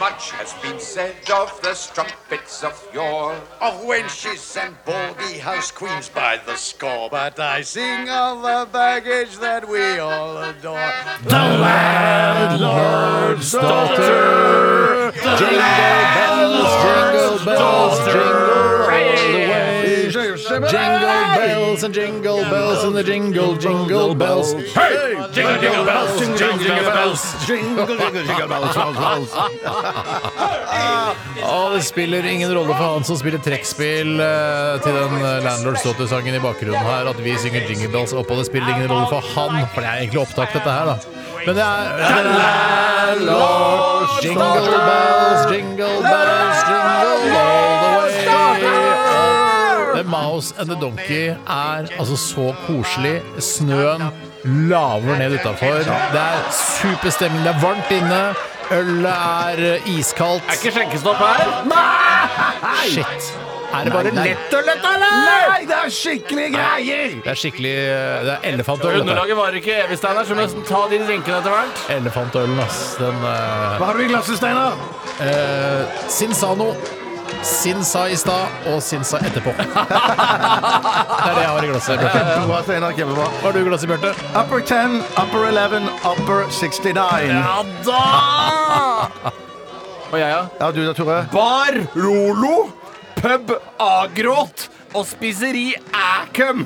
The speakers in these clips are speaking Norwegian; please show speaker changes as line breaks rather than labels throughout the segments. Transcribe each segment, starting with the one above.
Much has been said of the strumpets of yore.
of wenches and baldy house queens by the score. But I sing of the baggage that we all adore.
Jingle bells, jingle all the way. Jingle bells and jingle bells and the jingle jingle bells. Hey! Jingle jingle bells, jingle jingle bells. Jingle jingle jingle bells, bells, bells. Og det spiller ingen rolle for han som spiller trekkspill eh, til den eh, Landlord Stotter-sangen i bakgrunnen her, at vi synger Jingle Bells oppå. Det spiller ingen rolle for han, for det er egentlig opptak, dette her, da. Men det er Landlord Jingle Bells, Jingle Bells, Jingle All the Way. The Mouse and the Donkey er altså så koselig. Snøen laver ned utafor. Det er superstemning. Det er varmt inne. Ølet er eh, iskaldt.
ikke skjenkestopp her.
Shit. Er det bare lett?
og lett, eller?
Nei, det er skikkelig greier! Det er skikkelig eh, Det er elefantøl. dette.
Underlaget varer ikke evig, Steinar, så vi må ta de drinkene etter hvert.
Elefantølen, ass. Den eh,
Hva har du i glasset, Steinar?
eh, Sinsano. Sinsa i stad og Sinsa etterpå. Det er det jeg har i glasset. Bjarte.
Bra, Eh, Steinar. Kjempebra.
Hva har du i glasset, Bjarte?
Upper 10, upper 11, upper 69. Ja,
da! Og jeg, ja?
du da, Tore?
Bar Rolo, pub Agråt og spiseri Ækum.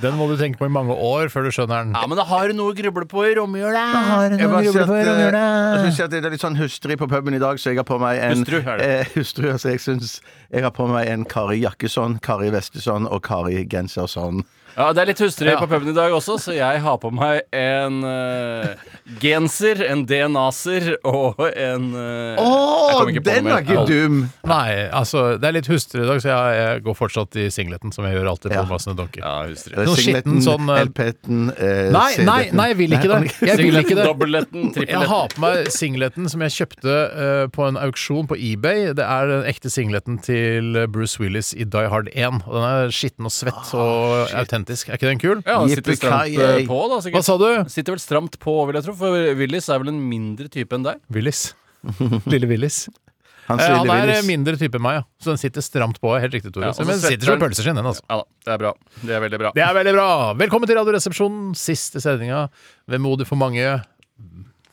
Den må du tenke på i mange år før du skjønner den.
Ja, men da har du noe å gruble på i romjula.
Jeg bare sier at, eh, jeg skal si at det er litt sånn hustrig på puben i dag, så jeg har på meg en
Hustru, er det?
eh, hustru altså, jeg syns jeg har på meg en Kari Jakkesson, Kari Vestesson og Kari Gensersson.
Ja, Det er litt hustrig på puben i dag også, så jeg har på meg en eh, genser, en DNA-ser og en eh, jeg
Å,
kommer ikke på
den
noe mer.
er ikke dum!
Nei, altså Det er litt hustrig i dag, så jeg, jeg går fortsatt i singleten, som jeg gjør alltid på
Ja.
Massene Donkey.
Ja, hustrig.
Noe skitten sånn, eh,
LP-en, eh,
Nei, nei,
CD-en.
nei, jeg vil ikke det. Jeg vil ikke
Singleten,
det.
dobbeltletten,
Jeg
trippelletten.
har på meg singleten som jeg kjøpte eh, på en auksjon på eBay. Det er den ekte singleten til Bruce Willis i Die Hard 1. Og den er skitten og svett og autentisk. Er ikke den kul?
Ah, Ja, han sitter stramt eh,
Yippee-ki-yay.
på, da.
Hva
sikkert
sa du?
Sitter vel stramt på, vil jeg tro, for Willis er vel en mindre type enn deg.
Willis. Lille Willis.
Hans
Eh,
lille
han er eh,
Willis.
mindre type enn meg, ja. så den sitter stramt på. Helt riktig, Tore.
Ja, og så
Men den
svetter
sitter som
den.
pølseskinn, den, altså.
Ja da, det er bra. Det er veldig bra.
Det er veldig bra. Velkommen til Radioresepsjonen, siste sendinga. Vemodig for mange.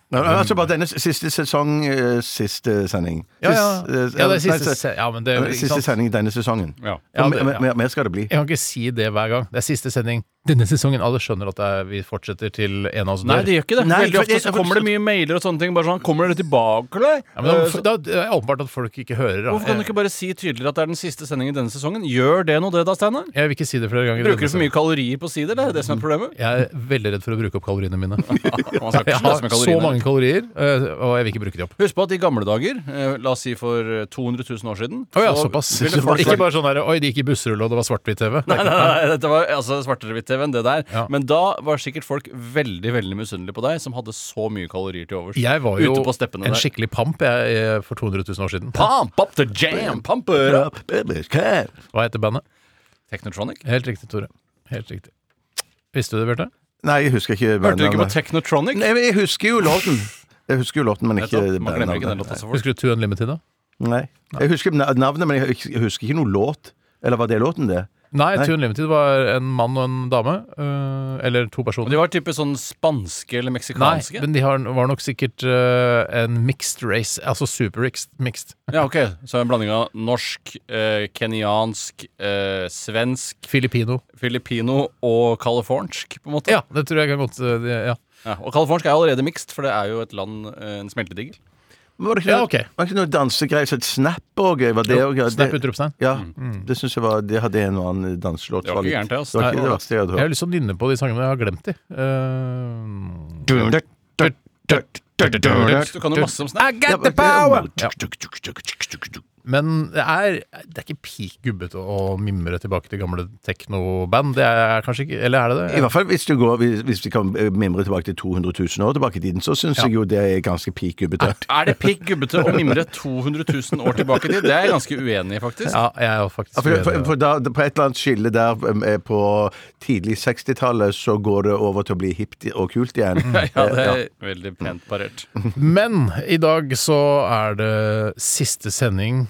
Nei, men altså bare denne s- siste sesong, eh, siste sending.
Ja, ja. ja,
Sist- eh,
det er
nei,
siste,
se-
se- ja, men det,
eh,
ikke
siste
sant?
sending denne sesongen.
Ja.
Ja, det-
mer, mer, mer skal det bli.
Jeg kan ikke si det hver gang. Det er siste sending denne sesongen. Alle skjønner at det er, vi fortsetter til en av oss
Nei,
dør.
det gjør ikke det.
Nei,
Veldig
for
ofte
det-
så kommer det mye mailer og sånne ting. Bare sånn, Kommer dere tilbake, eller?
Ja, men da,
Eh, så-
da det er det åpenbart at folk ikke hører. Da.
Hvorfor kan du ikke bare si tydeligere at det er den siste sendingen denne sesongen? Gjør det nå, det da, Steinar?
Jeg- Jeg vil ikke si det flere ganger.
Bruker du for mye kalorier på sider? Det er det som er problemet.
Jeg er veldig redd for å bruke opp kaloriene mine.
Man skal ikke
Jeg
sløse
har
med
så
kaloriene.
mange kalorier, eh, og jeg vil ikke bruke de opp.
Husk på at i gamle dager, eh, la oss si for eh, 200 000 år siden
Å ja,
så
såpass.
ville folk-
Ikke bare sånn der, Oi, de gikk i busserulle, og det var svart-hvitt-TV.
Nei, nei, nei, dette var altså, svartere-hvitt-TV enn det der.
Ja.
Men da var sikkert folk veldig veldig misunnelige på deg, som hadde så mye kalorier til overs.
Jeg var jo
Ute på steppene
en
der.
skikkelig pamp jeg, eh, for 200 000 år siden.
Pump up the jam, pump it up.
Hva heter bandet?
Technotronic?
Helt riktig, Tore. Helt riktig. Visste du det, Bjarte?
Nei, jeg husker ikke
Hørte du ikke på
bandnavnet.
Technotronic?
Nei, men jeg husker jo låten. Jeg husker jo låten, men ikke
Nettopp. Man glemmer ikke den
bandnavnet.
låta så fort.
Husker du Two Unlimited, da?
Nei. Jeg husker na- navnet, men jeg hus- jeg husker ikke noe låt. Eller var det låten, det?
Nei,
Nei.
Two Unlimited var en mann og en dame. eh, eller to personer.
Og de var type sånn spanske eller
Nei,
meksikanske?
men de har, var nok sikkert eh, en mixed race, altså supermixed. Mixed.
Ja, ok. Så en blanding av norsk, eh, kenyansk, eh, svensk,
Filipino.
filippino og californsk, på en måte.
Ja, det tror jeg kan godt eh, det- ja.
Ja, Og californsk er jo allerede mikst, for det er jo et land, eh, en smeltedigel.
Men Var det ikke
Ja,
noe,
ok.
var det ikke noe dansegreier? Så et snap og gøy? Var det òg gøy?
Snap
Det-
utropstegn.
Ja, det syns jeg var Det hadde en og annen danselåt.
Mm. Det var
som
ikke
litt-
gærent, det, ass.
Det var ikke
Nei.
det verste jeg hadde
Jeg har
hørt.
lyst til å nynne på de sangene, men jeg har glemt de. Eh,
Du kan jo masse om snap.
Ja, men-
power! Ja. Men det er, det er ikke peak gubbete å mimre tilbake til gamle teknoband. Det er kanskje ikke Eller er det det?
I hvert fall hvis du går, hvis, hvis vi kan eh, mimre tilbake til 200 000 år tilbake i tiden, så syns jeg jo det er ganske peak gubbete.
Er det pikk gubbete å mimre 200 000 år tilbake i tid? Det er jeg ganske uenig i, faktisk.
Ja, jeg er jo faktisk
Ja, for, for,
uenig.
for da, på et eller annet skille der eh, på tidlig 60-tallet så går det over til å bli hipt og kult igjen.
Ja, det
Eh,
er veldig pent parert.
Men i dag så er det siste sending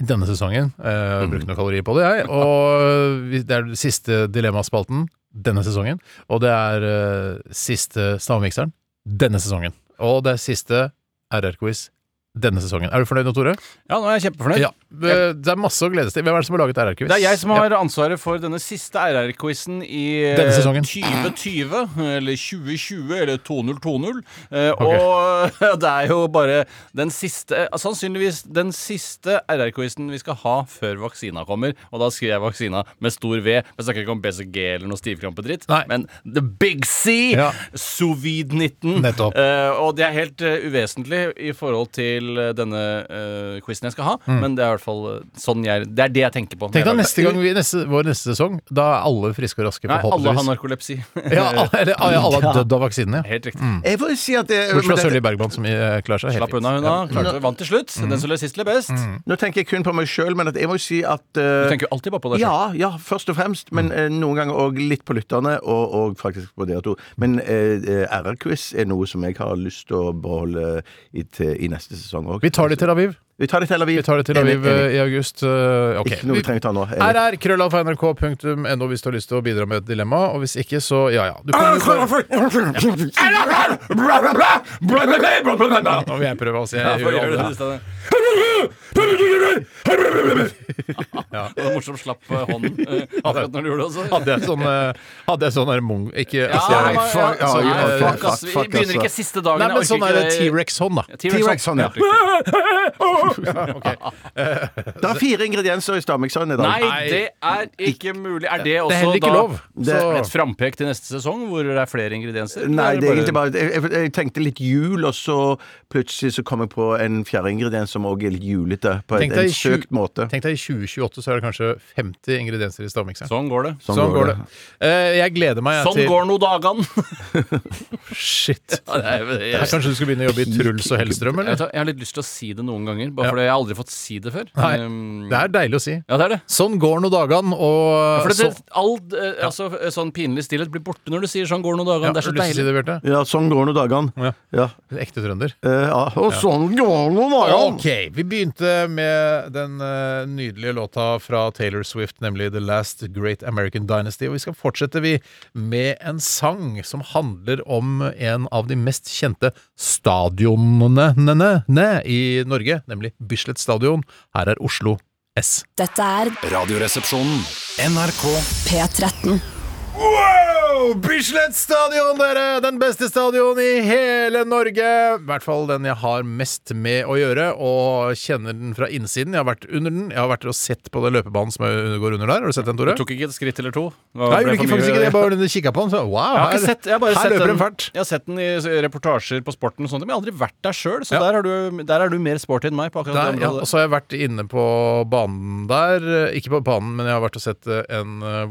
i denne sesongen. Eh, Jeg brukte noen kalorier på det, jeg. Og vi- det er den siste dilemmaspalten denne sesongen. Og det er eh, siste stavmikseren denne sesongen. Og det er siste RR-quiz denne sesongen. Er du fornøyd nå, Tore?
Ja, nå er jeg kjempefornøyd.
Ja. eh, Det er masse å glede seg til. Hvem er det som har laget RR-quiz?
Det er jeg som
Ja.
har ansvaret for denne siste RR-quizen i eh,
Denne sesongen.
2020, eller 2020, eller 2020. Eh,
Ok.
Og det er jo bare den siste eh, Sannsynligvis den siste RR-quizen vi skal ha før vaksina kommer. Og da skriver jeg vaksina med stor V. Jeg snakker ikke om BCG eller noe stivkrampedritt,
Nei.
men The Big C!
Ja.
Sovid-19.
Nettopp.
Eh, og det er helt eh, uvesentlig i forhold til eh, denne uh, quizen jeg skal ha,
Mm.
men det er i hvert fall eh, sånn jeg Det er det jeg tenker på.
Tenk deg
når jeg
neste
lager-
gang vi, neste, vår neste sesong. Da er alle friske og raske,
Nei, alle har
forhåpentligvis.
narkolepsi.
Ja, alle, eller, ja, alle har dødd av vaksinene, ja.
Helt riktig.
Jeg får si at det,
Bortsett
men
fra
det-
Sølvi Bergman, som eh, klarer seg helt
Slapp
fint.
unna, hun da. Klarte det. Vant til slutt. Den som løs sist, ble best.
Nå tenker jeg kun på meg sjøl, men at jeg må jo si at
Du
eh,
tenker jo alltid bare på deg selv.
ja, ja, først og fremst, men eh, noen ganger òg litt på lytterne, og, og faktisk på dere to. Men eh, eh, RR-quiz er noe som jeg har lyst til å beholde i, til, i neste sesong òg.
Vi tar det i Tel Aviv.
Vi tar det til Aviv.
Vi tar det til Aviv
Enig, enig.
eh, i august. eh, ok.
Ikke noe vi trenger ta nå. Enig.
RR, krøllalfa, nrk.no hvis du har lyst til å bidra med et dilemma, og hvis ikke, så ja ja. Du
Ah,
kan jo bare- Nå vil jeg prøve å si
Ja,
jeg gjør
for å
aldri
gjøre det
det.
i stedet. Ja, det var morsomt slapp eh, hånden eh, akkurat når du gjorde det også.
Hadde jeg sånn, eh, hadde jeg sånn der mung... Ikke
Ja,
altså,
nei,
jeg-
ja,
fuck, ja,
nei,
ja,
fuck,
fuck,
ass. Vi
fuck,
begynner
ass.
ikke siste dagen.
Nei,
jeg
men
orker
sånn er det
ikke-
T-rex-hånd, da.
T-rex,
T-rex,
sånn, ja.
helt riktig.
Det er fire ingredienser i Stavmikseren i dag.
Nei, det er ikke mulig. Er det
Det er
også
heller ikke
da
lov.
Det-
et frampek til neste sesong hvor det er flere ingredienser?
Nei,
Eller
det er egentlig bare jeg, jeg, jeg tenkte litt jul, og så plutselig så kom jeg på en fjerde ingrediens som òg er litt julete. På en,
Tenk deg
en
i tju-
søkt måte.
Tenk deg i 2028 så er det kanskje 50 ingredienser i stavmikseren.
Sånn går det.
Sånn, går det. Eh, jeg gleder meg jeg,
Sånn
til
går nå dagene!
Shit.
Ja, det er-
Her,
jeg-
kanskje du skal begynne å jobbe i Truls og Hellstrøm,
Jeg vet
eller?
hva, jeg har litt lyst til å si det noen ganger, bare
Ja.
fordi jeg har aldri fått si det før.
Nei,
Um,
Det er deilig å si.
Ja, det er det.
Sånn går nå dagene,
For
og
det,
så-
det, all eh, altså, eh, sånn pinlig stillhet blir borte når du sier 'sånn går nå dagene'.
Ja,
det er så
har du lyst til å
deilig.
Si det, Bjarte?
Ja, sånn går nå dagene.
Ja.
Ja.
Ekte trønder.
Eh, ja. Og sånn går nå dagene!
Ok, vi begynte med den eh, nydelige låta fra Taylor Swift, nemlig The Last Great American Dynasty. Og vi skal fortsette vi med en sang som handler om en av de mest kjente stadionene ne, ne, ne, i Norge, nemlig Bislett Stadion. Her er Oslo S.
Dette er
Radioresepsjonen.
P13.
Wow! Bislett Stadion, dere! Den beste stadion i hele Norge! I hvert fall den jeg har mest med å gjøre, og kjenner den fra innsiden. Jeg har vært under den. Jeg har vært og sett på den løpebanen som jeg går under der. Har du sett den, Tore?
Du tok ikke et skritt eller to? Det
Nei,
var-
jeg
ble
gjorde ikke,
for mye-
faktisk ikke det. Jeg bare kikka på den. Så, wow,
Jeg har ikke
her,
sett, jeg har bare
her
sett
løper
den,
den fælt.
Jeg har sett den i s- reportasjer på sporten og sånt, men jeg har aldri vært der sjøl, så
Ja.
der, har du, der er du mer sporty enn meg på akkurat
Der,
det
ja, altså- og
området.
så har jeg vært inne på banen der. Eh, Ikke på banen, men jeg har vært og sett eh, en eh,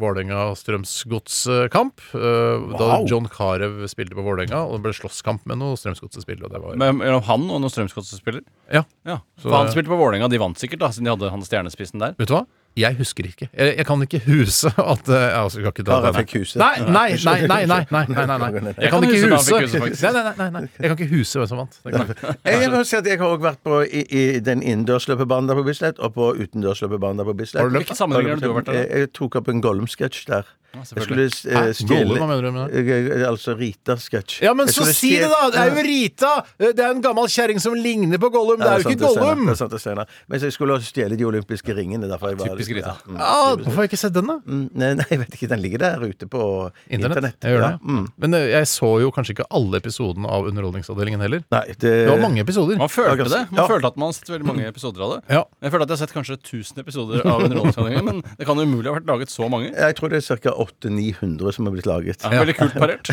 Vålerenga-Strømsgods-kamp. Eh, Da John Carew spilte på Vålerenga, og det ble slåsskamp med noe Strømsgodset-spill. og det var-
Men- Mellom han og noen Strømsgodset-spiller?
Ja.
Ja.
Så-
For han spilte på Vålerenga, de vant sikkert, da, siden de hadde han stjernespissen der.
Vet du hva? Jeg husker ikke. Jeg, jeg kan ikke huse at eh, altså, jeg kan ikke ta
Bare
den.
fikk huset.
Nei, nei, nei, nei, nei, nei, nei, nei, nei. Jeg kan ikke
kan huske da han
huse
fikk huset, faktisk.
Nei, nei, nei, nei. Jeg kan ikke huse hvem som vant. Det kan jeg ikke.
Jeg må si at jeg har òg vært på i, i den innendørsløpebanen der på Bislett, og på utendørsløpebanen der på Bislett.
Har du løpt,
Hvilke sammenhenger er det du har vært der? da?
Jeg, jeg tok opp en Gollum-sketsj der. jeg skulle
selvfølgelig.
eh,
Hæ?
stjele
Gollum, hva mener du med
det? Altså Rita-sketsj.
Ja, men
Jeg
så
skulle
si det,
stjele-
da! Det er jo Rita! Eh, Det er en gammel kjerring som ligner på Gollum. Det
Ja,
er jo
sant,
ikke
Steinar.
Gollum!
Det er sant, det er Steinar. Men så jeg skulle også stjele de olympiske ringene. Derfor jeg var
Typisk
skryte.
Ah, hvorfor har jeg ikke sett den, da?
Mm, Nei, nei, jeg vet ikke. Den ligger der ute på
Internett.
internett.
Jeg gjør
ja. Mm.
det. Men eh, jeg så jo kanskje ikke alle episodene av Underholdningsavdelingen heller.
Nei, det,
Det var mange episoder.
Man følte det. Man
Ja.
følte at man har sett veldig mange episoder av det.
Ja.
Jeg føler at jeg har sett kanskje 1000 episoder av Underholdningsavdelingen, men det kan umulig ha vært laget så mange.
Jeg tror det er ca. 800-900 som er blitt laget.
Ja, Veldig kult parert.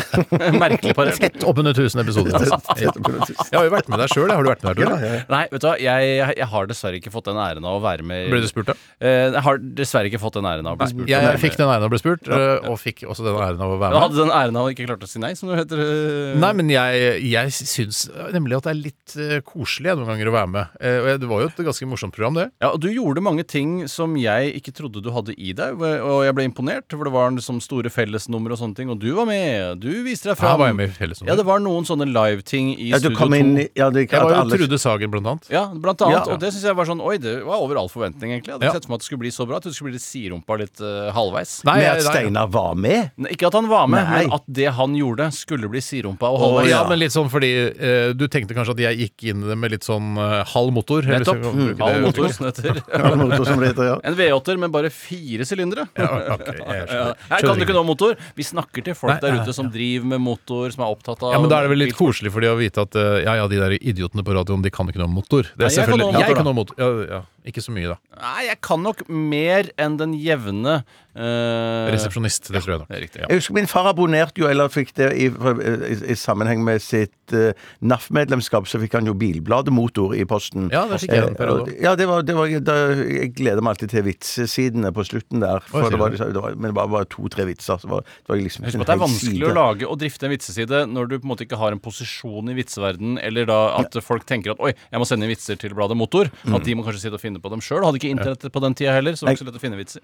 Merkelig parert.
Oppunder 1000 episoder.
Ja.
Jeg har jo vært med deg sjøl. Har du vært med der,
Ja,
Tore?
ja.
Nei, vet du hva, jeg, jeg har dessverre ikke fått den æren av å være med
Ble du spurt, da?
Eh, Jeg har dessverre ikke fått den æren av å bli spurt.
Jeg, jeg fikk den æren av å bli spurt, eh, og fikk også den æren av å
Jeg
være med.
hadde den æren av å ikke klarte å si nei, som det heter. eh,
Nei, men jeg, jeg syns nemlig at det er litt eh, koselig jeg, noen ganger å være med. Eh, og jeg- Det var jo et ganske morsomt program, det.
Ja, og Du gjorde mange ting som jeg ikke trodde du hadde i deg, og jeg ble imponert. For det var liksom store fellesnummer og sånne ting, og du var med. Du viste
Ja,
deg fram.
var jeg med i fellesnummer?
Ja, det var noen sånne live-ting i
Ja, du
Studio
kom
2.
inn i- ja, det,
Jeg
at
var
alle-
jo Trude Sagen, blant annet.
Ja, blant annet.
Ja.
Og det syns jeg var sånn Oi, det var over all forventning, egentlig. Jeg hadde
Ja.
ikke sett for meg at det skulle bli så bra. At det skulle bli litt siderumpa litt eh, halvveis.
Nei,
Med
jeg-
at
nei.
Steinar var med?
Ne- Ikke at han var med,
Nei.
men at det han gjorde, skulle bli siderumpa og
Å,
halvveis.
ja,
ja.
men litt sånn fordi eh, du tenkte kanskje at jeg gikk inn i det med litt sånn eh, halv motor. eller
Nettopp.
så kan man bruke det
Halv motor,
uttrykket.
som det heter.
Ja, motor som det heter, ja.
En V8-er med bare fire sylindere.
Ja, ok, jeg skjønner.
Ja, Her kan du ikke noe om motor. Vi snakker til folk
Nei,
der
ja,
ute som driver med motor, som er opptatt av
Ja, men Da er det vel litt koselig for de å vite at eh, ja, ja, de der idiotene på radioen de kan ikke noe om motor. Det
Nei,
er
jeg kan noe
selvfølgelig
om motor,
Jeg
da.
kan noe om motor. Ja, ja. Ikke så mye, da.
Nei, jeg kan nok mer enn den jevne eh,
Resepsjonist, det tror jeg.
Det
da
er riktig.
Jeg husker Min far abonnerte jo, eller fikk det i, i, i sammenheng med sitt eh, NAF-medlemskap, så fikk han jo Bilbladet Motor i posten.
Ja, det fikk jeg en periode
Eh, og- Ja, det var, det var, da, jeg gleder meg alltid til vitsesidene på slutten der.
sier
For det var,
du
det var, men det var bare to-tre vitser. Så var, det var liksom
Husk på
en
at det er
hel
vanskelig å
side.
lage og drifte en vitseside når du på en måte ikke har en posisjon i vitseverden, eller da at folk tenker at 'oi, jeg må sende inn vitser til bladet Motor'.
Mm.
At de må kanskje sitte og finne på dem sjøl. Hadde ikke internettet på den tida heller, så var det ikke så lett å finne vitser.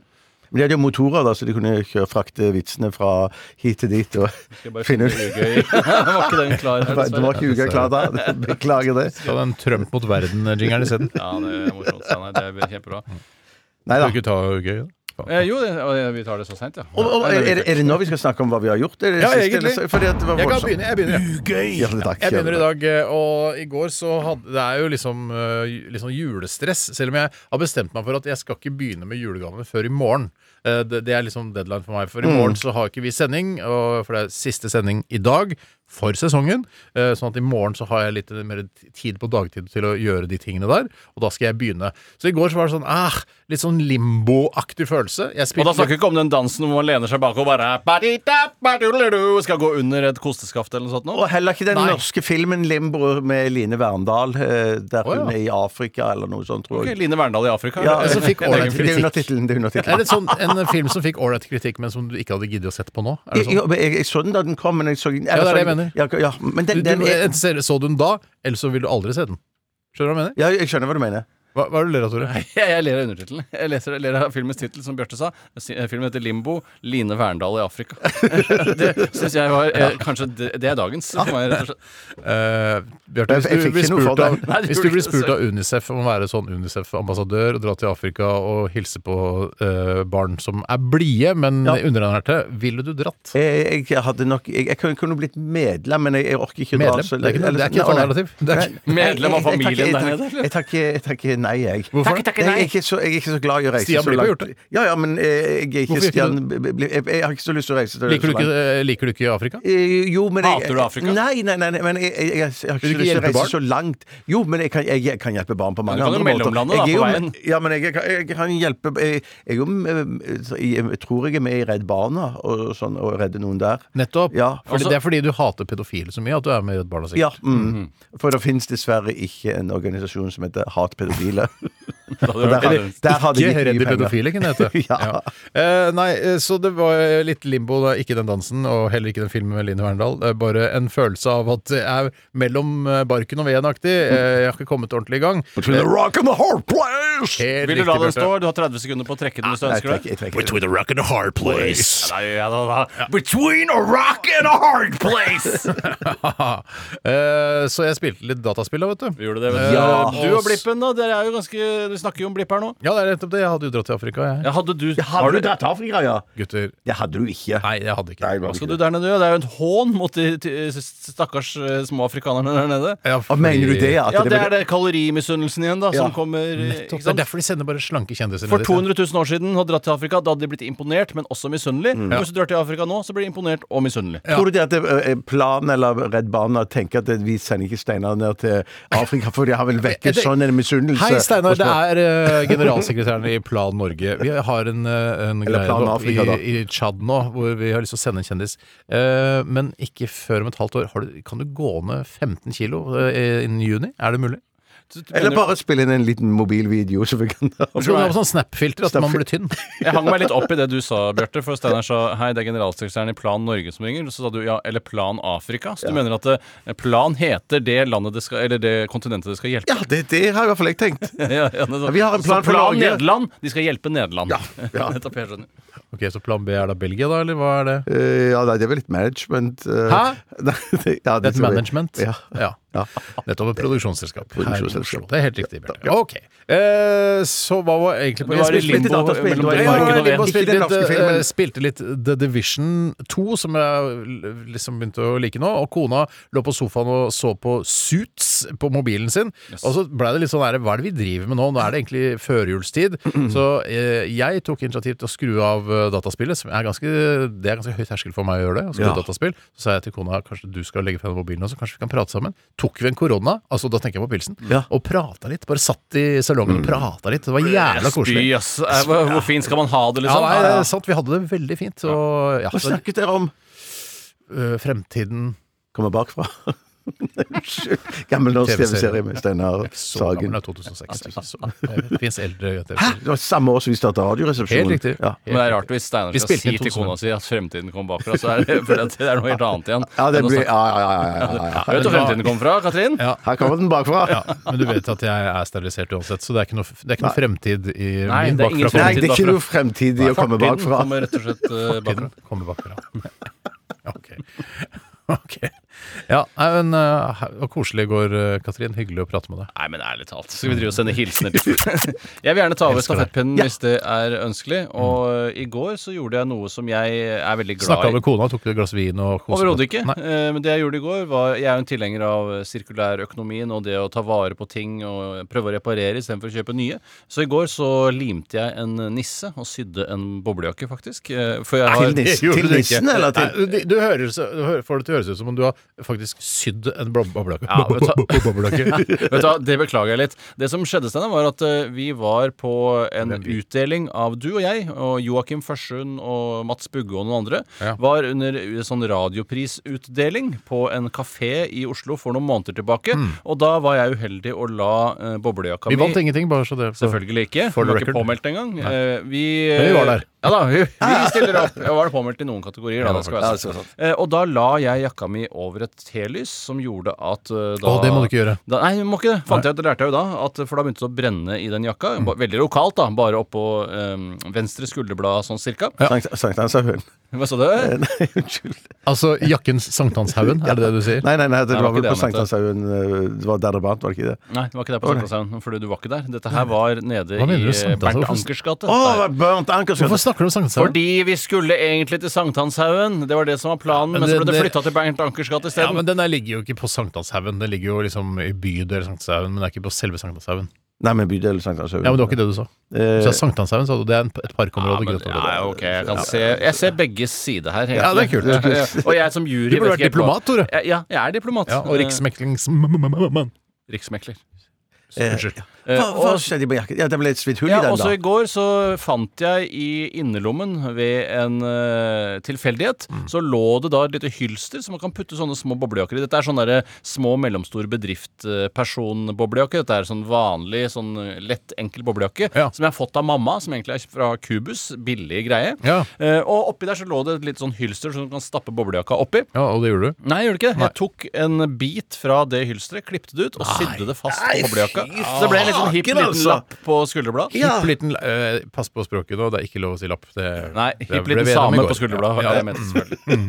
Men de hadde jo motorer, da, så de kunne kjøre, frakte vitsene fra hit til dit. Og
Jeg bare
finne
finner
ut
ugøy. Var ikke den klar her,
Det var
dessverre.
ikke uka klar da. Beklager det.
Ta den Trump mot verden-jingeren isteden.
Ja, det er morsomt. Steinar. Det er kjempebra.
Mm.
Nei da.
Skal ikke ta gøy, da? Faen.
Eh, jo, det, å, vi tar det så seint, ja.
Og, og,
Nei, det
er,
er
det- er det nå vi skal snakke om hva vi har gjort? Er det
Ja,
siste,
egentlig.
eller så- Fordi at det var
Jeg kan
voldsomt.
begynne. Jeg begynner. ja.
Hjertelig takk.
Jeg begynner i dag, eh, og i går så hadde Det er jo liksom, eh, ju- liksom julestress, selv om jeg har bestemt meg for at jeg skal ikke begynne med julegavene før i morgen. Eh, Det, det er liksom deadline for meg, for i
Mm.
morgen så har ikke vi sending, og for det er siste sending i dag for sesongen. eh, Sånn at i morgen så har jeg litt mer t- tid på dagtid til å gjøre de tingene der, og da skal jeg begynne. Så i går så var det sånn ah, litt sånn limbo-aktig følelse. Jeg
Og da
spilte
snakker vi ikke om den dansen hvor man lener seg bak og bare badita, badululu, Skal gå under et kosteskaft eller noe sånt nå.
Og heller ikke den
Nei.
norske filmen 'Limbo' med Line Verndal, eh, der hun
Å, ja.
er i Afrika eller noe sånt, tror
Ok,
jeg.
Line Verndal i Afrika.
Ja,
som fikk årets
det er
kritikk.
undertittelen. Det
Det er
er undertittelen.
litt sånn, en film som fikk ålreit kritikk, men som du ikke hadde giddet å sette på nå. Er det
Jeg,
sånn?
jeg, jeg, jeg så den da den kom, men jeg så den
det er det jeg
eller så- Ja, ja, men den,
Du,
den
du,
er,
enten ser- så du den da, eller så vil du aldri se den. Skjønner du hva jeg mener?
ja, jeg skjønner hva du mener.
Hva, hva er det du ler av, Tore?
Jeg, jeg ler av undertittelen. Jeg leser, ler av filmens tittel, som Bjarte sa. Si- eh, Filmen heter 'Limbo. Line Verndal i Afrika'. det syns jeg var eh, kanskje Det det er dagens. For meg, rett og slett.
Eh, Bjarte,
Jeg- jeg
hvis, du
fikk
blir
ikke noe
spurt
for
av-
det.
Nei, du
hvis
gjorde
du blir
ikke
spurt
det.
av Unicef om å være sånn Unicef-ambassadør og dra til Afrika og hilse på eh, barn som er blide, men
Ja.
underernærte, ville du dratt?
Jeg, jeg hadde nok Jeg, jeg kunne- kunne blitt medlem, men jeg, jeg orker ikke å dra
Medlem?
så
Det er ikke, noe- det er ikke et
Nei, nei.
alternativ. Det er ikke.
Medlem av
Jeg- jeg- jeg
familien der
takker-
nede, eller?
Jeg takker, jeg takker nei, jeg.
Hvorfor det?
Nei, Jeg er ikke så, jeg er ikke så glad i å reise
Stian
så
Blipp har
langt.
gjort det.
Ja, ja, men eh, jeg er ikke
Hvorfor ikke
Stian Blipp- jeg, jeg har ikke så lyst til å reise til
Liker du
så
ikke,
langt.
eh, liker du ikke Afrika?
Eh, Jo, men jeg,
Hater du Afrika?
Nei, nei, nei, nei men jeg, jeg, jeg, har
Vil du ikke
ikke så lyst til å
hjelpe
reise så langt. Jo, men jeg kan, jeg, jeg kan hjelpe barn på mange
du kan jo
andre måter.
mellomlande, da,
Jeg er
på
jo-
veien.
Ja, men jeg, jeg, jeg kan hjelpe Jeg, jeg, er jo, eh, jeg tror jeg er med i Redd Barna og sånn, og redde noen der.
Nettopp.
Ja.
Fordi
Altså-
det er fordi du hater pedofile så mye at du er med i Redd Barna. sikkert.
Ja,
Mhm.
mm. For det finnes dessverre ikke en organisasjon som heter Hat pedofile.
Da hadde det vært
Der,
annerledes.
der hadde
Ikke
de
redd
mye
i
penger.
pedofile, kunne det hete.
Ja.
Eh, nei, eh, så det var eh, litt limbo, da. ikke den dansen, og heller ikke den filmen med Line Verndal. Det er Bare en følelse av at det er mellom eh, barken og veden-aktig. Eh, Jeg har ikke kommet ordentlig i gang. Eh,
Between the rock and the hard place!
Helt
Vil du la
riktig,
den
Bjarte.
stå? Du har 30 sekunder på å trekke den hvis du
Nei, jeg
ønsker
trekker,
det.
jeg trekker.
the rock and a hard place.
Ja, ja, da, da. Between a rock and a hard place!
Eh, så jeg spilte litt dataspill da, vet du.
Vi gjorde det, vet du.
Ja.
Du og Blippen, da. Dere er jo ganske vi snakker jo om blipp her nå.
Ja, det er nettopp det. Jeg hadde jo dratt til Afrika, jeg.
Ja, hadde du,
Har du dratt til Afrika, ja?
Gutter.
Det hadde du ikke.
Nei, jeg hadde ikke.
det var
Hva skal
ikke
du
det.
der nede gjøre? Det er jo en hån mot de ty- stakkars eh, små afrikanerne der nede.
Ja,
Og mener du det? At
Ja, det
var-
er det kalorimisunnelsen igjen, da, som
Ja,
kommer eh,
Nettopp.
ikke
Det er
sant?
derfor de sender bare slanke kjendiser
For
ned dit, ja.
200 000 år siden hadde dratt til Afrika. Da hadde de blitt imponert, men også misunnelig.
Mm.
Og Hvis du drar til Afrika nå, så blir de imponert og misunnelig.
Tror du det at eh, Plan eller Redd Barna tenker at eh, vi sender ikke Steinar ned til Afrika, for de har vel
Jeg
vekket
tenker-
sånn en misunnelse?
Hei, Steinar.
hos
Det er
meg.
eh, generalsekretæren i Plan Norge. Vi har en, eh, en
Eller
greie
Plan
opp
Afrika, da.
i, i Tsjad nå, hvor vi har lyst til å sende en kjendis. Eh, men ikke før om et halvt år. Har du, kan du gå ned 15 kilo eh, innen juni? Er det mulig?
Så du
Eller
mener-
bare spille inn en liten mobilvideo, så vi kan
Jeg tror du har sånn Snap-filter at man blir tynn.
Jeg hang meg litt opp i det du sa, Bjarte. For Steinar sa hei, det er generalsekretæren i Plan Norge som ringer. Så sa du ja, eller Plan Afrika. Så du mener at eh, Plan heter det landet det skal Eller det kontinentet det skal hjelpe?
Ja, det, det har i hvert fall jeg tenkt.
Ja, ja, det er sånn.
Vi har en
så
plan for
Plan
Norge.
Nederland. De skal hjelpe Nederland.
ja.
Nettopp, jeg skjønner.
Ok, Så plan B er da Belgia, da? Eller hva er det?
Eh, ja, nei, det er vel litt management eh,
Hæ?
Nei, det, ja,
Det er
det
et
tror jeg.
management?
Ja. Ja.
Nettopp et produksjonsselskap. her i
Produksjonsselskap.
Oslo. Det er helt riktig. Bjørn. Ok. Eh, så hva var egentlig
Du var i
Jeg spilte-
limbo
dataspill,
mellom
du var i
Danimarken
limbo.
og Ven-
Limbo.
spilte,
Ikke den norske
litt, eh,
filmen.
spilte litt The Division 2, som jeg l- liksom begynte å like nå. Og kona lå på sofaen og så på Suits på mobilen sin. Og så blei det litt sånn her Hva er det vi driver med nå? Nå er det egentlig førjulstid. Så eh, jeg tok initiativ til å skru av eh, dataspillet. Som er ganske, det er ganske høy terskel for meg å gjøre det. Å skru
Ja.
av dataspill. Så sa jeg til kona kanskje du skal legge fra deg mobilen også, kanskje vi kan prate sammen. Tok vi en korona, altså da tenker jeg på pilsen,
Ja.
og prata litt. Bare satt i salongen og prata litt. Det var jævla koselig.
Spy, ass. Eh, Hvor hvor fin skal man ha det,
Ja,
liksom?
nei, det er sant. Vi hadde det veldig fint. Og, ja,
Hva
så,
snakket dere om?
øh, fremtiden
Kommer bakfra. Unnskyld. Gammel norsk
TV-serie
TV-serie med Steinar
så gammel
Sagen.
er 2006. ikke så- altså. Det fins eldre TV-serier.
Det var samme år som vi starta Radioresepsjonen.
Helt riktig.
Ja.
Men det er rart hvis Steinar
Vi
skal
spilte
si
inn
til
2000.
kona si at fremtiden kommer bakfra. Så er det, for det er noe helt annet igjen.
Ja, det
enn å
blir,
snakke-
ja, ja, ja, ja, ja, ja.
Vet du hvor fremtiden kommer fra, Katrin?
Ja.
Her kommer den bakfra.
Ja, men du vet at jeg er sterilisert uansett, så det er ikke noe, det er ikke noe fremtid i
Nei,
min
det er ingen
bakfra.
Nei, det er ikke noe fremtid i å komme
Fortiden
bakfra.
kommer rett og slett eh, bakfra.
Tiden kommer bakfra. Ok. Ok. Ja, nei, men øh, he- og koselig i går, øh, Katrin. Hyggelig å prate med deg.
Nei, men ærlig talt. Skal vi drive og sende hilsener til Jeg vil gjerne ta over
Elsker Mm. deg.
stafettpinnen hvis det er ønskelig. Og eh, i går så gjorde jeg noe som jeg er veldig glad
Snakka
i.
med kona, tok du et glass vin og koste
Overhodet ikke.
Nei.
Eh, Men det jeg gjorde i går, var Jeg er jo en tilhenger av sirkulærøkonomien og det å ta vare på ting og prøve å reparere istedenfor å kjøpe nye. Så i går så limte jeg en nisse og sydde en boblejakke, faktisk. eh, For jeg
Til
har
nissen, til nissen eller til
Nei, du, du, hører, så- du hører, får det til å høres ut som om du har faktisk sydd en blob- boblejakke.
Ja, men ta-
Boblejakke.
Vet du hva, Det beklager jeg litt. Det som skjedde, Steinar, var at eh, vi var på en utdeling av du og jeg, og Joakim Førsund og Mats Bugge og noen andre,
Ja.
var under en sånn radioprisutdeling på en kafé i Oslo for noen måneder tilbake. Og da var jeg uheldig og la eh, boblejakka
Mm. Vi vant
mi
ingenting, bare så det
Selvfølgelig ikke.
For
For var
the
ikke
record.
påmeldt engang. Eh, Vi,
Men vi var der.
Ja da, vi, vi stiller opp. Jeg var påmeldt i noen kategorier, da. Det skal være sant. Eh, Og da la jeg jakka mi over et telys, som gjorde at eh, da
Å, det må du ikke gjøre.
da, nei, du må ikke det. Fant jeg ut, det lærte jeg jo da. At, for da begynte det å brenne i den jakka.
Mm.
Ba- Veldig lokalt, da. Bare oppå um, venstre skulderblad, sånn cirka.
Sankt- Sankthanshaugen.
Hva sa du?
Eh,
Nei, unnskyld.
Altså jakkens sankthanshaugen, er det det du sier?
Nei, nei, nei,
Nei, det
det var
var ikke
vel på
det jeg mente.
Sankthanshaugen eh, Det var der det brant, var det ikke det?
Nei, det var ikke der på Sankthanshaugen. Fordi du var ikke der. Dette her var nede
Hva
i
mener du,
eh, Bernt
Sankthanshaugen?
Ankers gate.
Å,
Der.
Bernt Ankers
Hvorfor snakker du om sankthanshaugen?
Fordi vi skulle egentlig til Sankthanshaugen. Det var det som var planen, men så ble
det-
det
det-
flytta til Bernt Ankers gate
Ja,
isteden.
men Den der ligger jo ikke på Sankthanshaugen. Den ligger jo liksom i bydel Sankthanshaugen, men det er ikke på selve Sankthanshaugen.
Nei, men bydel Sankthanshaugen.
Ja, men det var ikke det du sa. Du sa
Eh,
Sankthanshaugen, sa du. Det er en- et parkområde.
men-
grønt område.
ja, ok, jeg kan se Jeg ser begge sider her.
Ja, det er kult. Det er
kult. Og jeg som jury
Du burde vært
vet ikke helt hva-
diplomat, Tore.
Ja, Ja, jeg er diplomat.
Ja, og
Eh,
riksmeklingsmann.
riksmekler.
eh,
Unnskyld.
Eh,
Hva, hva
og-
skjedde med jakken? Ja, det ble et svidd hull i
Ja,
den,
også
da.
i går så fant jeg i innerlommen ved en eh, tilfeldighet,
Mm.
så lå det da et lite hylster som man kan putte sånne små boblejakker i. Dette er sånn derre små mellomstor bedrift-person-boblejakke. Dette er sånn vanlig, sånn lett, enkel boblejakke
Ja.
som jeg har fått av mamma, som egentlig er fra Cubus. Billig greie.
Ja.
Eh, og oppi der så lå det et lite sånn hylster som du kan stappe boblejakka oppi.
Ja, og det gjorde du.
Nei, jeg gjorde ikke det. Jeg tok en bit fra det hylsteret, klippet det ut og sydde det fast på boblejakka. Så det ble en litt sånn hipp
faen,
liten
altså.
lapp på skulderbladet.
Hipp liten eh, Pass på språket nå, det er ikke lov å si lapp. Det,
Nei,
det
hipp
ble
liten
vi enige om i
same
går.
på skulderbladet.
Ja,
Ja,
ja.
jeg mente selvfølgelig.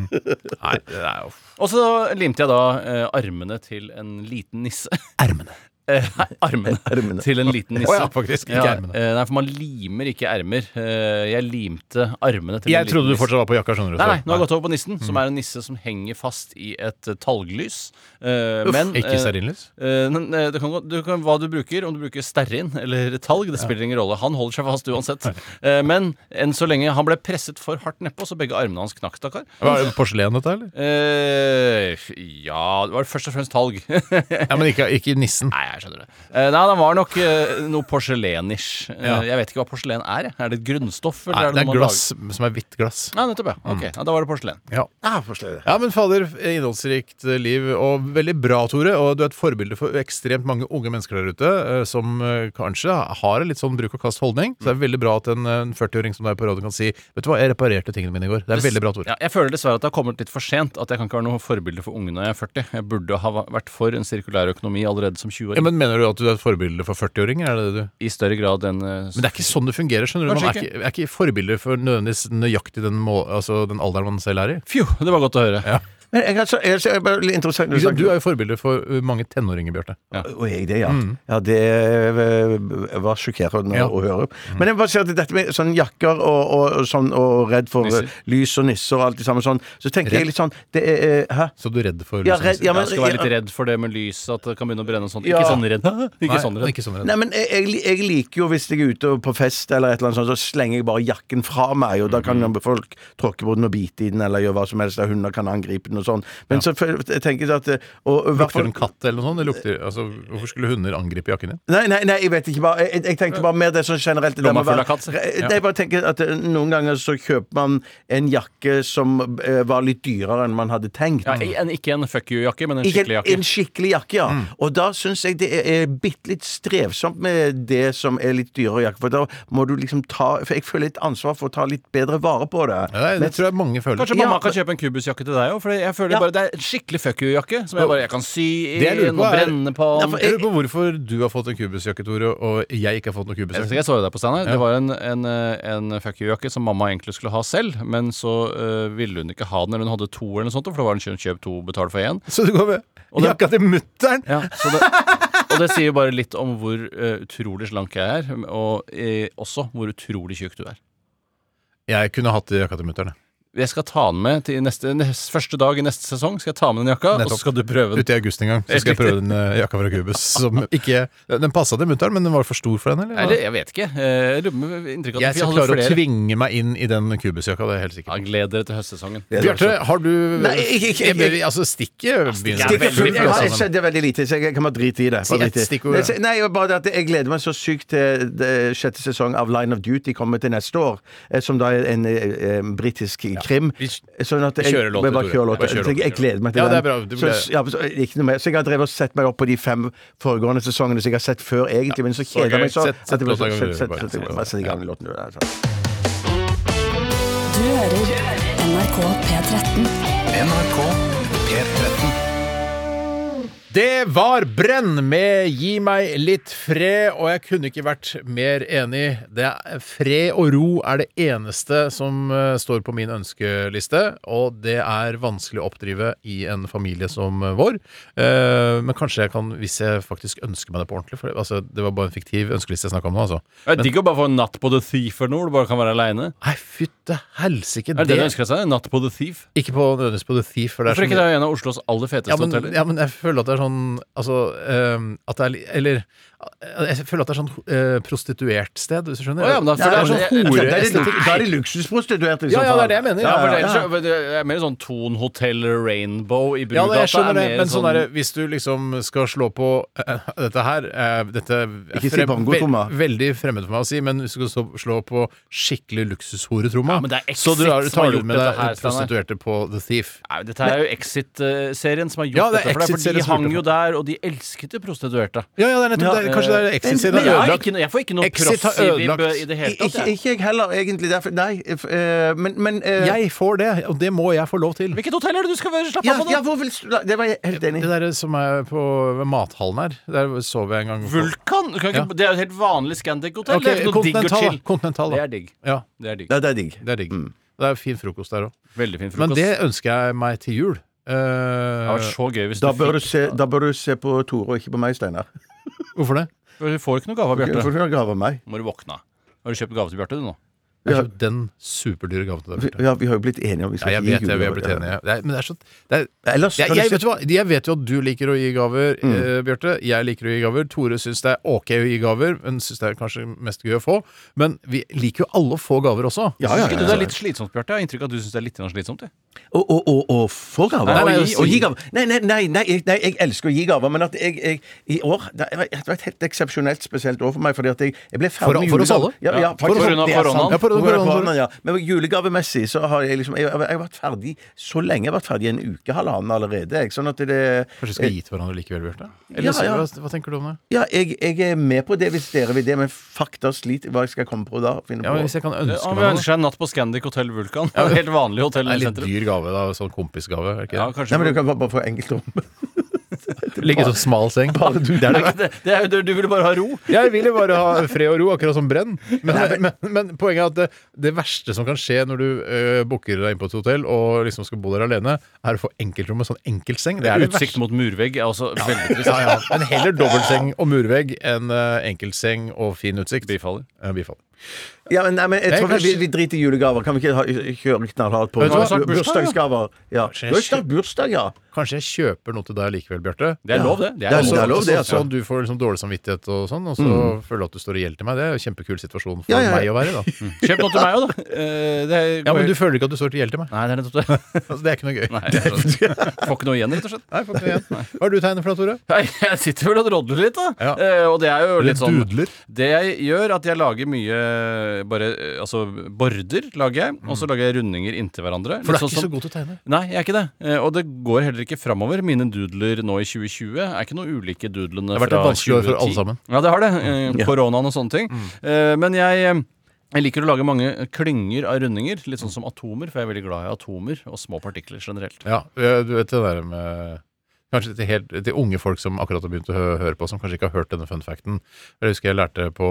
Nei, det er jo
Og så limte jeg da eh, armene til en liten nisse.
Ermene.
eh, armene,
Ermene.
til en liten nisse.
Å ja, faktisk, ikke ermene.
eh, Nei, for man limer ikke ermer. Eh, Jeg limte armene til en
Jeg
liten
trodde du
nisse.
fortsatt Mm. var på jakka, skjønner du.
Nei, nei,
så-
nå har jeg gått over på nissen, som er en nisse som henger fast i et eh, talglys. Eh, men,
ikke
eh,
stearinlys?
eh, men, eh, det kan, gå- du kan, hva du bruker, om du bruker stearin eller talg, det spiller ingen rolle. Han holder seg fast uansett. Eh, men enn så lenge han ble presset for hardt nedpå, så begge armene hans knakk, stakkar.
Hva, er det porselen, dette, eller?
Eh, ja Det var først og fremst talg. nei,
Ja, men ikke, ikke nissen.
jeg skjønner det. Eh, nei, den var nok eh, noe porselenish. Eh,
Ja.
Jeg vet ikke hva porselen er. jeg. Er det et grunnstoff? Eller
Nei,
er
det
det,
er
noe man
glass Mm. som er hvitt glass.
lager? Nei, nettopp, ja. Ok, ja, Da var det porselen.
Ja.
Ah, forstår jeg det.
ja, men fader, innholdsrikt eh, liv og veldig bra, Tore. Og du er et forbilde for ekstremt mange unge mennesker der ute eh, som eh, kanskje har en litt sånn bruk og kast-holdning. Så det er veldig bra at en, eh, en 40-åring som deg på radioen kan si Vet du hva, jeg reparerte tingene mine i går. Det er veldig bra, Tore.
Ja, jeg føler dessverre at det har kommet litt for sent. At jeg kan ikke være noe forbilde for unge når jeg er 40. Jeg burde ha vært for en sirkulær økonomi allerede som 20 år.
Ja, men Mener du at du er et forbilde for 40-åringer? Er det det du
I større grad enn eh,
Men det er ikke sånn det fungerer. skjønner du Man er
Kanskje
ikke, er ikke forbilder for nødvendigvis nøyaktig den, må, altså den alderen man selv er i.
Fjo, det var godt å høre.
Ja.
Men jeg, har så- jeg, jeg, bare litt interessant når
Ikke sant?
snakker-
Du er jo forbilder for uh, mange tenåringer, Bjarte.
Og jeg det, ja. Ja, det eh, var sjokkerende
Ja.
å høre. Men jeg må bare si at dette med sånn jakker og, og, og sånn, og redd for
Nisser.
eh, lys og nisser og alt det samme sånn, så tenker jeg litt sånn det er, eh, Hæ?
Så du er redd for
Ja,
liksom,
redd, ja, men,
Jeg skal være litt
ja,
redd for det med lyset, at det kan begynne å brenne og sånt.
Ja.
Ikke sånn redd. Ikke
Nei,
sånn redd.
Ikke sånn redd.
Nei, men jeg, jeg, jeg liker jo hvis jeg er ute på fest eller et eller annet sånt, så slenger jeg bare jakken fra meg, og da kan folk tråkke på den og bite i den eller gjøre hva som helst, og hunder kan angripe den og sånn. Men så føl- jeg tenker jeg at eh, og, og,
Lukter det en katt eller noe sånt? Det lukter, altså, hvorfor skulle hunder angripe jakken din?
Nei, nei, nei, jeg vet ikke. Bare, jeg, jeg tenkte bare mer det sånn generelt. det der
Lomma
med å
full
være-
av katt, sier jeg.
Nei, Jeg bare tenker at eh, Noen ganger så kjøper man en jakke som eh, var litt dyrere enn man hadde tenkt.
Ja, en, ikke en fuck you-jakke, men en
Ikke
skikkelig
en,
jakke. Mm.
en skikkelig jakke, ja. Og da syns jeg det er, er bitte litt strevsomt med det som er litt dyrere jakke. For da må du liksom ta For jeg føler litt ansvar for å ta litt bedre vare på det.
Nei, det
Men-
tror jeg mange føler.
Kanskje
Ja,
mamma
men-
kan kjøpe en kubusjakke til deg òg? For jeg føler
Ja.
bare det er en skikkelig fuck you-jakke. Som jeg bare jeg kan sy i
Det jeg lurer
og
på er-
brenne på.
Ja, for
Jeg lurer på hvorfor du har fått en kubusjakke, Tore, og jeg ikke har fått noen
Jeg,
kubusjakke.
jeg så jo deg på Steinar. Det var en, en, eh, en fuck you-jakke som mamma egentlig skulle ha selv, men så eh, ville hun ikke ha den, eller hun hadde to eller noe sånt, for da var det kjøp, kjøp to, betal for én.
Så du går med jakka til mutter'n!
Ja, så det, og det sier jo bare litt om hvor eh, utrolig slank jeg er, og eh, også hvor utrolig tjukk du er.
Jeg kunne hatt jakka til mutter'n.
Jeg skal ta den med til neste, nest, første dag i neste sesong. Skal jeg ta med den jakka, og
Nettopp.
så skal du prøve den.
Ute i august en gang så skal jeg prøve den eh, jakka fra Kubus. Som ikke, den passa til mutter'n, men den var for stor for henne, eller?
Eller, jeg vet ikke. Eh, Jeg lurer på- inntrykk av at
Jeg
vi
skal
hadde
klare å
flere.
tvinge meg inn i den kubusjakka, det er jeg helt
Ja,
sikkert.
gled dere til høstsesongen.
Bjarte, har du
Nei, ikke- ikke-
Jeg bør- Altså, stikket begynner
Stikker
veldig
fullt-
mye,
jeg har-
altså.
jeg skjønner veldig lite, så jeg kan bare drite i det.
Si
Bare
ett
drite i.
stikkord,
Nei,
ja.
se- Nei, jeg- bare det at Jeg gleder meg så sykt til det sjette sesong av Line of Duty kommer til neste år, eh, som da er en eh, eh, britisk krim.
Vi-
Sånn at jeg,
kjører låter,
jeg bare
Tore. Bare
kjører
kjører
låter. Så jeg, jeg
låter.
gleder meg til
Ja,
den.
det er bra. Du
Så, ja, så, ikke noe mer. så jeg har drevet og sett meg opp på de fem foregående sesongene som jeg har sett før, egentlig, men så
så
kjeder jeg
gøy.
meg sånn.
Sett- sett
at jeg bare-
låta i gang,
sett-
du,
sett-
bare.
sett- bare Sett i gang låten. du, altså.
Du hører NRK P13.
NRK P13.
Det var Brenn med Gi meg litt fred, og jeg kunne ikke vært mer enig. Det er, fred og ro er det eneste som eh, står på min ønskeliste, og det er vanskelig å oppdrive i en familie som eh, vår. Eh, men kanskje jeg kan, hvis jeg faktisk ønsker meg det på ordentlig for det, altså, det var bare en fiktiv ønskeliste jeg snakka om nå, altså.
Det er digg å bare få en natt på The Thief eller noe, hvor du bare kan være aleine.
Nei, fytte helsike,
Er det det du
det
ønsker deg? En natt på The Thief?
Ikke på nødvendigvis på The Thief. For det er sånn- så
Hvorfor ikke
mye-
det er en av Oslos aller feteste
ja, men,
hoteller?
ja, men jeg føler at det er sånn Altså ehm, at det er li- Eller eh, Jeg føler at det er sånn eh, prostituert sted, hvis du skjønner?
Å, ja, men da- for
det er
det er
sånn
sånn-
Da er det,
horeestetikk.
da er det luksusprostituerte. i så
Ja, ja, det er
fall.
det jeg mener.
Ja,
Ja,
for det,
ja,
er- så- det er mer sånn Thon Hotel Rainbow i
Ja,
Brugata.
nei, jeg skjønner det,
er mer
men sånn derre, hvis du liksom skal slå på eh, dette her eh, Dette er
Ikke si bongo, Thomas.
veldig fremmed for meg å si, men hvis du skal så- slå på skikkelig luksushore, Tromma,
Ja, men det er
så du
Exit som har
tar
gjort
med
dette
deg
her, Steinar.
prostituerte på The Thief.
Nei, dette er jo Exit-serien som har gjort
Ja, det er
dette. For, deg, for
Exit-serien
De
som har
hang
gjort
jo
det.
der, og de elsket de prostituerte.
Ja, ja, eh, det er nettopp det. er- Kanskje det er Exit sin
Men
har
jeg, har
ødelagt
ikke, noe- jeg får ikke noe
Exit har
proffsivib
ødelagt.
i det hele tatt.
Ikke,
jeg.
ikke jeg heller, egentlig. Derfor, nei, f- eh, men, men eh,
Jeg får det, og det må jeg få lov til.
Hvilket hotell er det du skal være? slappe
Ja,
av på?
ja,
da?
hvor vil du Det var jeg helt enig i.
Det der som er på ved mathallen her, der sov jeg en gang. på.
Vulkan? Du kan ikke,
Ja.
Det er jo et helt vanlig Scandic-hotell.
Ok,
det er ikke noe digg og
Continental, da.
chill.
Continental, da.
Det er digg.
Ja,
Det er digg.
Ja, det er digg.
det er digg. Det er fin frokost der òg.
Veldig fin frokost.
Men det ønsker jeg meg til jul. Eh,
det hadde vært så gøy hvis
Da
du
bør du
fikk
se, da bør du se på Tore og ikke på meg, Steinar.
Hvorfor det?
For du får ikke noe gave av
Hvorfor
Bjarte.
kan du gave av meg?
Må du våkne av. Har du kjøpt gave til Bjarte, du nå?
Jeg har kjøpt den superdyre gaven til deg.
Vi,
Bjarte.
ja, vi har jo blitt enige om vi
Ja,
skal
jeg
gi
vet det, vi er
julegave.
blitt enige. Det er, men det er så det er,
Ellers
jeg,
kan
jeg,
du
vet
si-
du hva? jeg vet jo at du liker å gi gaver, eh, Bjarte. Jeg liker å gi gaver. Tore syns det er ok å gi gaver, men syns det er kanskje mest gøy å få. Men vi liker jo alle å få gaver også.
Ja, ja,
Syns
ja,
ikke du det
ja.
er litt slitsomt, Bjarte? Jeg har inntrykk av at du syns det er litt grann slitsomt. jeg.
Å, å, å, å få gaver?
Nei, nei,
Å
å gi-
å gi gaver. Nei, nei, nei, nei, jeg- nei, jeg elsker å gi gaver, men at jeg, jeg i år Det var det var et helt eksepsjonelt spesielt år for meg, fordi at jeg, jeg ble
For-
ferdig med
for oss
julegave-
alle?
Ja, ja,
Ja, for-
faktisk,
på grunn av
det er sant.
koronaen.
Ja, på grunn av
På grunn av
koronaen,
koronaen, ja. Men julegavemessig så har jeg liksom Jeg jeg- jeg har vært ferdig så lenge. Jeg har vært ferdig i en uke, halvannen allerede. Jeg, sånn at det
Kanskje vi skal gi til hverandre likevel, Bjarte?
Ja,
Eller så-
ja.
Hva, hva tenker du om det?
Ja, jeg, jeg er med på det hvis dere vil det, men fakta sliter hva jeg skal komme på da. Finne
Ja, men
på.
hvis jeg kan
Ja,
ønske
men jeg
meg noe.
ønsker seg en natt på Scandic Hotell Vulkan. Helt vanlig hotell
Det
i
er litt
senteret.
dyr gave, da. Sånn kompisgave. Er det ikke
Ja,
det?
kanskje
Nei, men du kan bare, bare få enkeltrom.
Ligge i sånn smal seng. Det er det.
Nei, det, det er, jo- du ville bare ha ro.
Jeg vil jo bare ha fred og ro, akkurat som Brenn. Men, men, men poenget er at det, det verste som kan skje når du uh, booker deg inn på et hotell og liksom skal bo der alene, er å få enkeltrom med sånn enkeltseng. Det er det
Utsikt
verste.
mot murvegg er også veldig trist.
Ja, ja. Men heller dobbeltseng og murvegg enn eh, enkeltseng og fin utsikt.
Bifaller.
Ja, bifaller.
Ja, men, nei, men jeg
Jeg
tror vi,
kanskje-
vi driter i julegaver. Kan vi ikke ha, kjøre knallhardt på
Vet du hva?
Bu- bursdagsgaver? Ja.
Kanskje jeg
Bursdag, bursdag, ja.
Kanskje jeg kjøper noe til deg likevel, Bjarte.
Det er lov, det.
Det er
Så,
lov.
lov.
så,
det, altså.
Sånn du får liksom dårlig samvittighet og sånn, og så føler du at du står i gjeld til meg. Det er jo en kjempekul situasjon for
Ja, ja, ja.
meg å være i, da.
Kjøp noe til meg òg, da. Eh, Det er,
Ja, men du føler ikke at du står til gjeld til meg.
Nei, det er nettopp det.
Altså, det er ikke noe gøy.
Nei, jeg skjønner. Får ikke noe igjen, rett og slett.
Nei, får ikke noe igjen. Hva er det du tegner for noe, Tore?
Nei, Jeg sitter vel og drodler litt, da.
Ja.
Eh, Og det er jo litt sånn
dudler.
Det jeg gjør, at jeg lager mye bare, eh, Altså border lager jeg, og så lager jeg rundinger inntil hverandre.
Mm. For du
Litt
er
sånn
ikke
som-
så god til å tegne.
Nei, jeg er ikke det. Eh, Og det går heller ikke framover. Mine doodler nå i 2020 er ikke noe ulike doodlene
Det
fra
har vært et vanskelig år for alle
2010.
sammen. Mm.
Ja, det har det. Eh, Koronaen og sånne ting. Eh, Men jeg eh, jeg liker å lage mange klynger av rundinger, litt sånn som atomer, for jeg er veldig glad i atomer og små partikler generelt.
Ja, eh, du vet det der med Kanskje til, helt, til unge folk som akkurat har begynt å hø høre på, som kanskje ikke har hørt denne fun facten. Jeg husker jeg lærte på,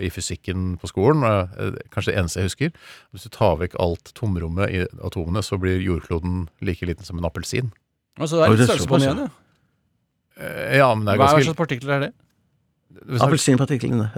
i fysikken på skolen, eh, kanskje det eneste jeg husker Hvis du tar vekk alt tomrommet i atomene, så blir jordkloden like liten som en appelsin.
Altså, det er
Oi,
litt
det er
størrelse på den
såpass,
igjen, ja.
Eh, Ja, men det er
Hva er- hva
ganske
slags partikler er det?
hvis-
Appelsinpartiklene.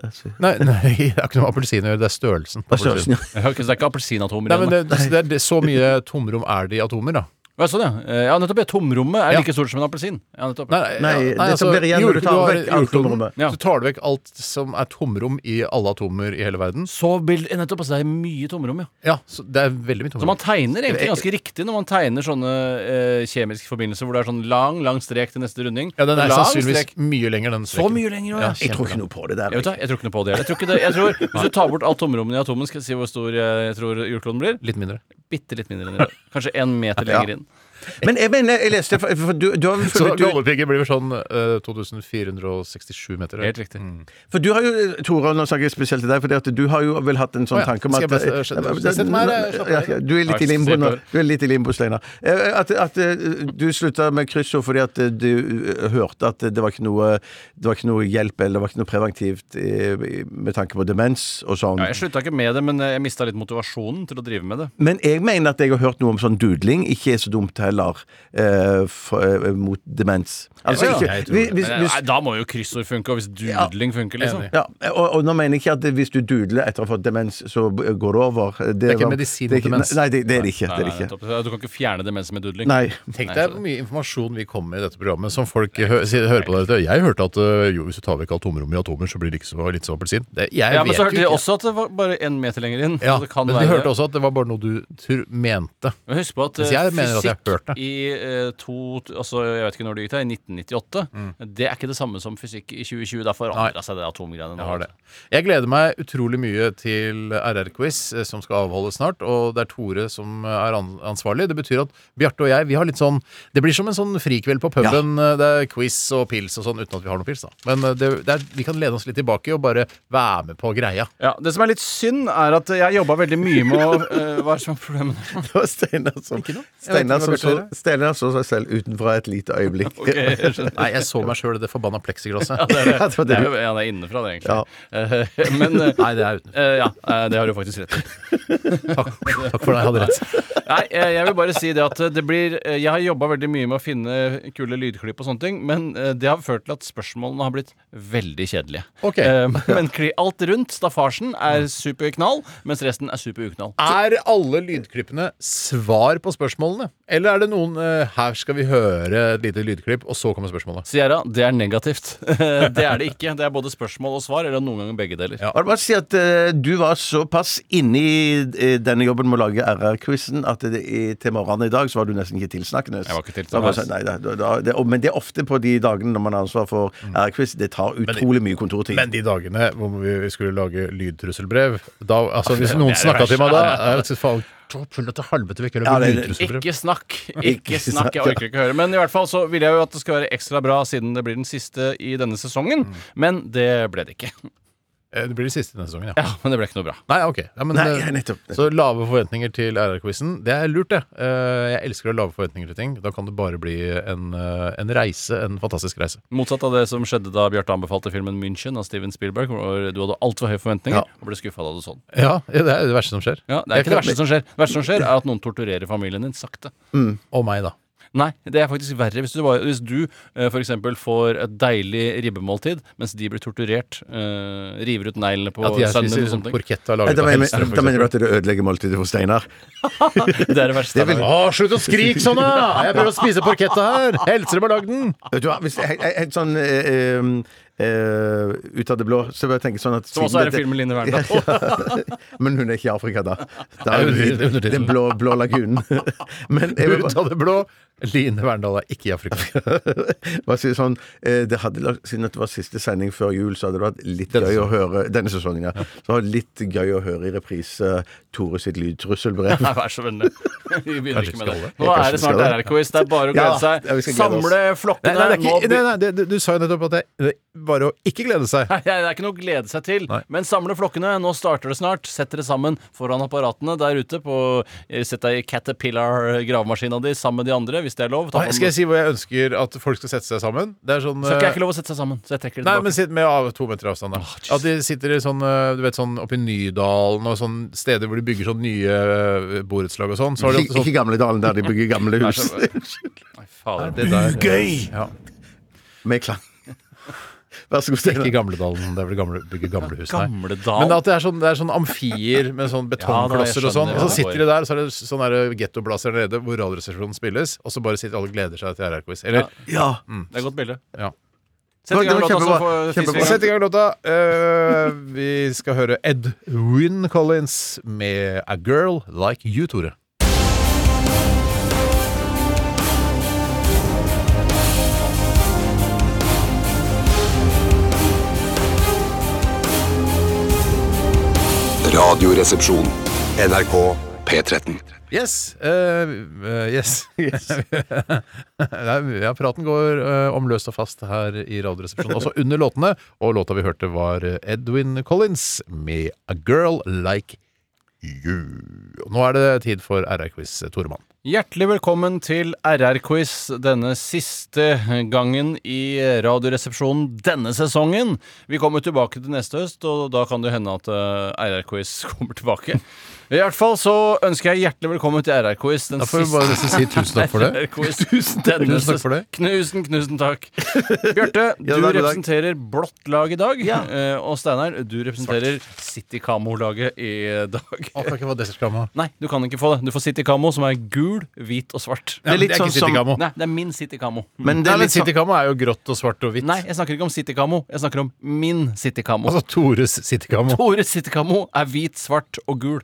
Nei, nei, det har ikke noe med appelsin å gjøre, det er størrelsen. på
Hva er størrelsen?
appelsinen.
Ja.
Jeg har ikke, det er ikke appelsinatomer
Nei, men
igjen.
det, det, det, er det, Så mye tomrom er det i atomer, da.
Hva er sånn, ja. Eh, ja, nettopp. Ja. Tomrommet er
Ja.
like stort som en appelsin. Ja, nettopp.
Nei,
Nei,
ja,
det som blir igjen når du
jordkloden-
tar
har
vekk alt
jordkloden,
tomrommet.
Ja.
Så tar du vekk alt som er tomrom i alle atomer i hele verden.
Så bild, nettopp, altså, det er mye tomrom, ja.
Ja, så det er veldig mye
Så
tomrom.
man tegner egentlig ganske riktig når man tegner sånne eh, kjemiske forbindelser hvor det er sånn lang, lang strek til neste runding.
Ja, den er
lang
sannsynligvis
strek.
mye lenger, den
Så
streken.
mye lenger òg, ja.
Ja,
Jeg tror ikke noe på det der.
Jeg, vet da, jeg tror ikke noe på det. Jeg tror ikke det. Jeg tror, hvis du tar bort alt tomrommet i atomen, skal jeg si hvor stor eh, jeg tror jordkloden blir?
Litt mindre.
Bitte litt mindre enn i dag. Kanskje én meter lenger inn.
Men jeg mener, jeg leste for, for du, du har,
Så
for, du,
Galdhøpiggen blir vel sånn eh, 2467 meter.
Helt riktig.
Mm.
for du har jo, Tore, nå snakker jeg spesielt til deg, fordi at du har jo vel hatt en sånn
Å ja,
tanke om
skal jeg
at
bare se- se- se- se- Nei, det er- slapp eh, av.
Ja, ja, Du er litt i limbo nå. Du er litt i limbo, Steinar. Eh, At, at eh, du slutta med kryssord fordi at eh, du eh, hørte at det var ikke noe, det var ikke noe hjelp eller det var ikke noe preventivt eh, med tanke på demens og sånn.
Ja, jeg slutta ikke med det, men eh, jeg mista litt motivasjonen til å drive med det.
Men jeg mener at jeg har hørt noe om sånn dudling. Ikke er så dumt heller eh, for, eh, mot demens. Altså,
Ja,
ikke,
jeg tror
hvis,
det.
hvis,
Men, nei,
hvis,
da må jo kryssord funke, og hvis doodling funker, liksom.
Enig.
ja, og, og nå mener jeg ikke at hvis du dudler etter å ha fått demens, så b- går det over. Det,
er ikke
var-
medisin
det er ikke-
mot demens.
Nei, det, det er det ikke.
Nei,
Det
nei,
er det ikke.
nettopp. du kan ikke fjerne demens med doodling.
Nei.
Tenk
Nei,
deg
så-
hvor mye informasjon vi kommer med i dette programmet som folk hø si- hører på. Dette. Jeg hørte at eh, jo, hvis du tar vekk alt tomrommet i atomer, så blir det ikke så litt som appelsin. Det- Jeg
Ja, men
vet
så hørte
jo
de
ikke.
også at det var bare én meter lenger inn.
Ja,
så det kan
men de
være-
hørte også at det var bare noe du tror mente.
Men husk på at
Mens
eh,
jeg mener at jeg har
fysikk
hørt det.
i eh, to, altså, jeg vet ikke når det gikk til, i 1998, det er ikke det samme som fysikk i 2020. Da
Mm. Nei.
forandra seg det atomgreiene. nå,
Jeg har det.
altså.
Jeg gleder meg utrolig mye til RR-quiz, eh, som skal avholdes snart. Og det er Tore som eh, er an- ansvarlig. Det betyr at Bjarte og jeg, vi har litt sånn Det blir som en sånn frikveld på puben. eh, Det er quiz og pils og sånn, uten at vi har noe pils, da. Men eh, det, det er, vi kan lene oss litt tilbake og bare være med på greia.
Ja, Det som er litt synd, er at jeg jobba veldig mye med å eh, Hva er det som er problemet?
Det var Steinar som,
Jeg vet ikke
Steinar
hva
som
Bjarte
så
Stjele- Stjele altså seg selv utenfra et lite øyeblikk.
Nei, jeg så meg sjøl i det forbanna pleksiglasset.
Det er,
Ja, det var
det
det
er,
du-
jo- ja, det er innenfra, det, egentlig. Eh, Men Nei, det er utenfor. Ja, eh, det har du faktisk rett i.
Takk, takk for det, jeg hadde rett.
Nei, eh, jeg vil bare si det at det blir eh, Jeg har jobba veldig mye med å finne kule lydklipp og sånne ting, men eh, det har ført til at spørsmålene har blitt veldig kjedelige.
Ok.
Eh, Men kli- alt rundt staffasjen er superknall, mens resten er superuknall.
Er alle lydklippene svar på spørsmålene? Eller er det noen eh, 'her skal vi høre et lite lydklipp', og så kommer spørsmålet?
Sierra, det er negativt. Det er det ikke. Det er både spørsmål og svar, eller noen ganger begge deler.
Jeg vil bare si at eh, Du var såpass inne i eh, denne jobben med å lage RR-quizen at det, i, til morgenen i dag så var du nesten ikke tilsnakkende.
Jeg var ikke tilsnakkende.
Da var jeg sånn, nei, da, da, da, det, og- men det er ofte på de dagene når man har ansvar for
Mm.
RR-quiz. Det tar utrolig mye kontortid.
Men de dagene hvor vi vi skulle lage lydtrusselbrev da, altså Hvis noen snakka til meg da er det faen, Full til helvete, vi kan
Ja,
lage
det-
lydtrusselbrev.
Ikke snakk! Ikke
Ikke
snakk,
snakk,
jeg
ja.
orker ikke å høre. Men i hvert fall så vil jeg jo at det skal være ekstra bra, siden det blir den siste i denne sesongen. Men det ble det ikke.
Eh, Det blir det siste denne sesongen, ja.
Ja, Men det ble ikke noe bra.
Nei, ok. Ja, men,
Nei,
eh,
nettopp.
Så lave forventninger til RR-quizen. Det er lurt, det. Eh, Jeg elsker å ha lave forventninger til ting. Da kan det bare bli en, eh, en reise. En fantastisk reise.
Motsatt av det som skjedde da Bjarte anbefalte filmen München av Steven Spielberg, hvor du hadde altfor høye forventninger og ble skuffa da du så den.
Ja, det er det verste som skjer.
Ja, det er ikke det verste som skjer. Det verste som skjer, er at noen torturerer familien din sakte.
Og meg, da.
Nei, det er faktisk verre. Hvis du, bare- hvis du eh, for eksempel får et deilig ribbemåltid, mens de blir torturert, eh, river ut neglene på
At jeg
sønnen din
spiser sånn liksom
og sånne ting.
porchetta
Nei,
laget
Da
av
mener,
Hellstrøm, for
da mener du
eksempel.
at det ødelegger måltidet for Steinar?
Det er det verste.
Det vil-
Å, slutt å skrike sånn, da! Jeg prøver å spise porchetta her! Hellstrøm har lagd den!
Vet du hva, hvis jeg, jeg, Helt sånn eh, eh, eh, ut av det blå, så bør jeg tenke sånn at
Som også er
siden
en
dette-
film med Line
Ja,
Verndal.
ja. Men hun er ikke i Afrika, da. da
Nei,
er hun
hun er
i
under-
den blå, blå lagunen. Men jeg vil
Ut
bare-
av det blå. Line Verndal er ikke i Afrika.
bare si det sånn eh, det hadde, lagt- Siden det var siste sending før jul, så hadde det vært litt gøy å høre Denne sesongen, ja. Så var det litt gøy å høre i reprise Tore sitt lydtrusselbrev.
Nei, vær så vennlig. Vi begynner ikke med
skal
det.
det.
Nå
Kanskje
er det
vi
snart
skal det.
RR-quiz. Det er bare å
Ja,
glede seg.
ja, vi skal glede oss.
Samle flokkene. Nå be-
det, du, du sa jo nettopp at det, det bare å ikke glede seg.
Nei, Det er ikke noe å glede seg til.
Nei.
Men samle flokkene. Nå starter det snart. Sett dere sammen foran apparatene der ute. På, eh, sett deg i Caterpillar-gravemaskina di sammen med de andre, hvis det er lov. Ta
Nei,
på
skal
den-
jeg si hvor jeg ønsker at folk skal sette seg sammen? Det er sånn
Så ikke jeg
eh,
ikke lov å sette seg sammen. Så jeg trekker det
Nei,
tilbake.
men sitt med av to meter avstand, da.
Jesus.
At de sitter i sånn, eh, du vet, sånn oppe i Nydalen og sånn steder hvor de bygger sånn nye eh, borettslag og sånn. Så har de
Ikke,
alltid
ikke Gamledalen, der de bygger gamle hus.
Nei, fader.
sånn Gøy!
Med klang. Vær så god, Steinar.
Ikke Gamledalen, det er vel gamle, bygge gamle hus her.
Gamledal.
Men at det er sånn, det er sånn amfier med sånn betongklosser
Ja, da, jeg
og sånn.
skjønner
Og så
hva det
sitter de der, så er det sånn der gettoblaser nede hvor Radioresepsjonen spilles, og så bare sitter alle og gleder seg til RR-quiz. Eller
Ja.
Det er et godt bilde.
Ja.
Sett i
Det
gang
var
låta, så
kjempebra.
får fiser vi i
Kjempebra.
gang.
Sett i gang låta. Eh, vi skal høre Edwin Collins med A Girl Like You, Tore.
Radioresepsjon. NRK P13.
Yes. eh, eh, yes. Nei, ja, praten går eh, om løst og fast her i Radioresepsjonen, også under låtene. Og låta vi hørte, var Edwin Collins med A Girl Like You. Og Nå er det tid for RR-quiz, Toremann.
Hjertelig velkommen til RR-quiz denne siste gangen i Radioresepsjonen denne sesongen. Vi kommer tilbake til neste høst, og da kan det hende at eh, RR-quiz kommer tilbake. I hvert fall så ønsker jeg hjertelig velkommen til RR-quiz den
Da får vi bare nesten si tusen takk for det.
RR-quiz denne
Tusen takk for det.
ses- Knusen, knusen takk. Bjarte,
Ja,
du
da, god dag.
representerer blått lag i dag. eh, Og Steinar, du representerer City Camo-laget i dag.
Å, kan ikke få dessertskramma.
Nei, du kan ikke få det. Du får City Camo, som er gul, hvit og svart.
Ja, men det er ikke
sånn som-
City Camo.
Nei, det er min City Camo.
Men det
Nei,
er
men
litt sånn
City Camo er jo grått og svart og hvitt.
Nei, jeg snakker ikke om City Camo. Jeg snakker om min City Camo.
Altså Tores City Camo.
Ordet City Camo er hvit, svart og gul.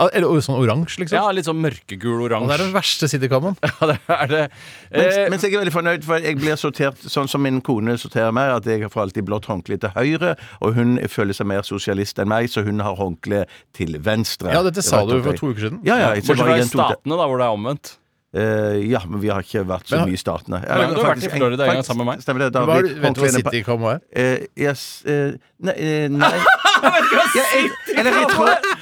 Eller sånn oransje, liksom.
Ja, litt sånn mørkegul
Det er
oransje.
den verste City Camoen.
Ja, det er det.
Mens,
Eh,
mens jeg er veldig fornøyd, for jeg blir sortert sånn som min kone sorterer meg, at jeg får alltid blått håndkle til høyre, og hun føler seg mer sosialist enn meg, så hun har håndkle til venstre.
Ja, dette sa
Rett
du
opp
for
i-
to uker siden.
Ja, ja, jeg, så
Bortsett
bare
fra i
igjen tok det.
statene, da, hvor det er omvendt.
Eh, ja, men vi har ikke vært så
Men-
mye i statene. Ja,
men du har vært i
faktisk-
Florida en gang
faktisk-
sammen med meg.
Stemmer det. Da
Hva
har
er, vet
vi
du hva
håndklærne på-
City Camo er?
Eh, yes, eh, nei, eh, nei. ja, jeg, eller jeg tror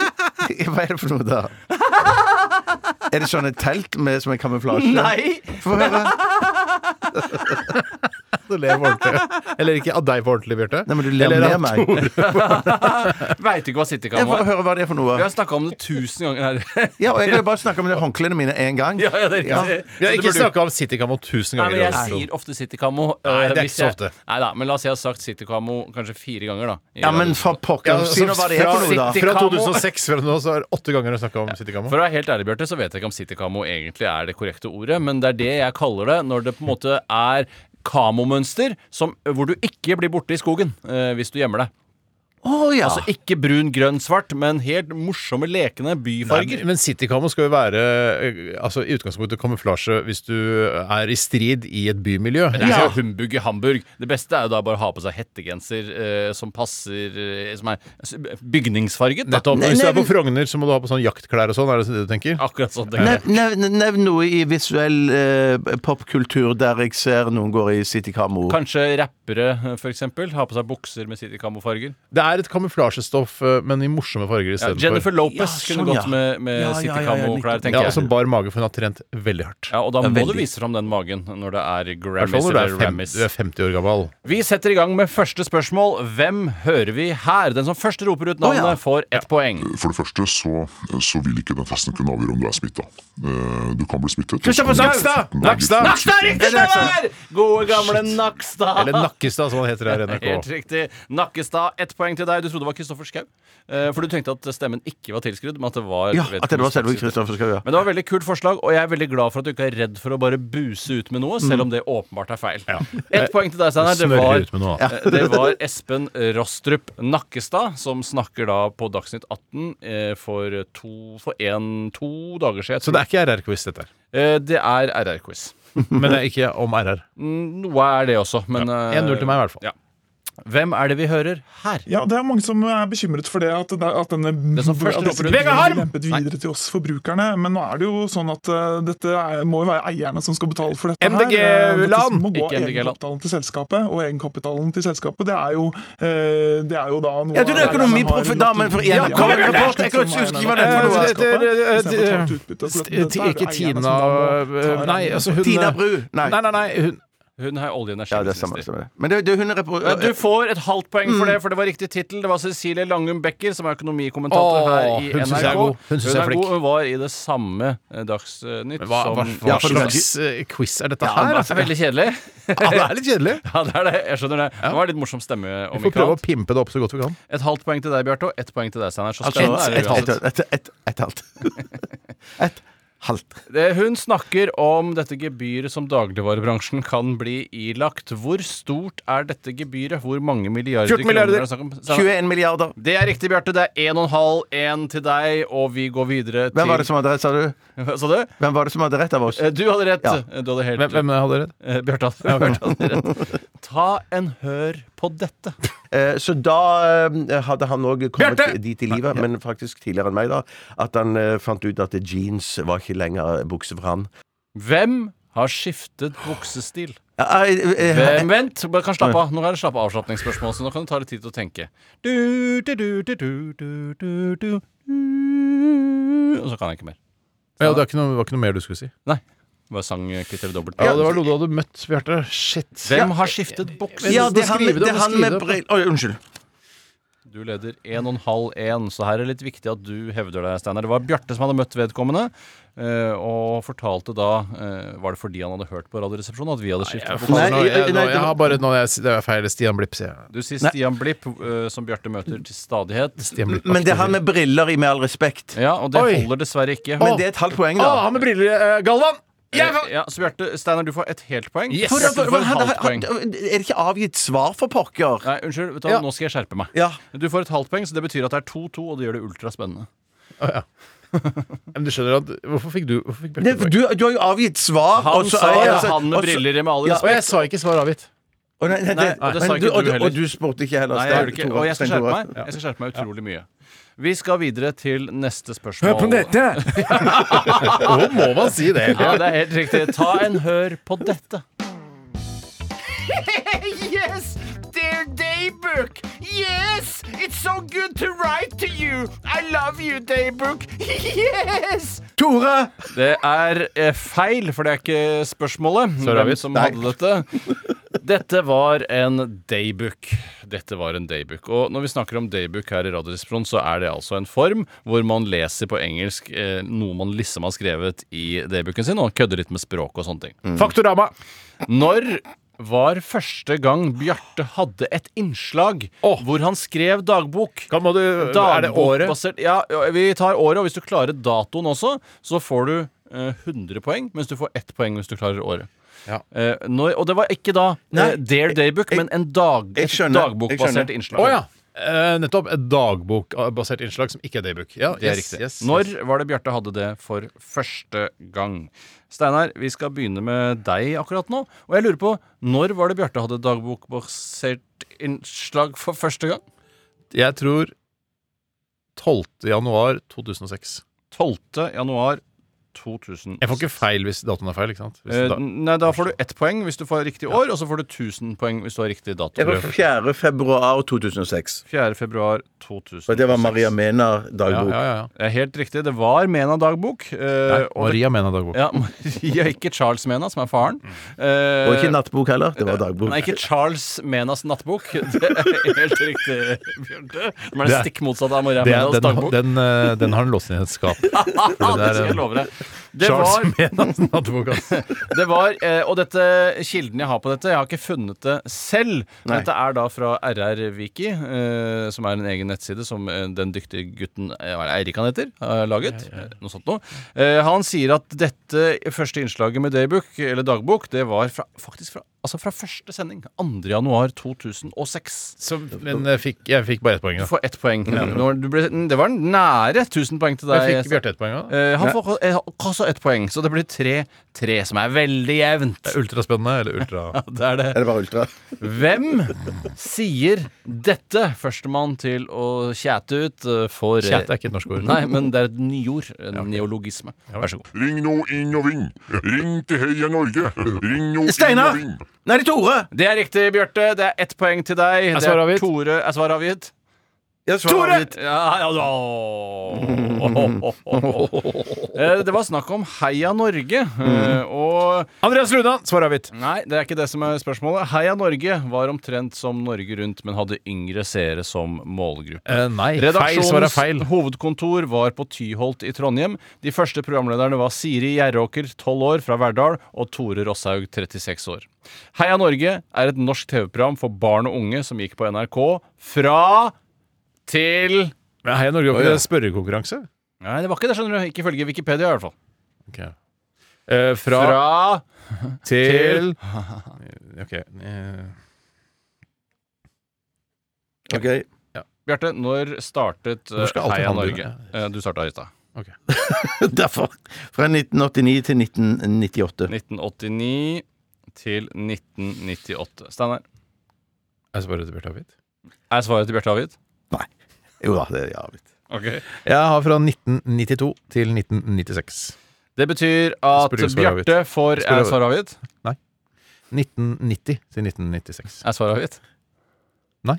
Hva er det for noe, da? Er det sånne telt med, som er kamuflasje?
Nei!
Få høre.
Du ler på ordentlig. Eller ikke av deg på ordentlig, Bjarte.
Nei, men du ler
Eller
med
av
meg.
Veit ikke hva
Jeg
sittekamera
får
er.
høre hva det er for noe.
Vi har snakka om det tusen ganger her.
Ja, og jeg kan jo bare snakke om det håndklærne mine én gang.
Ja, ja, det er riktig.
Vi har
Så det
ikke
burde jo-
snakka om Citycamo tusen
Nei,
ganger.
men
i
jeg
radioen.
sier ofte Citycamo.
Nei,
øh,
det er ikke
hvis
så
jeg-
ofte.
Nei da, men la oss si jeg har sagt Citycamo kanskje fire ganger, da. i
Ja, men
radioen.
for pokker.
Ja,
si nå hva det er for noe, da.
Altså, Fra 2006 frem til nå så er det åtte ganger å snakke om Citycamo.
For å være helt ærlig, Bjarte, så vet jeg ikke om Citycamo egentlig er det korrekte ordet, men det er det jeg kaller det når det på en måte er kamomønster som, hvor du ikke blir borte i skogen øh, hvis du gjemmer deg.
Å, ja.
Altså ikke brun, grønn, svart, men helt morsomme, lekende byfarger.
Nei, men Citycamo skal jo være eh, altså, i utgangspunktet kamuflasje hvis du er i strid i et bymiljø.
Det er ja. humbug i Hamburg. Det beste er jo da bare å ha på seg hettegenser eh, som passer eh, Som er s- bygningsfarget. Da.
Nettopp.
Nei,
Hvis du
nei,
er på
men-
Frogner, så må du ha på sånn jaktklær og sånn. Er det det du tenker?
Akkurat sånn. det
Nev- Nevn nevn noe i visuell eh, popkultur der jeg ser noen går i City Camo.
Kanskje rappere, eh, for eksempel. Ha på seg bukser med Citycamo-farger.
Det er et kamuflasjestoff, eh, men i morsomme farger
Ja,
istedenfor.
Jennifer Lopez
Ja,
kunne
sånn, ja.
gått med, med
Ja, ja, ja, ja,
Citycamo-klær,
nettopp.
tenker
ja, altså, og
jeg.
som bar mage, for hun har trent veldig hardt.
Ja, og da må
veldig.
du vise fram den magen når det er
I hvert fall
Grammys
når du er,
eller
fem,
Rammys.
du er 50 år gammel.
Vi setter i gang med første spørsmål. Hvem hører vi her? Den som først roper ut navnet,
Å, ja.
får ett poeng.
For det første så, så vil ikke den testen kunne avgjøre om du er smitta. Du kan bli smittet.
Kristoffer Nakstad! Nakstad!
Nakstad er riktig svar! Gode, gamle Nakstad.
Eller Nakkestad, som han heter her i
Helt
NRK.
riktig. Nakkestad, ett poeng til deg. Du trodde det var Kristoffer Schau. eh, For du tenkte at stemmen ikke var tilskrudd, men at det var
Ja,
vedkommende
at det var selve
som-
Kristoffer Schau, ja.
Men det var et veldig kult forslag, og jeg er veldig glad for at du ikke er redd for å bare buse ut med noe, selv
Mm.
om det åpenbart er feil. Ett poeng til deg, Steinar. Det
Smørrer ut med
var
noe.
Eh, Det var Espen Rostrup Nakkestad som snakker da på Dagsnytt 18 eh, for to, for en, to dager siden.
Så det er ikke RR-quiz, dette her.
Eh, det er RR-quiz.
Men det er ikke om RR.
Noe er det også, men eh,
1-0 til meg, i hvert fall.
Ja. Hvem er det vi hører her?
Ja, det er mange som er bekymret for det. At, det er- at denne
Det som først
at disse
roper ut,
bildene
Vegard Harm!
blir lempet videre til oss forbrukerne. Men nå er det jo sånn at eh, dette er, må jo være eierne som skal betale for dette.
MDG
her. Eh, dette
land,
må gå
ikke MDG land.
egenkapitalen til selskapet, og egenkapitalen til selskapet, det er jo, eh, det er jo da noe
Ja, du, det er økonomiproffdamen for
Ja,
NRK.
kom igjen, Bjørn!
Rapport, jeg kan ikke huske hva det er
Eh,
for noe.
det- det- det-
Istedenfor å ta ut utbytte, for
St-
dette er jo
Ikke
eierne som
Tina
da må ta-
Nei, altså hun
Tina Bru.
Nei,
Nei.
nei, nei. Hun,
Hun er olje- og
Ja, det er samme.
energiminister.
samme. Men det, det er hun er repro-
Eh, Du får et halvt poeng
Mm.
for det, for det var riktig tittel. Det var Cecilie Langum Becker, som er økonomikommentator
Åh,
her i
hun synes
NRK.
jeg er god. Hun synes jeg er flink.
Hun var i det samme eh, Dagsnytt
hva, hva,
som
hva
Ja, for
slags eh, quiz er dette
Det
her?
var
altså?
veldig kjedelig.
Ja, det er litt kjedelig.
Ja, det er det. Jeg skjønner det. Det var litt morsom stemme.
Vi
om
får
ikke
prøve å
annet.
pimpe det opp så godt vi kan.
Et halvt poeng til deg, Bjarte, og ett poeng til deg, Steinar. Så
Altså,
spennende er det
et, et,
uansett.
et, et, et halvt. Et halvt.
Det- Hun snakker om dette gebyret som dagligvarebransjen kan bli ilagt. Hvor stort er dette gebyret? Hvor mange milliarder
14 milliarder.
kroner er det snakk om? Steinar?
21 milliarder.
Det er riktig, Bjarte. Det er 1,5, 1 til deg, og vi går videre til
Hvem var det som hadde rett, sa du?
Hva Sa du?
Hvem var det som hadde rett av oss?
Eh, Du hadde rett.
Ja.
Du hadde helt
Hvem, hvem hadde rett?
Eh, Bjarte hadde, Bjarte hadde rett. Ta en hør på dette.
Eh, Så da eh, hadde han òg kommet
Bjarte!
dit i livet, men faktisk tidligere enn meg, da, at han eh, fant ut at jeans var ikke lenger bukse for han.
Hvem har skiftet buksestil?
Ja, eh, eh,
Hvem, vent, bare kan slappe av. Nå er det slappe avslapningsspørsmål, så nå kan du ta litt tid til å tenke. Du, du, du, du, du, du, du, du. Og så kan jeg ikke mer.
Ja, det var ikke, noe, det var ikke noe mer du skulle si.
Nei. Bare sang Kritter dobbelt.
Ja, det var noe du hadde møtt, Bjarte. Shit.
Hvem har skiftet bukser?
ja, det er han,
Skriv det,
det er han
skriv
med
det.
brill... Oi, unnskyld.
Du leder 1,5-1, så her er det litt viktig at du hevder deg, Steinar. Det var Bjarte som hadde møtt vedkommende, eh, og fortalte da eh, Var det fordi han hadde hørt på Radioresepsjonen at vi hadde skiftet bukser?
Nei,
Nå, jeg, nå,
nei,
jeg har bare nå, jeg, Det er feil. Stian Blipp, sier jeg.
Du sier Stian Blipp, eh, som Bjarte møter til stadighet.
Stian Blipp.
Men det er han med briller i, med all respekt.
Ja, og det
Oi.
holder dessverre ikke.
Men det er et halvt poeng,
Å,
da.
han med briller! eh, Galvan! Jeg
Eh, Ja, så Bjarte, Steinar, du får ett helt poeng.
Yes!
For,
Bjarte,
for,
du får et
han,
halvt
han,
poeng.
er det ikke avgitt svar for pokker?
Nei, unnskyld, vet du, hva,
Ja.
nå skal jeg skjerpe meg.
Ja.
Du får et halvt poeng, så det betyr at det er 2-2, og det gjør det ultraspennende.
Men du skjønner at Hvorfor fikk du hvorfor fikk
Det,
Bjarte
du, du har jo avgitt svar.
Han
og så-
sa
ja,
ja,
altså-
han med
og så-
briller i med all
Ja,
Og
respekt.
jeg sa ikke svar avgitt.
Å, nei, nei,
Nei,
det-
nei, det sa
men
ikke du
og,
heller.
og du spurte ikke heller.
Nei, jeg gjorde ikke
Tore,
Og jeg skal
Stein Tore.
skjerpe meg. Jeg skal skjerpe meg utrolig mye. Vi skal videre til neste spørsmål.
Nå må man si det.
Ja, det er helt riktig. Ta en hør på dette. yes! Dear Daybook!
Yes! It's so good to write to you! I love you, Daybook! Yes!
Tore!
Det er eh, feil, for det er ikke spørsmålet.
Sorry,
Hvem
Avis.
som
Nei.
hadde dette. Dette var en daybook. Dette var en daybook. Og når vi snakker om daybook her i Radioresepsjonen, så er det altså en form hvor man leser på engelsk eh, noe man liksom har skrevet i daybooken sin, og kødder litt med språk og sånne ting.
Mm.
Faktorama! Når var første gang Bjarte hadde et innslag hvor han skrev dagbok?
er det året?
Dagbokbasert- Ja, ja, vi tar året, og hvis du klarer datoen også, så får du eh, 100 poeng, mens du får ett poeng hvis du klarer året. Eh, når, og det var ikke da eh, Dare Daybook, men en dag, et dagbokbasert innslag.
Å ja. Eh, nettopp. Et dagbokbasert innslag som ikke er daybook. Ja,
Det er
yes,
riktig.
yes,
Når
yes.
var det Bjarte hadde det for første gang? Steinar, vi skal begynne med deg akkurat nå. Og jeg lurer på, når var det Bjarte hadde dagbokbasert innslag for første gang?
Jeg tror 12. januar 2006.
12. januar 2006.
Jeg får ikke feil hvis datoen er feil, ikke sant? Hvis
Eh,
da-
nei, da får du ett poeng hvis du får riktig år, og så får du 1000 poeng hvis du har riktig dato.
Det var 4. februar 2006.
4. februar 2006.
Og det var Maria Mena-dagbok.
Ja, ja, ja. Det er Helt riktig. Det var Mena-dagbok. eh, og det-
Maria Mena-dagbok.
Ja, Maria, ikke Charles Mena, som er faren.
Mm.
Eh,
Og ikke nattbok heller. Det var dagbok.
Nei, ikke Charles Menas nattbok. Det er helt riktig, Bjarte. Men det er stikk motsatt av Maria
Det er-
Menas
den,
dagbok.
den, eh, den har han låst inn i et skap.
Ja, det skal jeg love deg. Det var,
Menas nattbok, altså.
det var eh, Og dette kilden jeg har på dette, jeg har ikke funnet det selv.
Nei.
Dette er da fra RR-Viki, eh, som er en egen nettside som eh, den dyktige gutten eh, hva er det, Eirik han heter, har laget. Eh, Noe sånt noe. Eh, han sier at dette første innslaget med Daybook, eller dagbok, det var fra, faktisk fra, altså fra første sending. 2. januar 2006.
Men jeg fikk, jeg fikk bare ett poeng.
Du
da.
får ett poeng. Når Du ble, det var nære 1000 poeng til deg.
Jeg fikk Bjarte ett poeng, da.
Eh, han
Nei.
får eh, også ett poeng, så det blir 3-3, som er veldig jevnt. Det
er ultraspennende, eller ultra
Eh, Ja, det er det.
Er det bare ultra?
Hvem sier dette? Førstemann til å kjæte ut eh, for eh,
Kjæt er ikke et norsk ord.
Nei, men det er et nyord. En neologisme. Vær så god.
Ring nå inn og vinn. Ring til Heia Norge. Ring nå
Steinar!
inn og vinn.
Nei, det er Tore!
Det er riktig, Bjarte. Det er ett poeng til deg.
Er
Det
svar avgitt?
Tore er svar avgitt.
Tore!
Ja, ja, da. Eh, Det var snakk om Heia Norge, eh, og
Mm. Andreas Luna, svar avgitt.
Nei, det er ikke det som er spørsmålet. Heia Norge var omtrent som Norge Rundt, men hadde yngre seere som målgruppe.
Eh, nei, feil svar er
Redaksjonens
feil.
hovedkontor var på Tyholt i Trondheim. De første programlederne var Siri Gjerråker, 12 år, fra Verdal, og Tore Rosshaug, 36 år. Heia Norge er et norsk TV-program for barn og unge som gikk på NRK fra til
Men Heia Norge var
Å, ja.
ikke det spørrekonkurranse?
Nei, det var ikke det, skjønner du. Ikke ifølge Wikipedia, i hvert fall.
Eh, fra,
Fra
til eh,
Ok.
Ok.
Bjarte, når startet eh,
Hvorfor skal alltid
Heia
han
Norge?
begynne?
Eh, Du starta i stad.
Derfor. Fra 1989 til 1998.
1989 til 1998. Steinar.
Er svaret til Bjarte avgitt?
Er svaret til Bjarte avgitt?
Jo da, det er avgitt.
Ok.
Jeg har fra 1992 til 1996.
Det betyr at
Spør ikke svaret avgitt.
Bjarte får
Spør
Er svaret avgitt?
Nei. 1990 til 1996.
Er svaret avgitt?
Nei.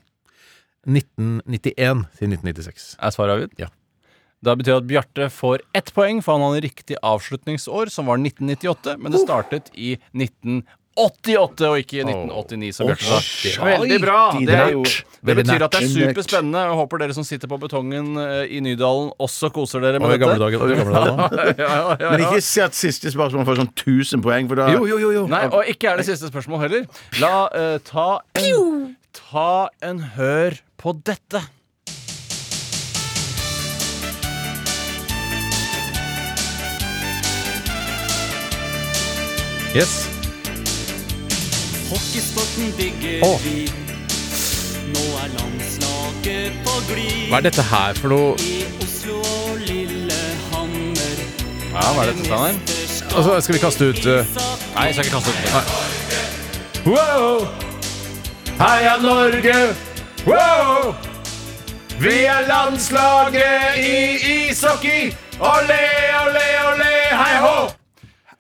1991 til 1996.
Er svaret avgitt?
Ja.
Da betyr det at Bjarte får ett poeng, for han hadde riktig avslutningsår, som var 1998, men det startet i 1988 og ikke i 1989, som
Åh,
Bjarte sa.
shit.
Veldig bra! Det, er jo,
Nært.
det
Veldig
betyr at det er
nært.
superspennende. Jeg håper dere som sitter på betongen eh, i Nydalen, også koser dere
Og i
med
gamle
dette.
dager. og i gamle dager også.
Ja, ja, ja,
Men
ja.
ikke si at siste spørsmål får sånn 1000 poeng, for da
Nei, og ikke er det siste spørsmål heller. La eh, ta en, ta en hør på dette.
Yes.
Hockeysporten bygger
Åh.
vi. Nå er landslaget på glid.
Hva er dette her for noe
I Oslo og Lillehammer.
Ja, hva er dette, Steinar?
Altså, skal vi kaste ut eh,
Nei, jeg skal ikke kaste ut det.
Wow! Heia Norge! Wow! Vi er landslaget i ishockey! Olé, olé, olé, hei hå!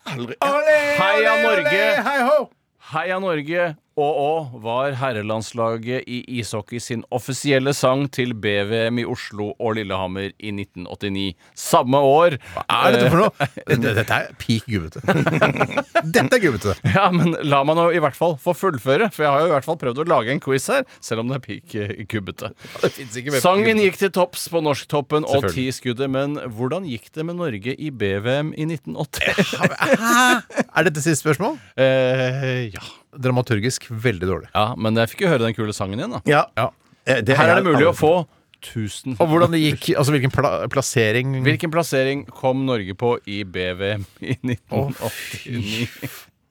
Heia Norge!
Hei hå!
Heia Norge Og å var herrelandslaget i ishockey sin offisielle sang til BVM i Oslo og Lillehammer i 1989. Samme år. Hva
er dette for noe? Dette, dette er peak gubbete. dette er gubbete.
Ja, men la meg nå i hvert fall få fullføre, for jeg har jo i hvert fall prøvd å lage en quiz her, selv om det er peak eh, gubbete. Sangen gikk til topps på norsktoppen og ti
Selvfølgelig.
skuddet, men hvordan gikk det med Norge i BVM i 1980?
Er dette siste spørsmål?
Eh, ja.
Dramaturgisk veldig dårlig.
Ja, men jeg fikk jo høre den kule sangen igjen, da.
Ja. Eh, det-
Her er det mulig å
aldri-
få 1000.
Og hvordan det gikk, altså hvilken pla plassering
Hvilken plassering kom Norge på i BVM i 1989?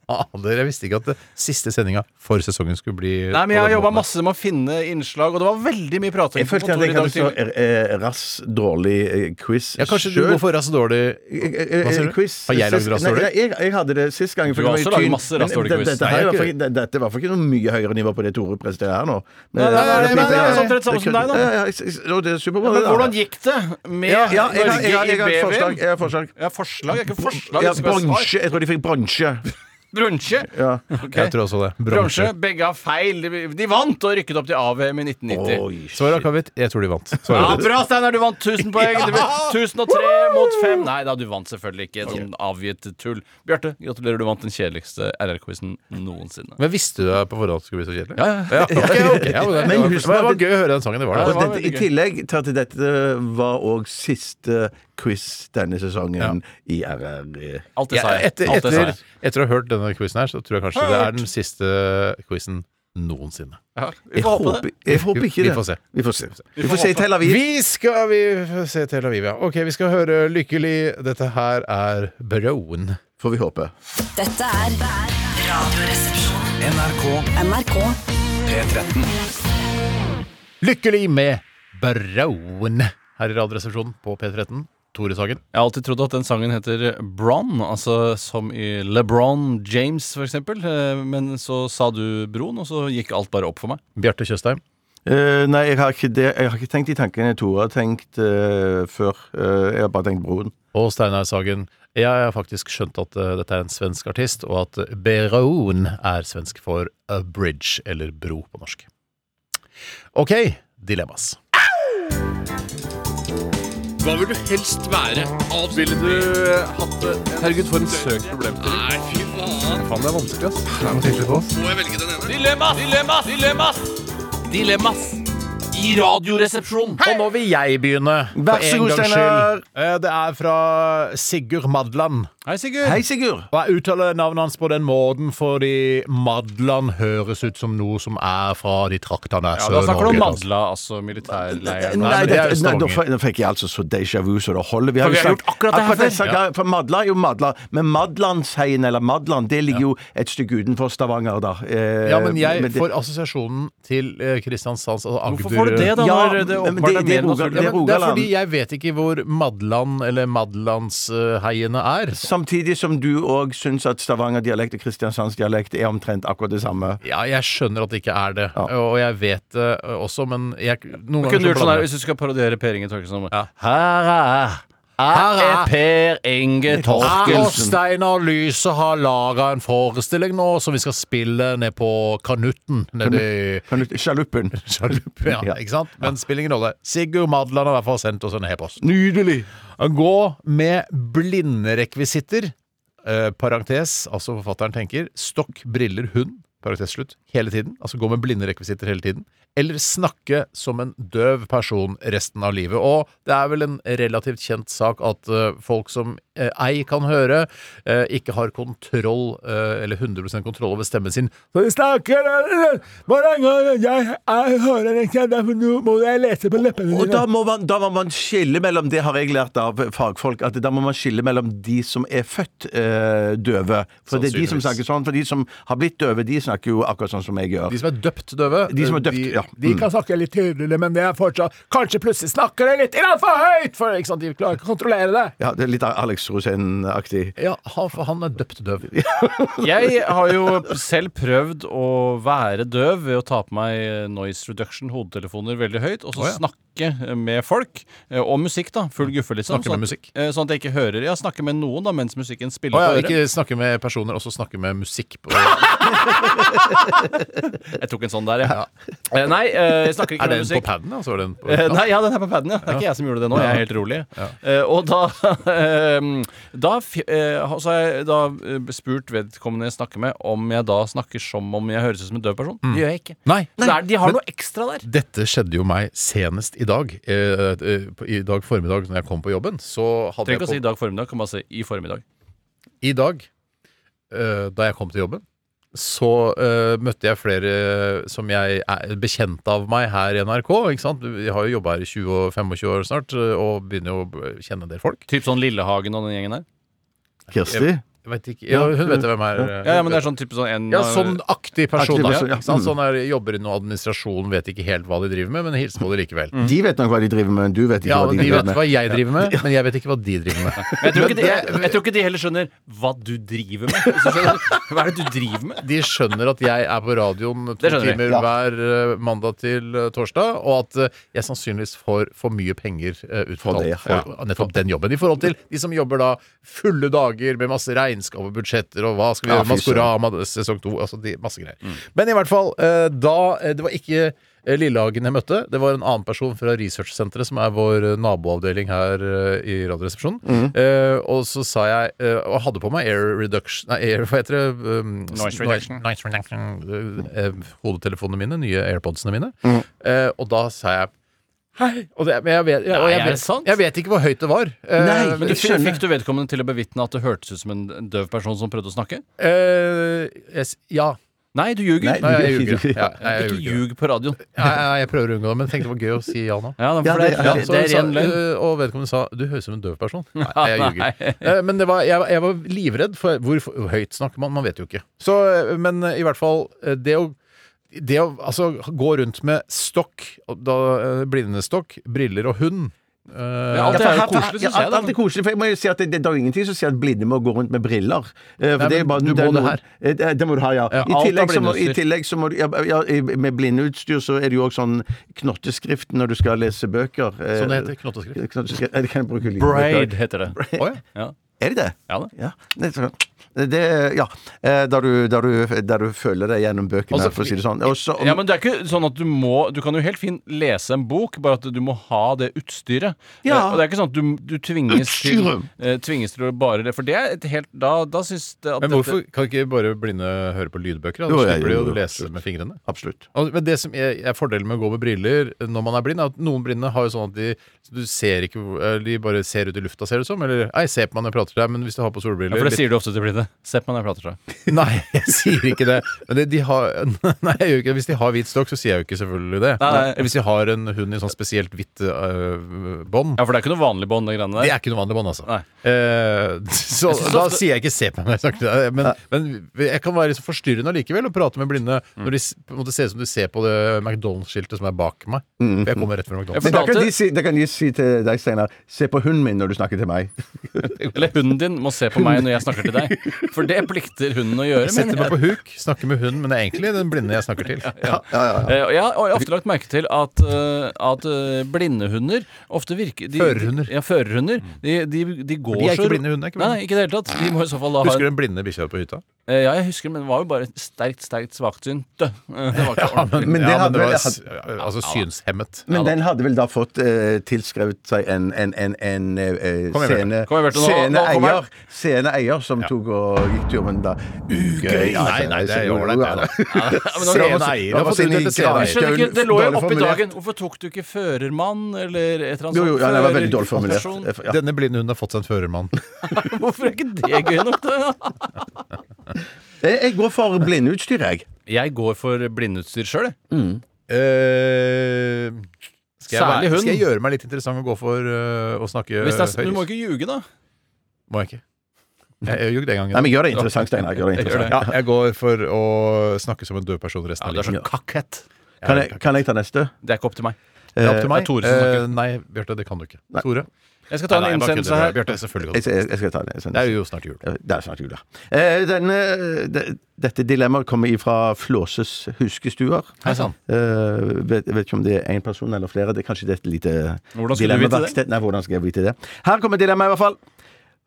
Fader, jeg visste ikke at det siste sendinga for sesongen skulle bli
Nei, men Jeg har
på den
jobba
måten.
masse med å finne innslag, og det var veldig mye prating.
Jeg
på
følte at jeg
kontoret i dag
hadde så
tidlig.
eh, rass dårlig eh, quiz
Ja, kanskje du
selv.
går for rass dårlig
Eh, eh,
Hva sier du?
Quiz.
Har jeg lagd
Sist-
rass
Nei,
dårlig?
jeg, jeg, jeg hadde det sist gang. for
Du har
det
også
var jo
laget
tyn-
masse rass
Men
dårlig
det-
quiz.
Dette
Nei, jeg
her er i hvert
har
fall ikke- det- dette er i hvert fall ikke noe mye høyere nivå på det Tore presterer her nå.
Nei,
Men-
nei, nei,
Det-
men det er sånn
det-
omtrent samme
det-
som deg, da.
Ja, ja, jeg- jeg- og det er superbra.
Men
det da.
hvordan gikk det med
Ja, ja, jeg har- jeg har-
Norge i
jeg har et forslag,
BVM?
jeg har et forslag.
Ja, forslag er ikke forslag.
Ja,
det skal være svar.
bronse. Jeg tror de fikk bronse.
Bronse.
Ja.
Jeg tror også det.
Bronse.
Bronse.
Begge har feil. De vant og rykket opp til AVM i 1990.
Svaret Akavit, jeg tror de vant. Svaret
Ja,
ditt.
bra, Steinar. Du vant 1000 poeng. Det ble 1003 mot 5. Nei da, du vant selvfølgelig ikke. Sånn avgitt tull. Bjarte, gratulerer. Du vant den kjedeligste RR-quizen noensinne.
Men Visste du det på forhånd skulle bli så kjedelig?
Ja, ja.
ok, ok, ja, men det-
Men
det,
husk-
var, det var gøy å høre den sangen. Det var det.
Og dette, I tillegg til at dette var òg siste quiz denne sesongen i E. RR.
Alt
Ja, etter, etter, etter å ha hørt denne quizen her, så tror jeg kanskje det er den siste quizen noensinne.
Ja,
Jeg håper, jeg håper ikke det.
Vi får se.
Vi får se. Vi får se i Tel Aviv.
Vi skal vi får se Tel Aviv, ja. Ok, vi skal høre 'Lykkelig'. Dette her er Broen.
Får vi håpe.
Dette er Radioresepsjonen.
NRK
NRK
P13
Lykkelig med Broen her i Radioresepsjonen på P13. Tore Sagen.
Jeg har alltid trodd at den sangen heter Bron, altså som i LeBron James, for eksempel. Eh, Men så sa du Bron, og så gikk alt bare opp for meg.
Bjarte Tjøstheim.
Eh, nei, jeg har, ikke det. jeg har ikke tenkt de tankene Tore har tenkt eh, før. Eh, jeg har bare tenkt broren.
Og Steinar Sagen. Jeg har faktisk skjønt at eh, dette er en svensk artist, og at Beroen er svensk for a bridge, eller bro på norsk. Ok, dilemmas.
Hva vil du helst være? Ville du eh, hatt det? Herregud, for en søk problemstilling. Nei, fy faen.
Faen, det er vanskelig, ass.
Må jeg velge den ene? Dilemmas! Dilemmas! Dilemmas! Dilemmas! I radioresepsjonen.
Og nå vil jeg begynne. for
Vær så
en
god,
gangs
Steinar.
skyld. Eh, Det er fra Sigurd Madland.
Hei, Sigurd.
Hei, Sigurd.
Og Jeg uttaler navnet hans på den måten fordi Madland høres ut som noe som er fra de traktene
Ja, Da snakker du om
Sør-Norge, altså.
Madla, altså militærleiren.
Eh, Nei,
men det er jo
dette- nei, da
Stavanger.
fe- da fikk jeg altså så déjà vu så det holder. Vi har,
For
jo
vi har
snakket-
gjort akkurat det her
det
før.
snakket- For Madla er jo Madla. Men Madlandsheien, eller Madland, det ligger jo et stykke utenfor Stavanger, da. Eh,
Ja, men jeg
det-
får assosiasjonen til eh, Kristiansands altså Agder
Hvorfor får du det, da?
Ja,
når det
men
åpenbart
det-
er
det er
mer naturlig?
Rogaland.
Ja,
Det er
men det er
Rogaland.
fordi jeg vet ikke hvor Madland eller Madlandsheiene er.
Samtidig som du òg syns at Stavanger-dialekt og Kristiansandsdialekt er omtrent akkurat det samme.
Ja, jeg skjønner at det ikke er det, og jeg vet det eh, også, men jeg noen
Kunne du
så
gjort sånn
blander
her
jeg.
hvis du skal parodiere Per Inge Torkelsen? Ja. Her er Her er Per Inge
Jeg og
Torkelsen.
Steinar Lyse har laga en forestilling nå som vi skal spille ned på Kanutten. Nede i
Sjaluppen.
Sjaluppen, ja, ikke sant? Men spiller ingen rolle. Sigurd Madland har i hvert fall sendt oss en e-post.
Nydelig!
Gå med blinderekvisitter, eh, parentes, altså forfatteren tenker, stokk, briller, hund, parentes slutt, hele tiden. Altså gå med blinderekvisitter hele tiden. Eller snakke som en døv person resten av livet. Og det er vel en relativt kjent sak at eh, folk som eh, ei kan høre, eh, ikke har kontroll, eh, eller 100 kontroll over stemmen sin. Så de snakker eh, Hver gang jeg, jeg hører ikke, derfor må jeg lese på leppene
Og da må, man, da må man skille mellom Det har jeg lært av fagfolk. At da må man skille mellom de som er født eh, døve. For det er de
Sannsynligvis.
som snakker sånn. For de som har blitt døve, de snakker jo akkurat sånn som jeg gjør.
De som er døpt døve,
De som er døpt, ja.
de
Mm.
kan snakke litt tydeligere, men det er fortsatt Kanskje plutselig snakker de litt grann for høyt! For ikke sant, de klarer ikke å kontrollere det.
Ja, det er litt Alex Rosén-aktig.
Ja, han, for han er døpt døv.
Jeg har jo selv prøvd å være døv ved å ta på meg noise reduction, hodetelefoner, veldig høyt, og
Å,
så
ja.
snakke med folk. eh, Og musikk, da. Full guffe, liksom.
Snakke med
sånn at- eh, Sånn at jeg ikke hører. Ja, snakke med noen, da, mens musikken spiller
Å ja,
på øret.
ikke snakke med personer, også snakke med musikk. På.
Jeg tok en sånn der, jeg. Eh, Nei, eh, jeg snakker ikke
Er
om
den
musikk.
på padden, altså? Er den på
Eh, Nei, ja, den er på paden, ja. Det er ikke jeg som gjorde det nå. Jeg er helt rolig. Eh, Og da eh, Da fi- eh, så har jeg da eh, spurt vedkommende jeg snakker med, om jeg da snakker som om jeg høres ut som en døv person.
Mm.
Det gjør jeg ikke.
Nei.
Så det er- de har
Men
noe ekstra der.
Dette skjedde jo meg senest i dag. Eh, eh, på- I dag formiddag når jeg kom på jobben, så hadde
Trenger ikke å si i
jeg på
dag formiddag, kan bare si i formiddag.
I dag, eh, da jeg kom til jobben, så eh, møtte jeg flere eh, som jeg er bekjent av meg her i NRK. ikke sant? Jeg har jo jobba her i 20 og 25 år snart, eh, og begynner jo å kjenne en del folk.
Typ sånn Lillehagen og den gjengen der?
Kirsti? Jeg, jeg vet ikke. Ja, hun vet hvem er eh,
Ja, ja, men det er sånn type sånn en
Ja, sånn aktiv person.
Aktiv person,
ja.
ja.
ikke sant? Sånn er, jobber i noe administrasjon, vet ikke helt hva de driver med, men hilser på det likevel.
De vet nok hva de driver med, men du vet ikke
Ja,
Mm. hva
men
de,
de
driver
vet
med.
hva jeg driver med, men jeg vet ikke hva de driver med.
Jeg tror, ikke de, jeg, jeg tror ikke de heller skjønner hva du driver med. Hvis du skjønner. Hva er det du driver med?
De skjønner at jeg er på radioen to
Det skjønner de,
timer
ja.
hver eh, mandag til eh, torsdag, og at eh, jeg sannsynligvis får for mye penger eh, utbetalt
det,
for, nettopp den jobben. I forhold til de som jobber da fulle dager med masse regnskap og budsjetter og hva skal vi
Ja,
gjøre,
fy søren.
Maskorama sesong to, altså de, masse greier.
Mm.
Men i hvert fall, eh, da eh, Det var ikke eh, Lillehagen jeg møtte, det var en annen person fra researchsenteret, som er vår eh, naboavdeling her eh, i Radioresepsjonen.
Mhm.
Eh, og så sa jeg eh, Og hadde på meg air reduction Nei, air, hva heter det? Um,
Noise reduction.
Noise reduction. Eh, eh, Hodetelefonene mine, nye airpodsene mine.
Mhm.
Eh, og da sa jeg Hei! Og det, men jeg vet, jeg, og
Nei,
jeg,
er det
vet,
sant?
jeg vet ikke hvor høyt det var. Eh,
Nei,
Men du,
jeg skjønner.
fikk du vedkommende til å bevitne at det hørtes ut som en en døv person som prøvde å snakke?
eh, jeg s- ja.
Nei, du ljuger.
Nei, jeg ljuger. Ja, nei, jeg
ikke
ljuger.
ljug på radioen.
Nei, nei, jeg prøver å unngå det, men tenkte det var gøy å si ja nå.
Ja, da, for det, er-
Ja,
det,
så hun
er
sa-
ren løgn.
øh, Og vedkommende sa 'du høres ut som en døv person'. Nei, jeg
Nei.
ljuger. Eh, Men det var, jeg, jeg var livredd for hvor f- høyt snakker man. Man vet jo ikke. Så, eh, men eh, i hvert fall eh, det å det å altså, gå rundt med stokk, og da, eh, blindestokk, briller og hund eh,
alt det er jo koselig,
Ja,
synes jeg, da.
alt er koselig, for jeg må jo si at det, det, det er ingenting som sier at blinde må gå rundt med briller. Eh, For
Nei,
det er
men
bare,
du må
er
det
noen-
her.
Eh, Det, det må du ha, ja.
Ja,
I,
alt er
tillegg så må, I
blindeutstyr.
tillegg så må du ja, ja, i- Med blindeutstyr så er det jo òg sånn knotteskrift når du skal lese bøker. Eh,
Som det heter, knotteskrift.
knotteskrift. Eh, det kan jeg bruke lyd.
Braid heter det.
Å ja.
Ja.
Er det det?
Ja da.
Ja. Det, det, ja. Eh, Der du, der du, der du føler deg gjennom bøkene,
Altså,
for å si det sånn. Og så-
Ja, men det er ikke sånn at du må Du kan jo helt fint lese en bok, bare at du må ha det utstyret.
Ja.
Eh, Og det er ikke sånn at du, du tvinges, til,
Utstyret.
eh, tvinges til å bare det. For det er et helt Da, da syns det at
Men
dette-
hvorfor kan ikke bare blinde høre på lydbøker? Da,
Jo,
da
jeg-
slipper de
jo,
å
jo,
lese med fingrene.
Absolutt.
Og- Men det som er, er fordelen med å gå med briller eh, når man er blind, er at noen blinde har jo sånn at de, du ser ikke, hvor- eller de bare ser ut i lufta, ser det ut som. Eller ei, se på meg når jeg prater til deg, men hvis du har på solbriller
ja, For
litt-
det sier du ofte til blinde. Se på meg når jeg prater, så.
Nei, jeg sier ikke det. Men det, de har, nei, jeg gjør ikke det. Hvis de har hvit stokk, så sier jeg jo ikke selvfølgelig det.
Nei, nei.
Eller Hvis de har en hund i sånn spesielt hvitt øh, bånd.
Ja, for det er ikke noe vanlig bånd, det greiene der.
Det er ikke noe vanlig bånd, altså.
Nei.
Eh, så
Jeg synes
da
ofte-
sier jeg ikke 'se på meg' når jeg snakker til deg, men, men jeg kan være så forstyrrende allikevel og prate med blinde
Mm.
når de s- på en måte ser ut som du ser på det McDonald's-skiltet som er bak meg.
Mm.
For jeg kommer rett fra McDonald's.
Men da kan,
fortalte-
de si, da kan de si til deg, Steinar, se på hunden min når du snakker til meg.
Eller hunden din må se på meg når jeg snakker til deg. For det plikter hunden å gjøre.
Jeg setter
mener
meg
jeg.
på huk, snakker med hunden, men det er egentlig den blinde jeg snakker til.
Eh, og Jeg har og jeg har ofte lagt merke til at, eh, at eh, blinde hunder ofte virker de,
Førerhunder.
Ja, førerhunder. De, de, de går
de er
så-
ikke blinde, hundene er ikke blinde.
Nei, nei, ikke i det hele tatt. De må i så fall da ha
Husker du
en,
den blinde bikkja på hytta?
Eh, Ja, jeg husker, men det var jo bare sterkt, sterkt svaksynt. Det var ikke
Ja,
ordentlig.
men,
Men det
ja, men
hadde
det
vel-
var
jeg
s- altså synshemmet.
Men den hadde vel da fått eh, tilskrevet seg en, en, en, en eh,
Kom igjen, Bjarte.
scene-
Kom igjen, Bjarte, nå- nå kommer
sceneeier
han.
sceneeier som tok og gikk turen da. Ugøy! altså.
Nei, nei, det er jo ålreit, det, da. Sceneeier.
Hva
har
var
fått
sin-
utdelt et
hva var
sceneeier.
Jeg
sin-
skjønner ikke, Det lå jo
Dårlig
oppi
formulert.
dagen. Hvorfor tok du ikke førermann eller et eller annet
Jo, jo,
sånt?
ja, det var veldig
Fører-
dårlig formulert. Eh,
person.
Ja.
Denne blinde hunden har fått seg en førermann.
Hvorfor er ikke det gøy nok? da?
Jeg jeg går for blindeutstyr, jeg.
Jeg går for blindeutstyr sjøl, jeg.
Eh, skal, jeg
Særlig
være,
hund.
skal jeg gjøre meg litt interessant og gå for øh, å snakke
Hvis det
høyt?
er, du må ikke ljuge, da.
Må jeg ikke. Jeg jeg ljugde en gang.
Nei, men gjør det interessant, Steinar. Gjør det interessant.
Ja, jeg går for å snakke som en død person resten
Ja,
av
du er
livet.
sånn kakkhet.
Kan jeg, kan jeg ta neste?
Det er ikke opp til meg.
Det er opp til meg.
det er Tore som snakker.
Eh, nei, Bjarte, det kan du ikke.
Nei.
Tore?
Jeg skal ta
Nei,
en
nei, jeg bare
innsendelse
kødder.
her.
Bjarte, selvfølgelig
Jeg,
kan du.
jeg, jeg skal ta den.
Det er jo snart jul.
Ja, Det er snart jul, ja. Eh, denne, de, dette dilemmaet kommer ifra Flåses huskestuer.
Hei sann.
Eh, vet, vet ikke om det er én person eller flere. Det er kanskje det er et lite
Hvordan skulle du vite
dilemmaverksted. Nei, hvordan skal jeg vite det? Her kommer dilemmaet, i hvert fall.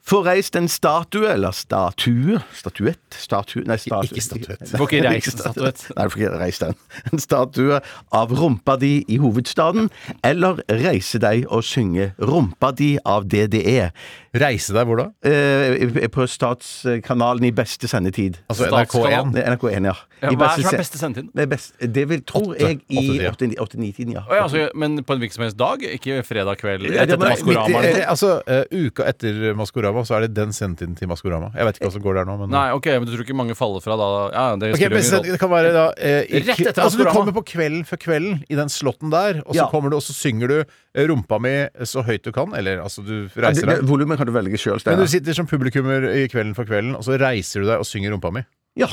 Få reist en statue, eller statue Statuett? Statue? Nei, statue.
Ikke statuett. Du får ikke reist en statuett.
Nei, du får ikke reist den. En statue av rumpa di i hovedstaden, eller reise deg og synge Rumpa di av DDE.
Reise deg hvor da?
Eh, på Statskanalen i beste sendetid.
Altså NRK1?
NRK1, ja.
Ja,
I
hva er som er beste sendetid?
Det, er best, det vil, tror jeg i
8-tida.
8-9-tiden, ja.
Å ja, altså, men på en hvilken som helst dag? Ikke fredag kveld?
Ja,
Rett
det
etter
var-
Maskorama?
midt i-
eller
eh,
noe?
altså, eh, uka etter Maskorama, så er det den sendetiden til Maskorama. Jeg vet ikke hva som går der nå, men
Nei, ok, men du tror ikke mange faller fra da? Ja, det
Ok,
spiller
men
jo ingen
det kan være da eh, i,
Rett etter
Altså, du
Maskorama.
kommer på kvelden før kvelden i den slåtten der, og så
Ja.
kommer du, og så synger du eh, 'Rumpa mi så høyt du kan', eller altså, du
Ja,
reiser
det- det-
deg.
Volumet kan du velge sjøl,
Men du sitter som publikummer i Kvelden for kvelden, og så reiser du deg og synger 'Rumpa mi'.
Ja.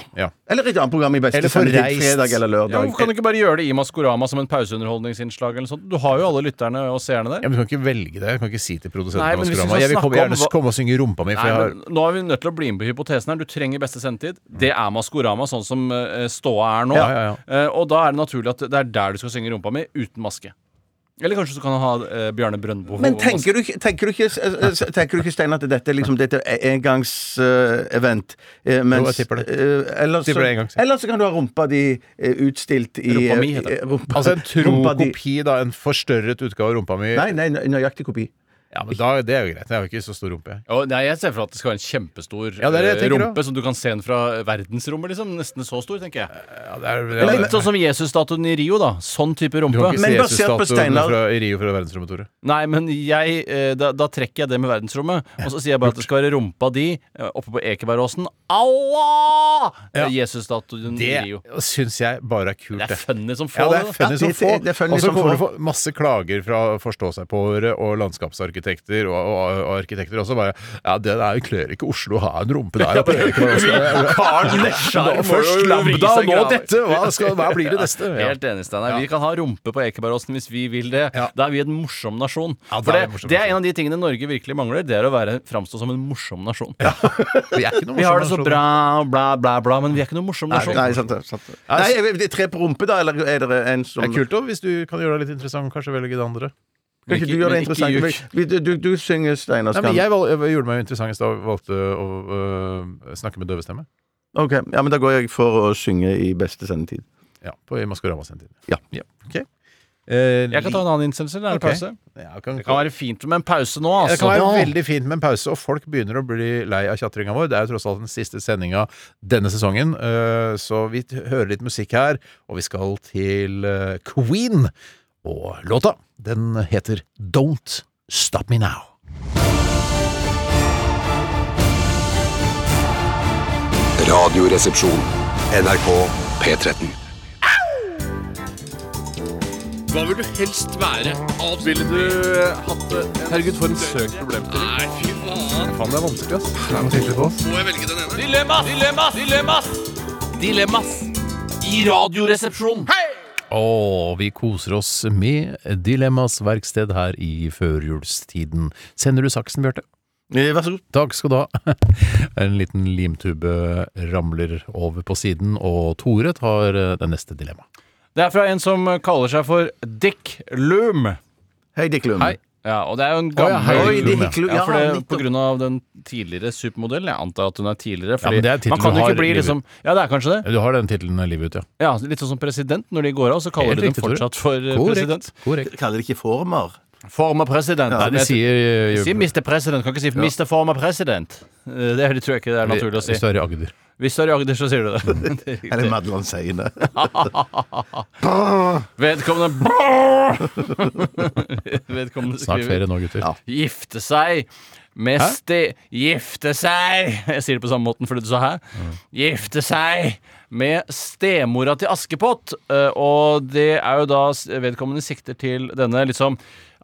Eller et annet program i beste
Eller for
sendetid,
reist.
fredag eller
rolle. Ja,
lørdag.
hvorfor kan du ikke bare gjøre det i Maskorama som en pauseunderholdningsinnslag? eller noe sånt? Du har jo alle lytterne og seerne der.
Ja, men Du kan ikke velge det. Du kan ikke si til produsenten
Nei,
på
men hvis vi
Maskorama
skal
Jeg vil komme,
snakke om
gjerne
hva-
komme og synge 'Rumpa mi', for
Nei,
jeg har
men nå er vi nødt til å bli med på hypotesen her. Du trenger beste sendetid. Det er Maskorama, sånn som eh, ståa er nå.
Ja, ja,
Eh, og da er det naturlig at det er der du skal synge rumpa mi, uten maske. Eller kanskje du kan ha eh, Bjarne Brøndbo.
Men
og
tenker
maske.
du, ikke- tenker du ikke, eh, eh, tenker du ikke Stein, at dette, er liksom, dette er eh, engangsevent?
Jo, jeg tipper det.
Eller
Tipper det en
eh, så,
gang.
eller så kan du ha rumpa di eh, utstilt i
Rumpa mi heter
eh,
det.
rumpa-
Altså en tro
rumpa di-
kopi, da. En forstørret utgave av rumpa mi.
Nei, nei, nø- nøyaktig kopi.
Ja, men da, Det er jo greit. Jeg har jo ikke så stor rumpe. jeg.
Å, nei, jeg ser for meg at det skal være en kjempestor
Ja, det er det jeg
eh,
tenker
rumpe som du kan se den fra verdensrommet, liksom. Nesten så stor, tenker jeg.
ja, det-
Litt sånn som Jesus-statuen i Rio, da. Sånn type rumpe.
Du kan ikke se Jesus-statuen fra- i Rio fra verdensrommet, Tore.
Nei, men jeg, eh, da, da trekker jeg det med verdensrommet. Og så sier jeg bare at det skal være rumpa di eh, oppe på Ekebergåsen. Allah!
Ja.
Jesus-statuen i Rio.
Det syns jeg bare er kult.
Det er funny som få,
Ja, det er funny
det, da.
som
Ja, det-
få.
det er funny
Og så
som
kommer
få.
du få masse klager fra forstå-seg-på-året og landskapsarkitekter og, og, og arkitekter også. Bare, ja, det der kler ikke Oslo å ha en rumpe der oppe.
Karl Nesjar
Nå
må
Først
jo vri
Lambda,
seg
nå
graver.
dette! Hva, skal, hva blir det neste?
Ja.
Ja.
Helt enig, Steinar. Vi kan ha rumpe på Ekebergåsen hvis vi vil det. Da er vi en morsom nasjon.
Ja, da
For
er
det,
vi en morsom
det er en av de tingene Norge virkelig mangler, det er å være, framstå som en morsom nasjon.
Vi er ikke noe
Vi har
morsom
det så
nasjon.
bra, bla, bla, bla, men vi er ikke noe morsom
Nei,
nasjon.
nei, sant det. Sant det. Nei, er det tre på rumpe, da? Eller er det en som
Det er kult òg, hvis du kan gjøre deg litt interessant. Kanskje velge det andre.
Kan ikke du gjøre det interessant? Du, du, du, du synger, Steinar.
Nei,
Skam.
men jeg, valg, jeg gjorde meg jo interessant i stad og valgte å øh, snakke med døvestemme.
Ok, ja, men Da går jeg for å synge i beste sendetid.
Ja, på i Maskorama sin tid.
Ja.
Ok. Eh,
Jeg kan ta en annen innsendelse. Det er en
Ok.
pause.
Ja, kan-
det kan være fint med en pause nå, altså.
Det kan være veldig fint med en pause, og folk begynner å bli lei av tjatringa vår. Det er jo tross alt den siste sendinga denne sesongen, øh, så vi t- hører litt musikk her. Og vi skal til øh, Queen, og låta den heter Don't Stop Me Now.
Radioresepsjon. NRK P13.
Hva vil du helst være? Alt Ville du hatt Herregud, for en søk problemstilling. Nei, fy faen.
Faen, det er vanskelig, ass.
Må jeg velge den ene?
Dilemmas! Dilemmas! Dilemmas! Dilemmas i Radioresepsjonen.
Og vi koser oss med Dilemmas verksted her i førjulstiden. Sender du saksen, Bjarte?
Eh, Vær så god.
Takk skal du ha. En liten limtube ramler over på siden, og Tore tar eh, det neste dilemmaet.
Det er fra en som kaller seg for Dick Loom.
Hei, Dick Loom.
Hei. Ja, og det er jo en
Å,
gammel
ja, hei, Dick Loom, ja.
ja, for det,
nettopp.
På grunn av den tidligere supermodellen. Jeg antar at hun er tidligere.
Ja, men
Fordi
det er tittelen
man kan
du
jo
har
ikke bli
livet
liksom Ja, det er kanskje det.
Du har den tittelen livet ut, ja.
Ja, Litt sånn som president. Når de går av, så kaller
Helt
de
riktig,
dem
Tore.
fortsatt for eh,
Korrekt,
president.
Kaller det ikke former?
Former president.
Nei, de sier,
De sier eh, Mr. President. Kan ikke si Mr. Former President. Eh, Det tror jeg ikke det er naturlig å si.
Hvis du er i Agder.
Hvis du er i Agder, så sier du det. det. er riktig.
Eller Madeland Seine.
Vedkommende Vedkommende skriver
Snart ferie nå, gutter.
Gifte seg med
Hæ?
ste... Gifte seg Jeg sier det på samme måten fordi du sa hæ.
Mm.
Gifte seg med stemora til Askepott. Eh, Og det er jo da s- vedkommende sikter til denne liksom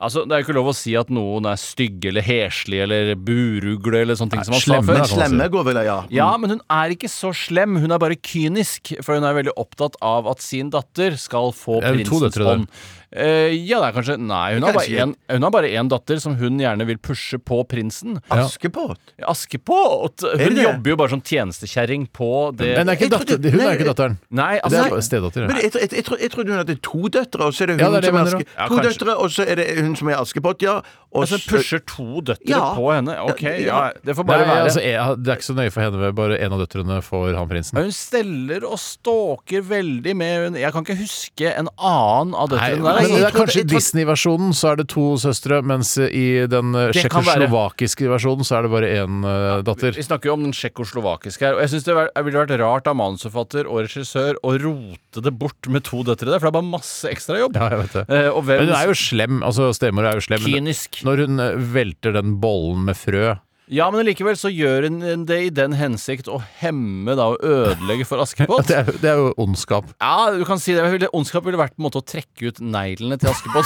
Altså, Det er jo ikke lov å si at noen er stygge eller heslige eller burugle eller sånne ting som man sa
Slemme,
før.
slemme går vel, ja.
Ja,
Mm.
men hun er ikke så slem. Hun er bare kynisk, for hun er veldig opptatt av at sin datter skal få
Er det to
prinsens
døtre der?
ånd. Eh, ja, det er kanskje Nei, hun har, bare
Kanskje.
en, hun har bare én datter som hun gjerne vil pushe på prinsen.
Askepott?
Askepott!
Er det
Hun
det?
jobber jo bare som tjenestekjerring på det
Men det er ikke datter, hun er ikke datteren.
Nei,
det
altså
er bare stedatter.
Men jeg, jeg, jeg, tro- jeg trodde hun hadde to døtre, og så er det hun
Ja, det er det jeg
som er
mener
Aske-
også. Ja,
To
kanskje.
døtre, og så er det hun hun som er i Askepott, ja. Og
Altså
så-
pusher to døtre
Ja.
på henne? Ok, ja, det får bare
Nei,
være.
altså, jeg- det er ikke så nøye for henne, vel, bare en av døtrene for han prinsen.
Hun steller og stalker veldig med hun- Jeg kan ikke huske en annen av
Nei,
døtrene der.
men
altså.
det er kanskje i Disney-versjonen så er det to søstre, mens i den eh,
Det kan være.
tsjekkoslovakiske versjonen så er det bare én eh, datter.
Vi snakker jo om den tsjekkoslovakiske her. Og jeg syns det var- det ville vært rart av manusforfatter og regissør å rote det bort med to døtre der, for det er bare masse ekstrajobb.
Ja, jeg vet det.
Eh, og hvem-
Men hun er jo slem. altså Stemor er jo slem. men
Kynisk.
Når hun eh, velter den bollen med frø
Ja, men likevel så gjør hun det i den hensikt å hemme da og ødelegge for Askepott.
det, er, det er jo ondskap.
Ja, du kan si det. Ville- Ondskap ville vært på en måte å trekke ut neglene til Askepott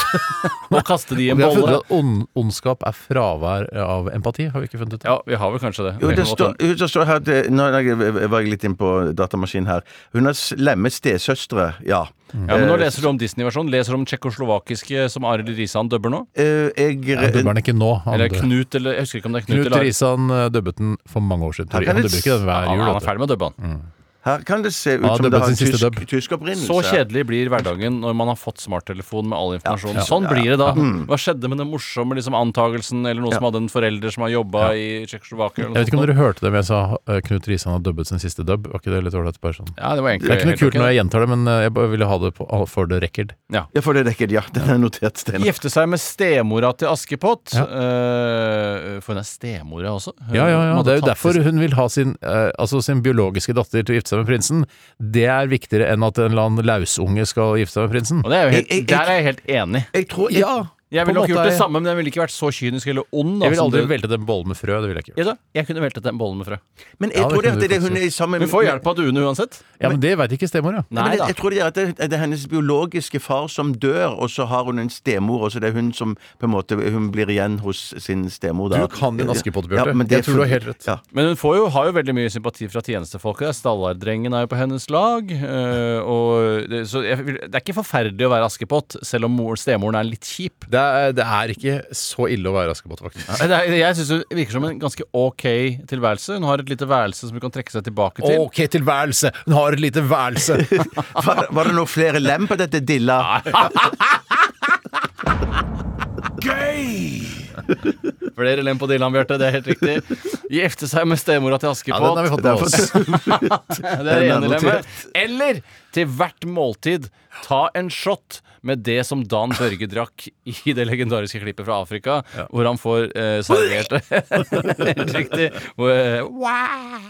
og kaste de i en
Vi har funnet
bolle.
ut at ond, ondskap er fravær av empati, har vi ikke funnet ut?
Ja, vi har vel kanskje det.
Jo, det står, jo, det står her at eh, Nå er jeg- var jeg litt inne på datamaskinen her. Hun har slemme stesøstre, ja.
Ja, men Nå
Eh,
leser du om Disney-versjonen. Leser du om tsjekkoslovakiske som Arild Risan dubber nå?
eh, jeg,
Jeg dubber den ikke nå. Han,
Eller
dø-
Knut, eller jeg husker ikke om det er Knut,
Knut
eller
Risan eh, dubbet den for mange år siden.
Her
Tori.
kan
Han
det
dubber ikke den hver
Ja,
jul.
han er
vet du.
ferdig med å dubbe han.
Her kan det se ut
Ja,
som
det
det
ble
har en
sin siste
tysk,
dubb.
tysk opprinnelse.
Så kjedelig blir hverdagen når man har fått smarttelefon med all informasjon. Sånn blir det da. Hva skjedde med den morsomme liksom, antagelsen, eller noen som hadde en forelder som har jobba i
Jeg
Tsjekkoslovakia? eller noe
vet ikke om
sånt.
dere hørte det, men jeg sa eh, Knut Risan har dubbet sin siste dubb. Var ikke det litt ålreit? bare Sånn.
Ja, det var
Det
egentlig
er ikke noe
helt
kult
ok.
når jeg gjentar det, men eh, jeg bare ville ha det på, for the record.
Ja.
Ja, for det dekker ja. Den er notert, Steinar.
Gifte seg med stemora til Askepott. Eh, for hun er stemora også. Hun
Ja, ja, ja.
måtte
Det er jo
tatt
derfor
til-
hun vil ha sin, eh, altså sin biologiske datter til å gifte seg med prinsen. Det er viktigere enn at en eller annen lausunge skal gifte seg med prinsen.
Og det er jo helt, der er jeg helt enig.
Jeg tror
Ja,
Jeg
på en
ville nok
måte
gjort det
er-
samme, men jeg ville ikke vært så kynisk eller ond. da,
Jeg vil
som
aldri
du-
veltet en bolle med frø. Det vil jeg ikke gjøre.
Ja, da. Jeg kunne veltet den bollen med frø.
Men jeg
Ja, det
tror det
kunne
at
du
det, hun
faktisk
er sammen
Hun får hjelp av duene uansett.
Ja, men det veit ikke stemor, ja.
Nei,
Nei
men jeg,
da.
jeg tror det er at det, det er hennes biologiske far som dør, og så har hun en stemor, og så det er hun som på en måte Hun blir igjen hos sin stemor da.
Du kan din Askepott, Bjarte.
men det
Jeg tror du har
for-
helt rett.
Ja.
Men hun får jo, har jo veldig mye sympati fra tjenestefolket. der. Stallardrengen er jo på hennes lag. eh, og det, så jeg, vil- det er ikke forferdelig å være Askepott, selv om mor, stemoren er litt kjip.
Det er, det er ikke så ille å være Askepott, faktisk.
Det er, jeg syns hun virker som en ganske ok tilværelse. Hun har et lite værelse som hun kan trekke seg tilbake til.
Ok, tilværelse! Hun har et lite værelse!
Var, var det noe flere lem på dette dilla?
Flere lem på Dylan, Bjarte. Det er helt riktig. Gifte seg med stemora til
Ja, den
Askepott.
har vi fått med oss.
Det er det
Den er
ene
notert.
lemmet. Eller til hvert måltid ta en shot med det som Dan Børge drakk i det legendariske klippet fra Afrika, hvor han får eh, servert Helt riktig. Hvor, eh, «Wah!»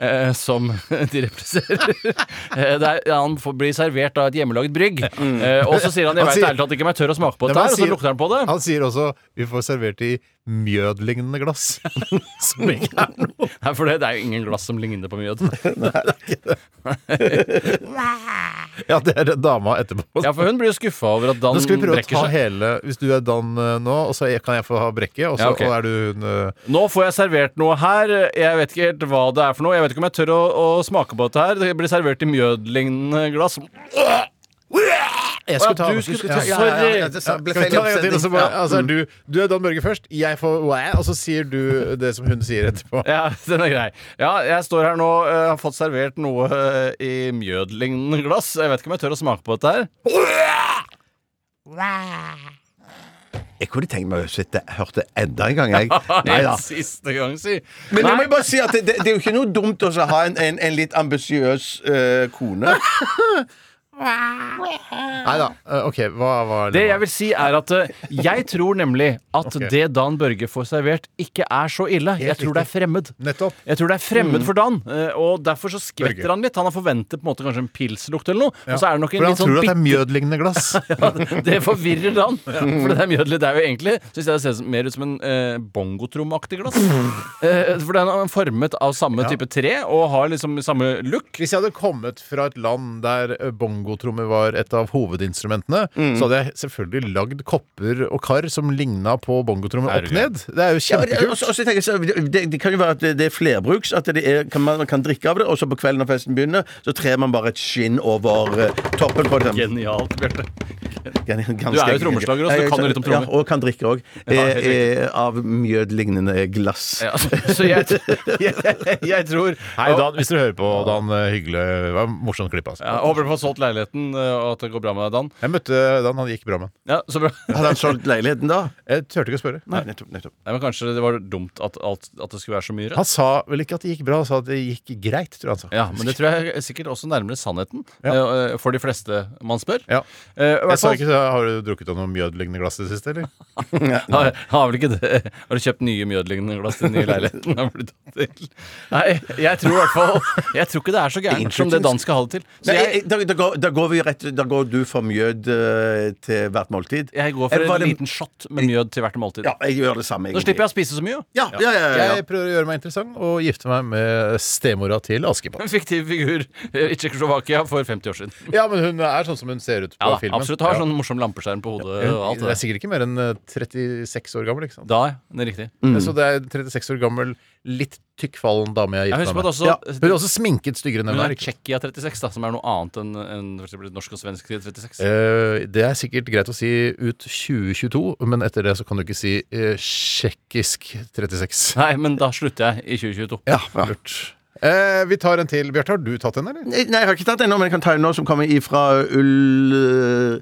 eh, som de representerer. Eh, det er, han får, blir servert av et hjemmelaget brygg. Eh, og så sier han 'Jeg
Mm. Han
veit
sier-
ærlig talt ikke om jeg tør å smake på
Nei,
dette',
men
her, og så
sier-
lukter han på det.
Han sier også 'vi får servert i mjødlignende glass'. Som ikke er noe
Nei, for det, det er jo ingen glass som ligner på mjød.
Ja, det er dama etterpå.
Ja, for hun blir jo skuffa over at Dan
Nå skal vi prøve å
brekker
ta
seg.
hele Hvis du er Dan eh, nå, og så kan jeg få ha brekket, og så
Ja, ok.
og er du hun eh,
Nå får jeg servert noe her. Jeg vet ikke helt hva det er for noe. Jeg vet ikke om jeg tør å, å smake på dette her. Det blir servert i mjødlignende glass.
jeg
skulle ta- du skulle ta- sorry.
Skal vi ta en gang til, og så bare, altså, er du, du er Dan Børge først, jeg får wow, og så sier du det som hun sier etterpå.
Ja, den er grei. Ja, jeg står her nå og har fått servert noe eh, i mjødlignende glass. Jeg vet ikke om jeg tør å smake på dette her.
Jeg kunne tenkt meg å sitte, hørt det enda en gang, jeg.
Nei,
Nei da.
siste gang, si.
Men jeg må
Nei.
jo bare si at det, det, det er jo ikke noe dumt å så ha en, en, en litt ambisiøs eh, kone.
Nei da. eh, OK, hva var
Det jeg vil si er at eh, jeg tror nemlig at
Ok.
det Dan Børge får servert, ikke er så ille. Jeg tror det er fremmed.
Nettopp. Mm.
Jeg tror det er fremmed for Dan, eh, og derfor så skvetter
Børge.
han litt. Han har forventet på en måte kanskje en pilslukt eller noe,
Ja.
og så er det nok en
For han
litt sånn
tror at det
bitte
er mjødlignende glass.
Det forvirrer Dan. For det der mjødelet det er jo egentlig Synes jeg det ser som- mer ut som en eh, bongotromaktig glass. Eh, for den er formet av samme
Ja.
type tre og har liksom samme look.
Hvis jeg hadde kommet fra et land der eh, bongotrommer var et av hovedinstrumentene,
Mm.
så hadde jeg selvfølgelig lagd kopper og kar som ligna på bongotrommer opp
Herregud.
ned. Det er jo
Ja, men det,
kjempekult.
også, også tenker jeg så, det, det kan jo være at det, det er flerbruks. At det er, kan, man kan drikke av det, og så på kvelden når festen begynner, så trer man bare et skinn over eh, toppen på dem.
Genialt, Bjarte. Du er jo trommeslager også, du kan jo litt om trommer.
Ja, og kan drikke òg.
Ja, helt riktig.
Eh, av mjødlignende glass.
Ja, så jeg- jeg tror
Hei, Dan, hvis dere hører på, Dan. eh, Hyggelig. Det var en morsom klipp, altså.
Ja, håper du får solgt leiligheten, eh, og at det går bra med deg, Dan.
Jeg møtte Dan, han gikk bra med
Ja, så bra.
Hadde han solgt leiligheten da?
Jeg turte ikke å spørre.
Nei, nettopp, nettopp.
Nei, men Kanskje det var dumt at, alt, at det skulle være så mye
Han
rødt?
sa vel ikke at det gikk bra, han sa at det gikk greit, tror jeg han sa.
Ja, men det tror jeg er sikkert også nærmere sannheten eh, for de fleste man spør.
Ja.
Eh, i hvert
Jeg sa
fall-
ikke, Har du drukket av noe mjødlignende glass i det siste, eller?
Har, har vel ikke det. Har du kjøpt nye mjødlignende glass til den nye leiligheten? Har blitt tatt til? Nei, jeg tror i hvert fall Jeg tror ikke det er så gærent som det Dan skal ha det til. Så
Nei,
jeg,
jeg- da, da, går, da går vi rett Da går du for mjød eh, til hvert måltid.
jeg går for
Eller var
en
det-
liten shot med mjød til hvert måltid.
Ja, jeg gjør det samme,
Da slipper jeg å spise så mye.
Ja, ja, ja, ja, ja.
Jeg prøver å gjøre meg interessant og gifte meg med stemora til Askepott.
En fiktiv figur i Tsjekkoslovakia for 50 år siden.
Ja, men hun er sånn som hun ser ut på
Ja, da,
filmen.
absolutt. Har
Ja.
sånn morsom lampeskjerm på hodet og
Hun
alt
er
det der.
sikkert ikke mer enn eh, 36 år gammel, ikke sant?
Da, ja. Det er riktig.
Så det er 36 år gammel, litt tykkfallen dame jeg
Jeg
har gifta
husker
meg
på
med.
at også- Mm.
Ja. Hun er også sminket styggere enn
Hun
hun
er
er. ikke sant?
Tsjekkia 36, da, som er noe annet enn enn for eksempel norsk og svensk 36.
Eh, det er sikkert greit å si ut 2022, men etter det så kan du ikke si eh, tsjekkisk 36.
Nei, men da slutter jeg i 2022.
Ja, lurt. Eh, vi tar en til. Bjarte, har du tatt en, eller?
Nei, jeg har ikke tatt den ennå, men jeg kan ta en nå som kommer ifra Ul...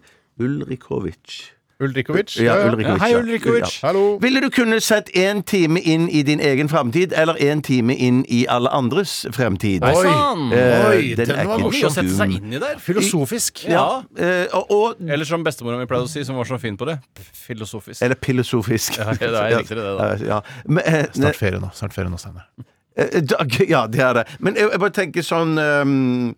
Ulrikovic.
Ulrikovic?
Ja,
Ja, ja.
Ulrikovic.
Ja, hei,
ja.
Ulrikovic.
Ja.
Hallo.
Ville du kunne sett én time inn i din egen fremtid, eller én time inn i alle andres fremtid?
Oi. Sann.
Eh,
Oi,
den
den
er
var
ikke
morsom.
Mye å sette seg
dum.
inn i der.
Filosofisk.
Ja.
eh, og, og
Eller som bestemora mi pleide å si, som var så fin på det, filosofisk.
Eller filosofisk.
Ja, det er riktigere det, da.
Ja, Men, eh,
Snart ferie nå, snart ferie nå, Steinar.
Eh, da- Ja, det er det. Men jeg, jeg bare tenker sånn ehm,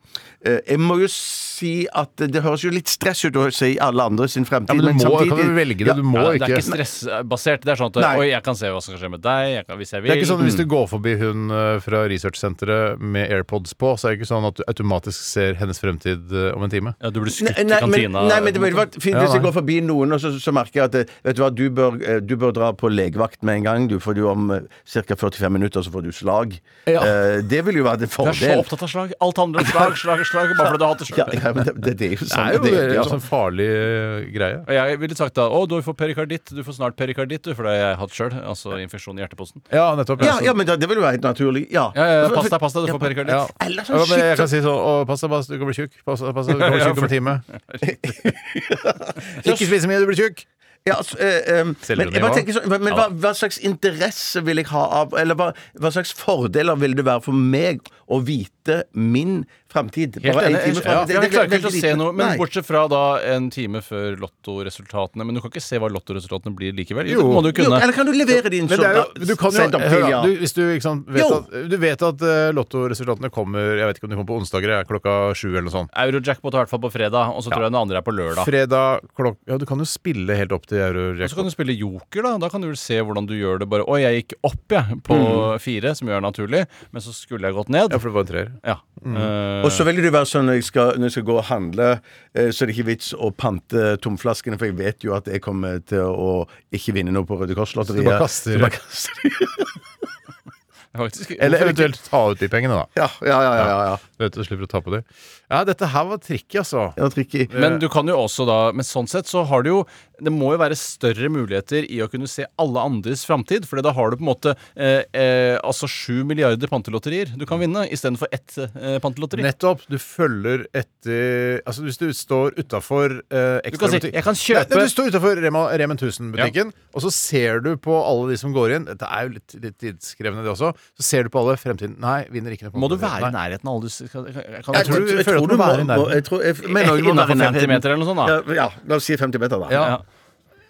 eh, Jeg må jo si at det høres jo litt stress ut å si alle andre sin fremtid,
Ja, men du må- kan du velge det? Du må
Ja, det er
ikke-
ikke stressbasert. Det er sånn at
Nei.
Oi, jeg kan se hva som skal skje med deg jeg kan, hvis jeg vil.
Det er ikke sånn Hvis du går forbi hun eh, fra researchsenteret med AirPods på, så er det ikke sånn at du automatisk ser hennes fremtid eh, om en time.
Ja, du blir
Nei, nei, men, nei, men det ville vært fint hvis jeg går forbi noen, og så, så merker jeg at eh, Vet du hva, du bør, eh, du bør dra på legevakt med en gang. Du får du om ca. 45 minutter, så får du slag.
Ja.
Eh, det ville jo vært
Du er
en
så
fordel.
opptatt av slag. Alt handler om slag, slag, slag. Bare fordi du hater
Ja,
slag.
ja, men det, det, det er jo
Det
sånn.
er jo
det er jo
altså, en
sånn.
farlig eh, greie.
Og jeg ville sagt da å, du får perikarditt, du får snart perikarditt, du, for det har jeg hatt sjøl. Altså infeksjon i hjerteposten.
Ja, nettopp.
Ja, ja, men det, det ville jo være helt naturlig. Ja.
Ja, ja, ja, pass deg, pass deg, du får perikarditt.
Ja.
Eller
Ja,
sånn
men jeg
skikkelig
kan si sånn Å, pass deg, pass deg, du kan bli tjukk. Pass deg, pass deg, du kan bli tjukk om en time. Ikke spise mye, du blir tjukk.
Ja, altså, eh, eh, men jeg bare tenker sånn Men, men hva, hva slags interesse vil jeg ha av Eller hva, hva slags fordeler vil det være for meg å vite min framtid?
Helt
en
enig.
time
Jeg,
frem-
ja,
det-
jeg
det-
klarer ikke
det-
helt å
det-
se noe, men
Nei.
Bortsett fra da en time før lottoresultatene. Men du kan ikke se hva lottoresultatene blir likevel.
Jo.
Jo, det må du
jo,
kunne.
Eller kan du levere din
Men det er
sånn
jo, du kan jo,
sent opp til,
hør, da,
ja.
du, hvis du, ikke sant, vet
Jo.
at, du vet at eh, lottoresultatene kommer Jeg vet ikke om de kommer på onsdager, ja, klokka sju eller noe sånt.
Eurojackpot er i hvert fall på fredag, og så tror jeg den andre er på lørdag.
Fredag klokka Ja, du kan jo spille helt opp til
Og så kan
Eurojackpot.
du spille joker, da. Da kan du vel se hvordan du gjør det. Bare Oi, jeg gikk opp, jeg, på
Mm.
fire, som jo er naturlig, men så skulle jeg gått ned.
Ja, Mm. for det var en treer.
Ja. Eh,
Og så vil det jo være sånn når jeg skal, når jeg skal gå og handle, eh, så er det ikke vits å pante tomflaskene, for jeg vet jo at jeg kommer til å ikke vinne noe på Røde
Så du
Kors-lotteriet.
bare kaster-
Så bare kaster
faktisk,
Eller
hvorfor ikke?
eventuelt ta ut de pengene, da.
Ja, ja, ja. ja, ja, ja.
Du vet, du slipper å ta på de. Ja, dette her var tricky, altså.
Det var tricky.
Men du kan jo også da Men sånn sett så har du jo Det må jo være større muligheter i å kunne se alle andres framtid, for da har du på en måte eh, eh, altså sju milliarder pantelotterier du kan vinne, istedenfor ett eh, pantelotteri.
Nettopp. Du følger etter Altså Hvis du står utafor eh,
Du kan si, jeg kan kjøpe-
Nei, nei, Du står utafor Remen 1000-butikken, og så ser du på alle de som går inn. Dette er jo litt, litt tidskrevende, det også. Så ser du på alle fremtiden. Nei, vinner ikke noe.
Må du være i nærheten av alle du skal, kan,
Jeg tror-
du-
jeg tror du må være i nærheten.
jeg tror, jeg, mener du må
Innenfor
være
50
i nærheten.
meter eller noe sånt, da.
Ja, ja, la oss si 50 meter, da.
Ja.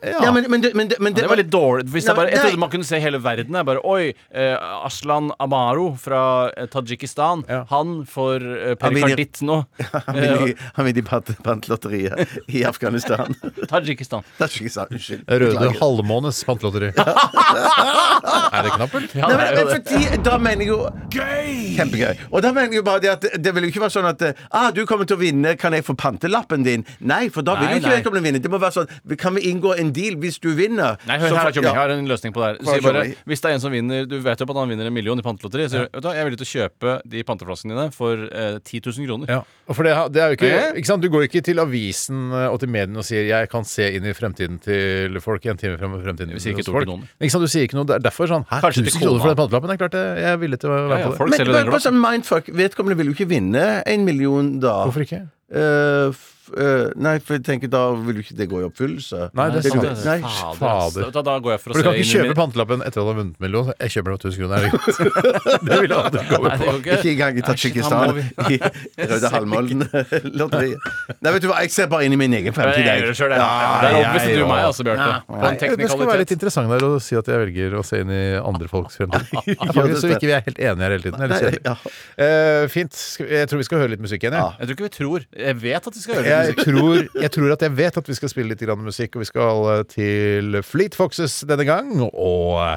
Ja, men, men, det- men, det- men
Det var litt dårlig. Hvis jeg,
Nei,
bare, jeg
nei.
trodde man kunne se hele verden. Jeg bare, Oi, eh, Aslan Amaro fra eh, Tadsjikistan, han får eh,
Han vinner-
perikarditt nå. Eh,
Han vil i- han vil i pant- pantelotteriet i Afghanistan.
Tadsjikistan.
Tadsjikistan, unnskyld.
Røde
Beklager.
halvmånes pantelotteri. er det knappert?
Ja,
Nei,
det er
men,
jo
men
det.
fordi, da mener jeg jo Gøy! Kjempegøy. Og da mener jeg jo bare det at det- det vil jo ikke være sånn at eh, ah, 'Du kommer til å vinne, kan jeg få pantelappen din?' Nei, for da vil
Nei,
jo ikke
nei.
vedkommende vinne. Det må være sånn Kan vi inngå en en deal. Hvis du vinner
Nei, hør
så-
her, Tjommi.
ja.
Jeg har en løsning på det her. Du
Hva er
sier bare,
Tjommi?
hvis det er en som vinner Du vet jo at han vinner en million i pantelotteri. Så sier du, vet du, hva, jeg er villig til å kjøpe de panteflaskene dine for eh, 10 000 kroner.
Og For det, har- det er jo ikke,
Eh?
ikke sant? Du går jo ikke til avisen eh, og til mediene og sier 'jeg kan se inn i fremtiden til folk' i en time frem i fremtiden.
Vi sier ikke
hos
to
folk.
til noen.
Ikke sant? Du sier ikke noe. Det er derfor sånn Hæ,
Kanskje til
1000 kroner for
kona.
den pantelappen? Det er klart eh, jeg jeg er villig til å være
Ja, ja,
med på
folk
det.
Men
selger den
bare, bare sånn mindfuck. Vedkommende vil jo ikke vinne en million da.
Hvorfor ikke?
Eh, f, eh, nei, for jeg tenker da vil jo ikke det gå i oppfyllelse.
Nei, det er sant.
går- Nei.
Fader, ass. Da- da går jeg for
For
å
Du
se
kan ikke
inn i
kjøpe
min-
pantelappen etter at du har vunnet en million. så Jeg kjøper den for 1000 kroner. Er det greit? det ville jeg aldri komme
Nei, det
på.
går ikke.
Ikke engang i
Nei,
Tadsjikistan.
shit,
I
Jeg
Røde
ser
Halvmålen-lotteriet. Nei, vet du hva, jeg ser bare inn i min egen fremtid.
Jeg gjør det selv, jeg. Det er obvious at du er meg, altså, Bjarte. På en
Nei, Det skal være litt interessant der å si at jeg velger å se inn i andre folks fremtid. Faktisk, så ikke vi er helt enige her hele tiden. Eller kjedelig. Eh, fint. Skal vi- Jeg tror vi skal høre litt musikk igjen. jeg.
Jeg tror ikke vi tror. Jeg vet at vi skal høre
Jeg
musikk.
tror, jeg tror at jeg vet at vi skal spille litt grann musikk, og vi skal eh, til Fleet Foxes denne gang, og eh,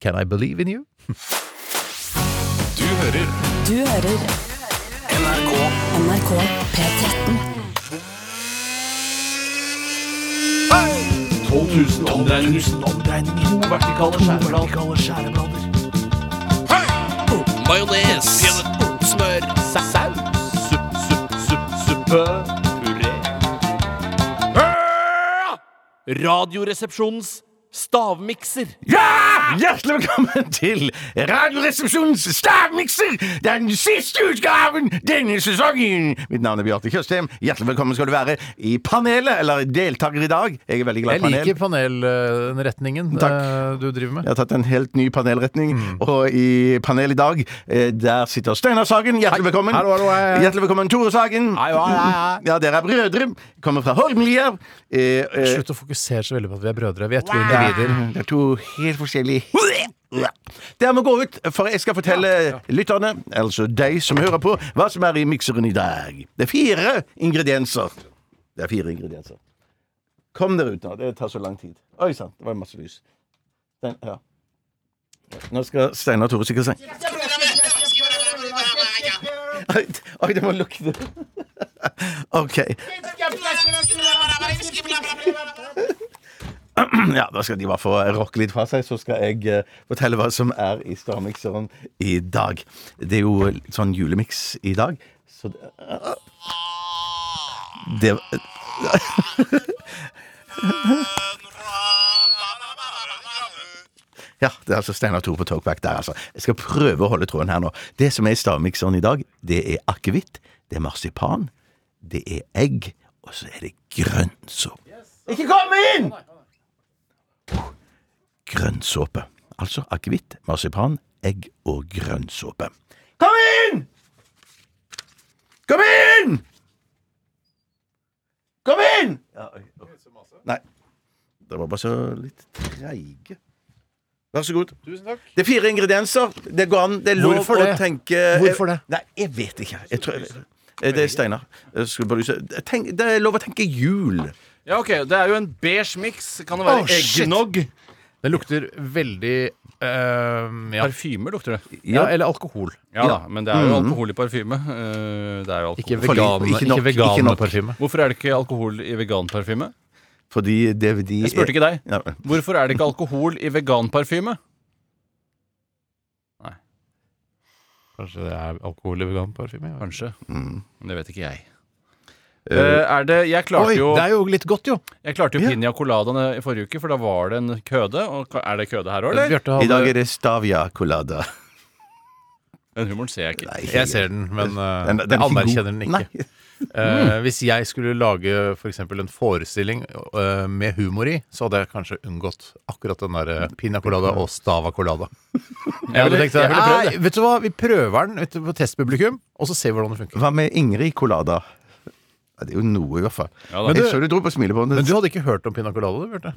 Can I Believe in You?
Du hører Du hører NRK NRK P13
12 000 omdreininger. To vertikale skjæreblader. Majones. Smør. Saus. Supp, supp, supp, suppe. Puré.
Radioresepsjonens stavmikser.
Ja! Hjertelig velkommen til Radioresepsjonens stavmikser! Den siste utgaven denne sesongen!
Mitt navn er Bjarte Tjøstheim. Hjertelig velkommen skal du være i panelet, eller deltaker i dag. Jeg er veldig glad i
Jeg
panel.
liker panelretningen eh, du driver med.
Jeg har tatt en helt ny panelretning,
Mm.
og i panel i dag, eh, der sitter Steinar Sagen. Hjertelig velkommen.
Hallo, eh. hallo, hei, hei.
Hjertelig velkommen, Tore Sagen. Ja, dere er brødre. Kommer fra Holmlia. Eh, eh,
Slutt å fokusere så veldig på at vi er brødre. Vi er to
Ja,
individer.
Det er to helt forskjellige ja. Dere må gå ut, for jeg skal fortelle lytterne, altså deg som hører på, hva som er i mikseren i dag. Det er fire ingredienser. Det er fire ingredienser. Kom dere ut nå. Det tar så lang tid. Oi sann, det var masse lys. Den, ja. Nå skal Steinar Tore sikkert si Oi, Oi, det må lukte. OK. Ja, da skal de bare få rocke litt fra seg, så skal jeg eh, fortelle hva som er i stavmikseren i dag. Det er jo litt sånn julemiks i dag, så det, det Ja, det er altså Steinar Tore på Talkback der, altså. Jeg skal prøve å holde tråden her nå. Det som er i stavmikseren i dag, det er akevitt, det er marsipan, det er egg, og så er det grønnsåpe. Ikke kom inn! grønnsåpe. Altså akevitt, marsipan, egg og grønnsåpe. Kom inn! Kom inn! Kom inn! Ja, oi, oi. Nei. Det var bare så litt treige. Vær så god.
Tusen takk.
Det er fire ingredienser. Det går an. Det er lov
Hvorfor
å
det?
tenke
Hvorfor det?
eh, Nei, jeg vet ikke. Jeg tror, Eh, det er Steinar. Jeg skulle bare lyse- Tenk- Det er lov å tenke jul.
Ja, ok, Det er jo en beige miks. Kan det være
Åh, shit.
eggnog?
Det lukter veldig eh, ja.
Parfyme lukter det.
ja, eller alkohol.
Ja da, men det er jo
Mm.
alkohol i parfyme. Eh, Det er jo alkohol.
Ikke vegan- Ikke nok, ikke vegan ikke nok. parfyme.
Hvorfor er det ikke alkohol i veganparfyme?
Fordi DVD
Jeg
e-
spurte ikke deg.
Ja.
Hvorfor er det ikke alkohol i veganparfyme?
Kanskje det er alkohol i veganparfyme?
Kanskje.
Mm.
Men det vet ikke jeg.
Eh,
Eh, er det, jeg klarte
Oi,
jo
det er jo litt godt, jo.
Jeg klarte jo piña coladaene i forrige uke, for da var det en køde. Og ka- er det køde her òg, eller?
I dag er det Stavia colada.
Den humoren ser jeg ikke.
Jeg ser den, men eh,
Den- den
jeg
er ikke
anerkjenner
god.
den ikke. Eh, hvis jeg skulle lage f.eks. en forestilling eh, med humor i, så hadde jeg kanskje unngått akkurat den der eh, piña colada og stava colada. Jeg hadde tenkt
jeg ville prøvd
"Nei, Vet du hva, vi prøver den vet du, på testpublikum, og så ser vi hvordan det funker.
Hva med Ingrid colada? Ja, det er jo noe, i hvert fall.
Ja da. Men
men,
du-
jeg så du dro på smilebåndet.
Men du hadde ikke hørt om piña colada, du, Bjarte?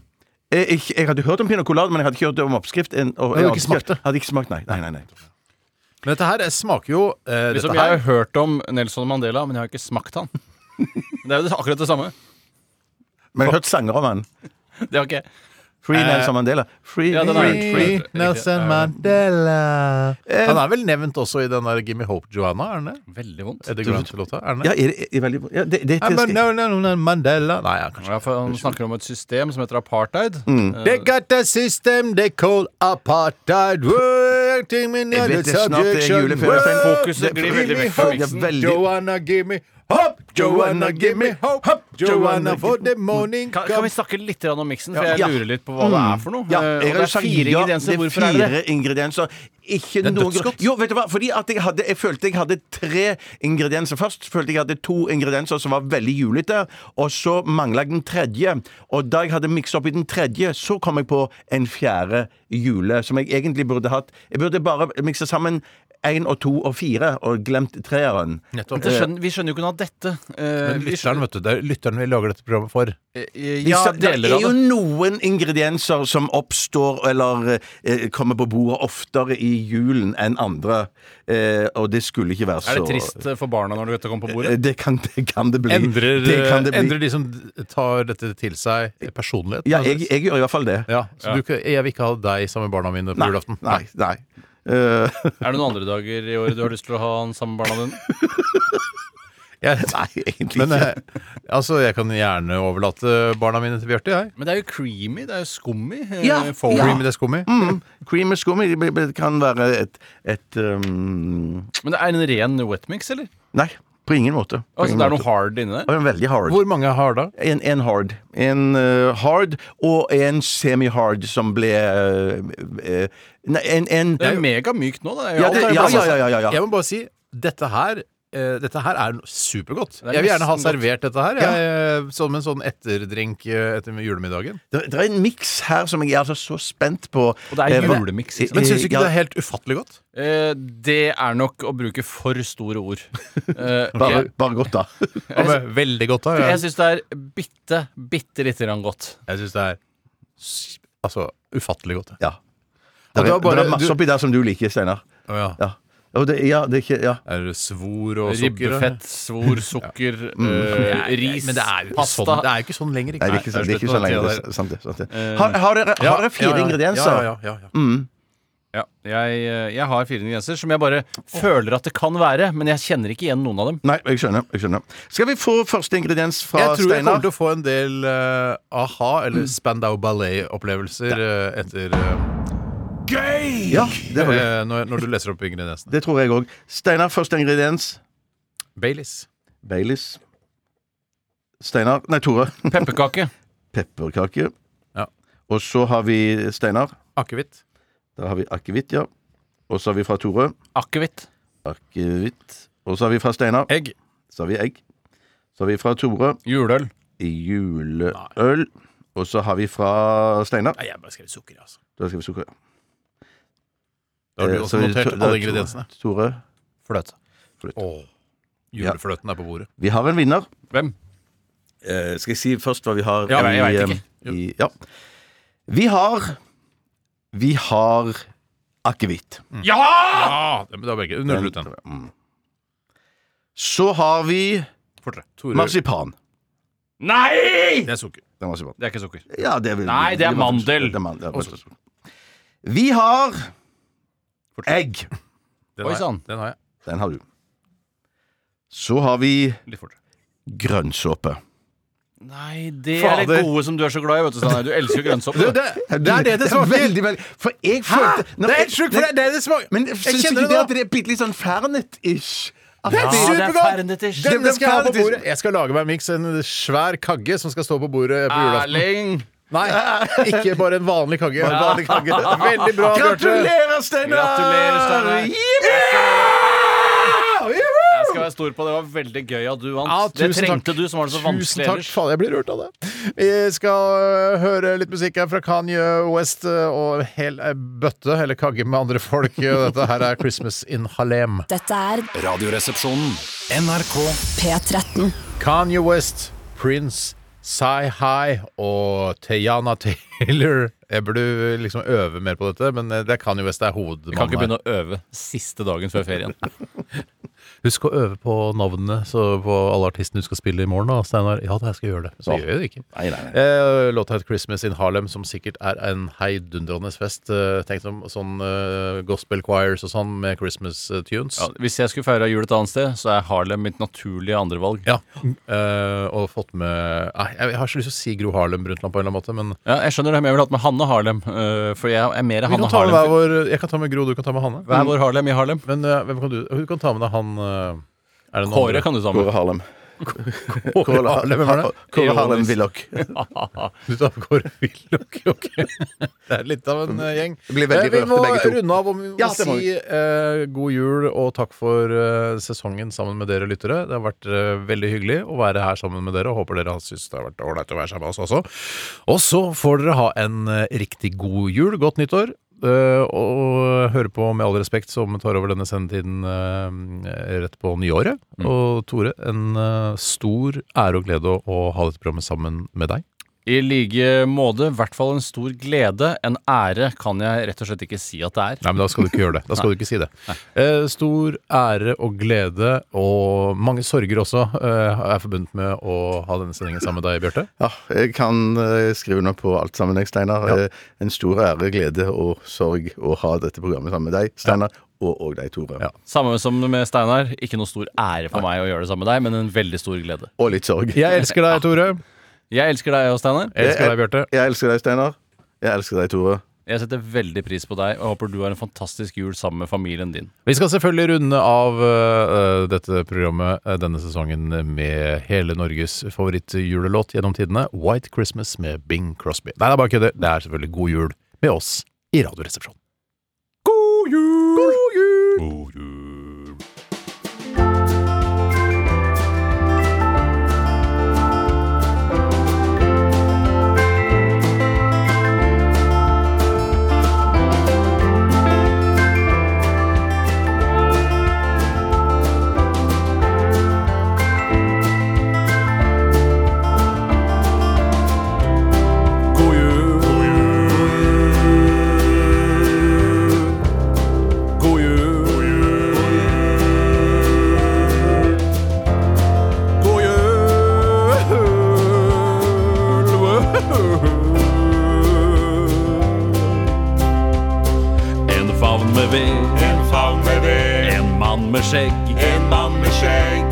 jeg, jeg, jeg hadde hørt om pinot colada, men jeg hadde ikke hørt om oppskrift. En,
Men
og,
du hadde
jeg
ikke smakt det?
Hadde ikke smakt, nei. nei, nei, nei.
Men dette her eh, smaker jo eh,
Liksom,
dette
jeg
her-
har jo hørt om Nelson Mandela, men jeg har ikke smakt han. Det er jo det- akkurat det samme.
Men jeg har hørt sanger om den.
Det har ikke jeg.
Free Nelson Mandela. Free,
Eh, Ja, den er-
free,
free Eh. Nelson Mandela. Han er vel nevnt også i den der Gimme Hope Joanna, er han det?
Veldig vondt.
Eddie Grant-låta, er han det?
Ja, er, det- er veldig ja, det, det,
I'm a- no, no, no, Mandela Nei,
Ja, for han snakker om et system som heter apartheid. Eh,
They got a system they call apartheid. Working in
Jeg vet det er snart, det er juleferie. Fokuset glir veldig vekk fra miksen.
Joanna, give me hope! Joanna, give me hope! Joanna for the morning
Kan, kan vi snakke litt grann om miksen? For
Ja. Mm.
jeg lurer litt på hva det er for noe.
Ja,
Eh,
jeg
og
har
det
jo
er
sagt
fire
ja,
ingredienser. Hvorfor er
det er
det
fire
det?
ingredienser. Ikke
Det er
noe
dødsgodt.
Jo, vet du hva? Fordi at jeg, hadde, jeg følte jeg hadde tre ingredienser først. Følte jeg hadde to ingredienser som var veldig julete, og så mangla jeg den tredje. Og da jeg hadde miksa opp i den tredje, så kom jeg på en fjerde jule, som jeg egentlig burde hatt. Jeg burde bare miksa sammen én og to og fire, og glemt treeren.
Nettopp.
Det skjønner, vi skjønner jo ikke noe av dette. Eh,
Men
vi
lytteren, vet du, det er lytteren vi lager dette programmet for.
skjønner,
Vi
ja,
sa-
deler
det
av
er jo
det.
noen ingredienser som oppstår eller eh, kommer på bordet oftere i julen enn andre, eh, og det skulle ikke være så
Er det trist eh, for barna når dette kommer på
Eh,
bordet?
Det kan det, kan det bli.
Endrer, eh,
det kan
eh,
det bli.
endrer de som tar dette til seg, personligheten?
altså-
Ja, jeg, jeg gjør i hvert fall det.
Ja, så Du, jeg vil ikke ha deg sammen med barna mine på
Nei,
julaften?
nei, nei. Eh,
Er det noen andre dager i året du har lyst til å ha han sammen med barna dine?
Jeg,
nei, egentlig
men
ikke.
eh, altså, jeg kan gjerne overlate barna mine til Bjarte, jeg.
Men det er jo creamy, det er jo skummy. eh,
Ja,
folk-
ja.
Creamy, det er skummi.
Mm, cream og skum det b- b- kan være et, et um,
Men det er en ren wetmix, eller?
Nei, på ingen måte. På
Altså,
ingen
det er
måte.
noe hard inni der?
Og en veldig hard.
Hvor mange har da?
En, en hard. En eh, hard og en semi-hard som ble eh, eh, Nei, en, en
Det er megamykt nå, da.
Ja, det- ja, ja, ja, ja, ja.
Jeg må bare si, dette her eh, dette her er supergodt.
Det er
Jeg vil gjerne ha
nesten godt.
servert dette her jeg, som en sånn etterdrink eh, etter julemiddagen.
Det, det er en miks her som jeg er altså så spent på. Eh, Og
det er liksom. julemiks, ikke sant?
Men syns du ikke det er helt ufattelig godt?
Eh, det er nok å bruke for store ord. Eh,
bare,
ok.
bare godt, da.
Ja, men veldig godt, da.
Jeg
Jeg,
syns det er bitte, bitte lite grann godt.
jeg syns det er s- altså ufattelig godt.
Ja.
Og
Det
det
er,
var bare-
det er masse
du-
oppi der som du liker, Steinar.
Å ja.
Ja. Og det, ja, det er ikke Ja.
Er det svor og sukker?
Ribbefett, svor, sukker,
Ja.
eh,
Nei,
ris,
Men det er jo ikke
pasta
sånn, det er jo ikke sånn lenger.
Nei, det er ikke, sånn- det er ikke så lenge. Det er sant, det. er Sant, det. Har, har, dere,
Eh, Ja,
har dere fire
ja, ja.
ingredienser?
Ja, ja, ja, ja.
Mm.
Ja, jeg, eh, jeg har fire ingredienser som jeg bare føler at det kan være, men jeg kjenner ikke igjen noen av dem.
Nei, jeg skjønner, jeg skjønner. Skal vi få første ingrediens fra
Jeg tror jeg kommer
Steinar?
til å få en del eh, aha- eller Spandau Ballet-opplevelser eh, etter eh,
Ja, det var gøy.
eh, når, når du leser opp ingrediensene.
Det tror jeg òg. Steinar, første ingrediens.
Baileys.
Baileys. Steinar Nei, Tore.
Pepperkake.
Pepperkake.
Ja.
Og så har vi Steinar.
Akevitt.
Da har vi akevitt, ja. Og så har vi fra Tore.
Akevitt.
Akevitt. Og så har vi fra Steinar.
Egg.
Så har vi egg. Så har vi fra Tore.
Juleøl.
Juleøl. Og så har vi fra Steinar.
Nei, jeg har bare skrevet sukker, altså.
Da skal vi sukker.
Da har
Eh,
du
så
også
er det
notert
Tore-
alle ingrediensene.
Tore.
Fløte.
Åh, Julefløten er på bordet.
Vi har en vinner.
Hvem?
Eh, skal jeg si først hva vi har
Ja, jeg vet
eh,
ikke.
I, ja. Vi har Vi har akevitt. Mm.
Ja! det- Men da begge. Nuller ut den.
Så har vi
Fortere. Tore.
marsipan.
Nei!
Det er sukker.
Det er marsipan.
Det er ikke sukker.
Ja, det er vel
Nei, det er mandel.
Det er mandel. ja, forstås. Vi har egg.
Den har
Oi
jeg.
sann.
Den har jeg.
Den har du. Så har vi
Litt fortere.
grønnsåpe.
Nei, det
Fader.
er det gode som du er så glad i, vet du. Steinar. Du elsker jo grønnsåpe.
Det, det er det det smaker!
Veldig, veldig. For jeg følte Nå,
Det er
jeg-
helt sjukt, for det er det det smaker!
Men
jeg
syns
kjenner
ikke
det
det
nå!
at det er bitte litt sånn Fernet-ish? At
Ja,
det-
det er
supergodt! Fernet-ish.
Den
Det
skal jeg ha på
Fernet-ish.
bordet. Jeg skal lage meg en miks, en svær kagge som skal stå på bordet på julaften.
Erling!
Nei, ikke bare en vanlig kagge.
Bare en vanlig kagge.
Veldig bra, Bjarte.
Gratulerer, Steinar!
Gratulerer, Steinar.
Jippi!
Jeg skal være stor på det. Det var veldig gøy at du vant.
Ja,
det
tusen
trengte
takk.
du, som var det så
Tusen
vanskelig
takk.
ellers.
Faen, jeg blir rørt av det. Vi skal øh, høre litt musikk her fra Kanye West øh, og en hel øh, bøtte, eller kagge, med andre folk. Dette her er Christmas in Harlem.
Dette er
Radioresepsjonen.
NRK
P13.
Kanye West, Prince, Psy High og Teyana Taylor. Jeg burde liksom øve mer på dette, men det er øh, Kanye West det er
Vi
hovedmannen
kan ikke
her.
begynne å øve siste dagen før ferien.
Husk å øve på navnene så på alle artistene du skal spille i morgen. da, Steinar. Ja, da, jeg skal gjøre det. Så
Ja.
gjør jeg det ikke.
Nei, nei, nei.
Eh, låta het 'Christmas in Harlem', som sikkert er en heidundrende fest. Eh, tenk som sånn eh, gospel choirs og sånn med Christmas eh, tunes.
Ja, hvis jeg skulle feira jul et annet sted, så er Harlem mitt naturlige andrevalg.
Ja. Eh, og fått med Nei, jeg har ikke lyst til å si Gro Harlem Brundtland på en eller annen måte, men
jeg skjønner det, men jeg ville hatt med Hanne Harlem. eh, for jeg er mer
Vi kan
Hanne
ta med hver
Harlem.
vår, jeg kan ta med Gro, du kan ta med Hanne.
Hver vår Harlem i Harlem.
Men eh, hvem kan du Du kan ta med deg han eh, er det noen
Kåre
andre?
kan du ta med. Kåre
Harlem.
Kåre Harlem, hvem er det?
Kåre Harlem Willoch.
du tar med Kåre Willoch, ok. Det er litt av en eh, gjeng.
Det blir veldig
Eh, vi
rørte,
må
begge to.
runde av og vi må
Ja, det må
si
vi.
eh, god jul og takk for eh, sesongen sammen med dere lyttere. Det har vært eh, veldig hyggelig å være her sammen med dere. og Håper dere har syntes det har vært ålreit å være sammen med oss også. Og så får dere ha en eh, riktig god jul. Godt nyttår. eh, og høre på Med all respekt, som tar over denne sendetiden eh, rett på nyåret.
Mm.
Og Tore, en eh, stor ære og glede å, å ha dette programmet sammen med deg.
I like måte, i hvert fall en stor glede. En ære kan jeg rett og slett ikke si at det er.
Nei, men da skal du ikke gjøre det. Da skal du ikke si det. Eh, stor ære og glede, og mange sorger også, eh, er forbundet med å ha denne sendingen sammen med deg, Bjarte.
Ja, jeg kan eh, skrive under på alt sammen, jeg, Steinar. Eh, En stor ære, glede og sorg å ha dette programmet sammen med deg, Steinar, og, og deg, Tore.
Samme som med Steinar. Ikke noe stor ære for meg å gjøre det samme med deg, men en veldig stor glede.
Og litt sorg.
Jeg elsker deg, Tore.
Jeg elsker deg og Steinar.
Bjarte.
Jeg elsker deg, Steinar. Jeg elsker deg, Tore.
Jeg setter veldig pris på deg og håper du har en fantastisk jul sammen med familien din.
Vi skal selvfølgelig runde av eh, dette programmet eh, denne sesongen med hele Norges favorittjulelåt gjennom tidene, White Christmas med Bing Crosby. Nei, det er bare kødder. Det er selvfølgelig God jul med oss i Radioresepsjonen.
En favn med ved, en favn med ved, en mann med skjegg, en mann med skjegg.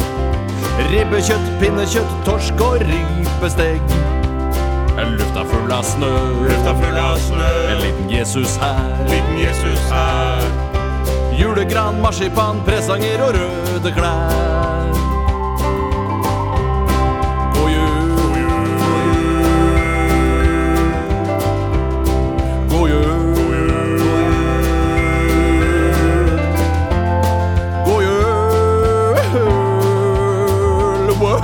Ribbekjøtt, pinnekjøtt, torsk og rypesteg. Lufta full av snø, lufta full av snø. En liten Jesus her, liten Jesus her. Julegran, marsipan, presanger og røde klær. God jul, god jul. God jul! Wow!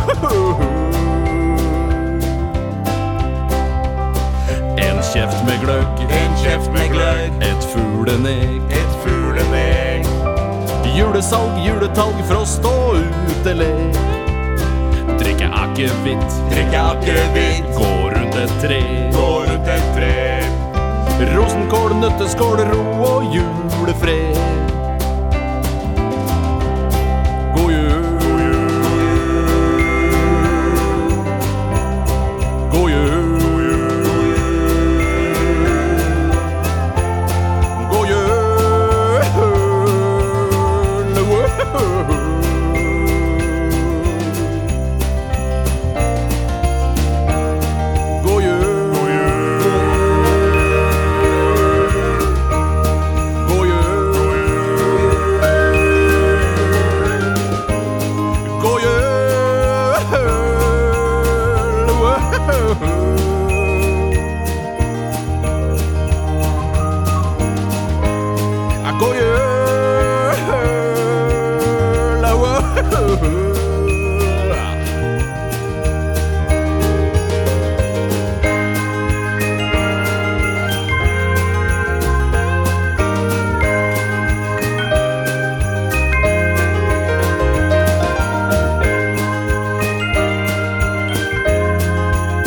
En kjeft med gløgg, en kjeft med gløgg. Et fuglenek, et fuglenek. Julesalg, juletalg, frost og utelek. Drikke akevitt, drikke akevitt. Gå rundt et tre, gå rundt et tre. Rosenkål, nøtteskål, ro og julefred. God jul. God jul. God jul. Wow. God jul. God jul. God jul! Ja, God jul!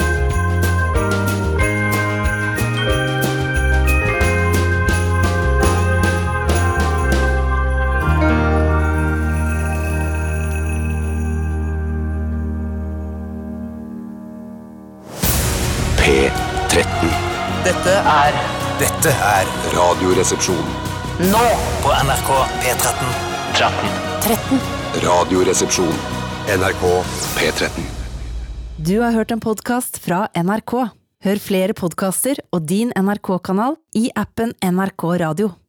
God jul,
er
Dette er Radioresepsjon.
nå på NRK P13. 13.
13.
Radioresepsjon. NRK P13.
Du har hørt en podkast fra NRK. Hør flere podkaster og din NRK-kanal i appen NRK Radio.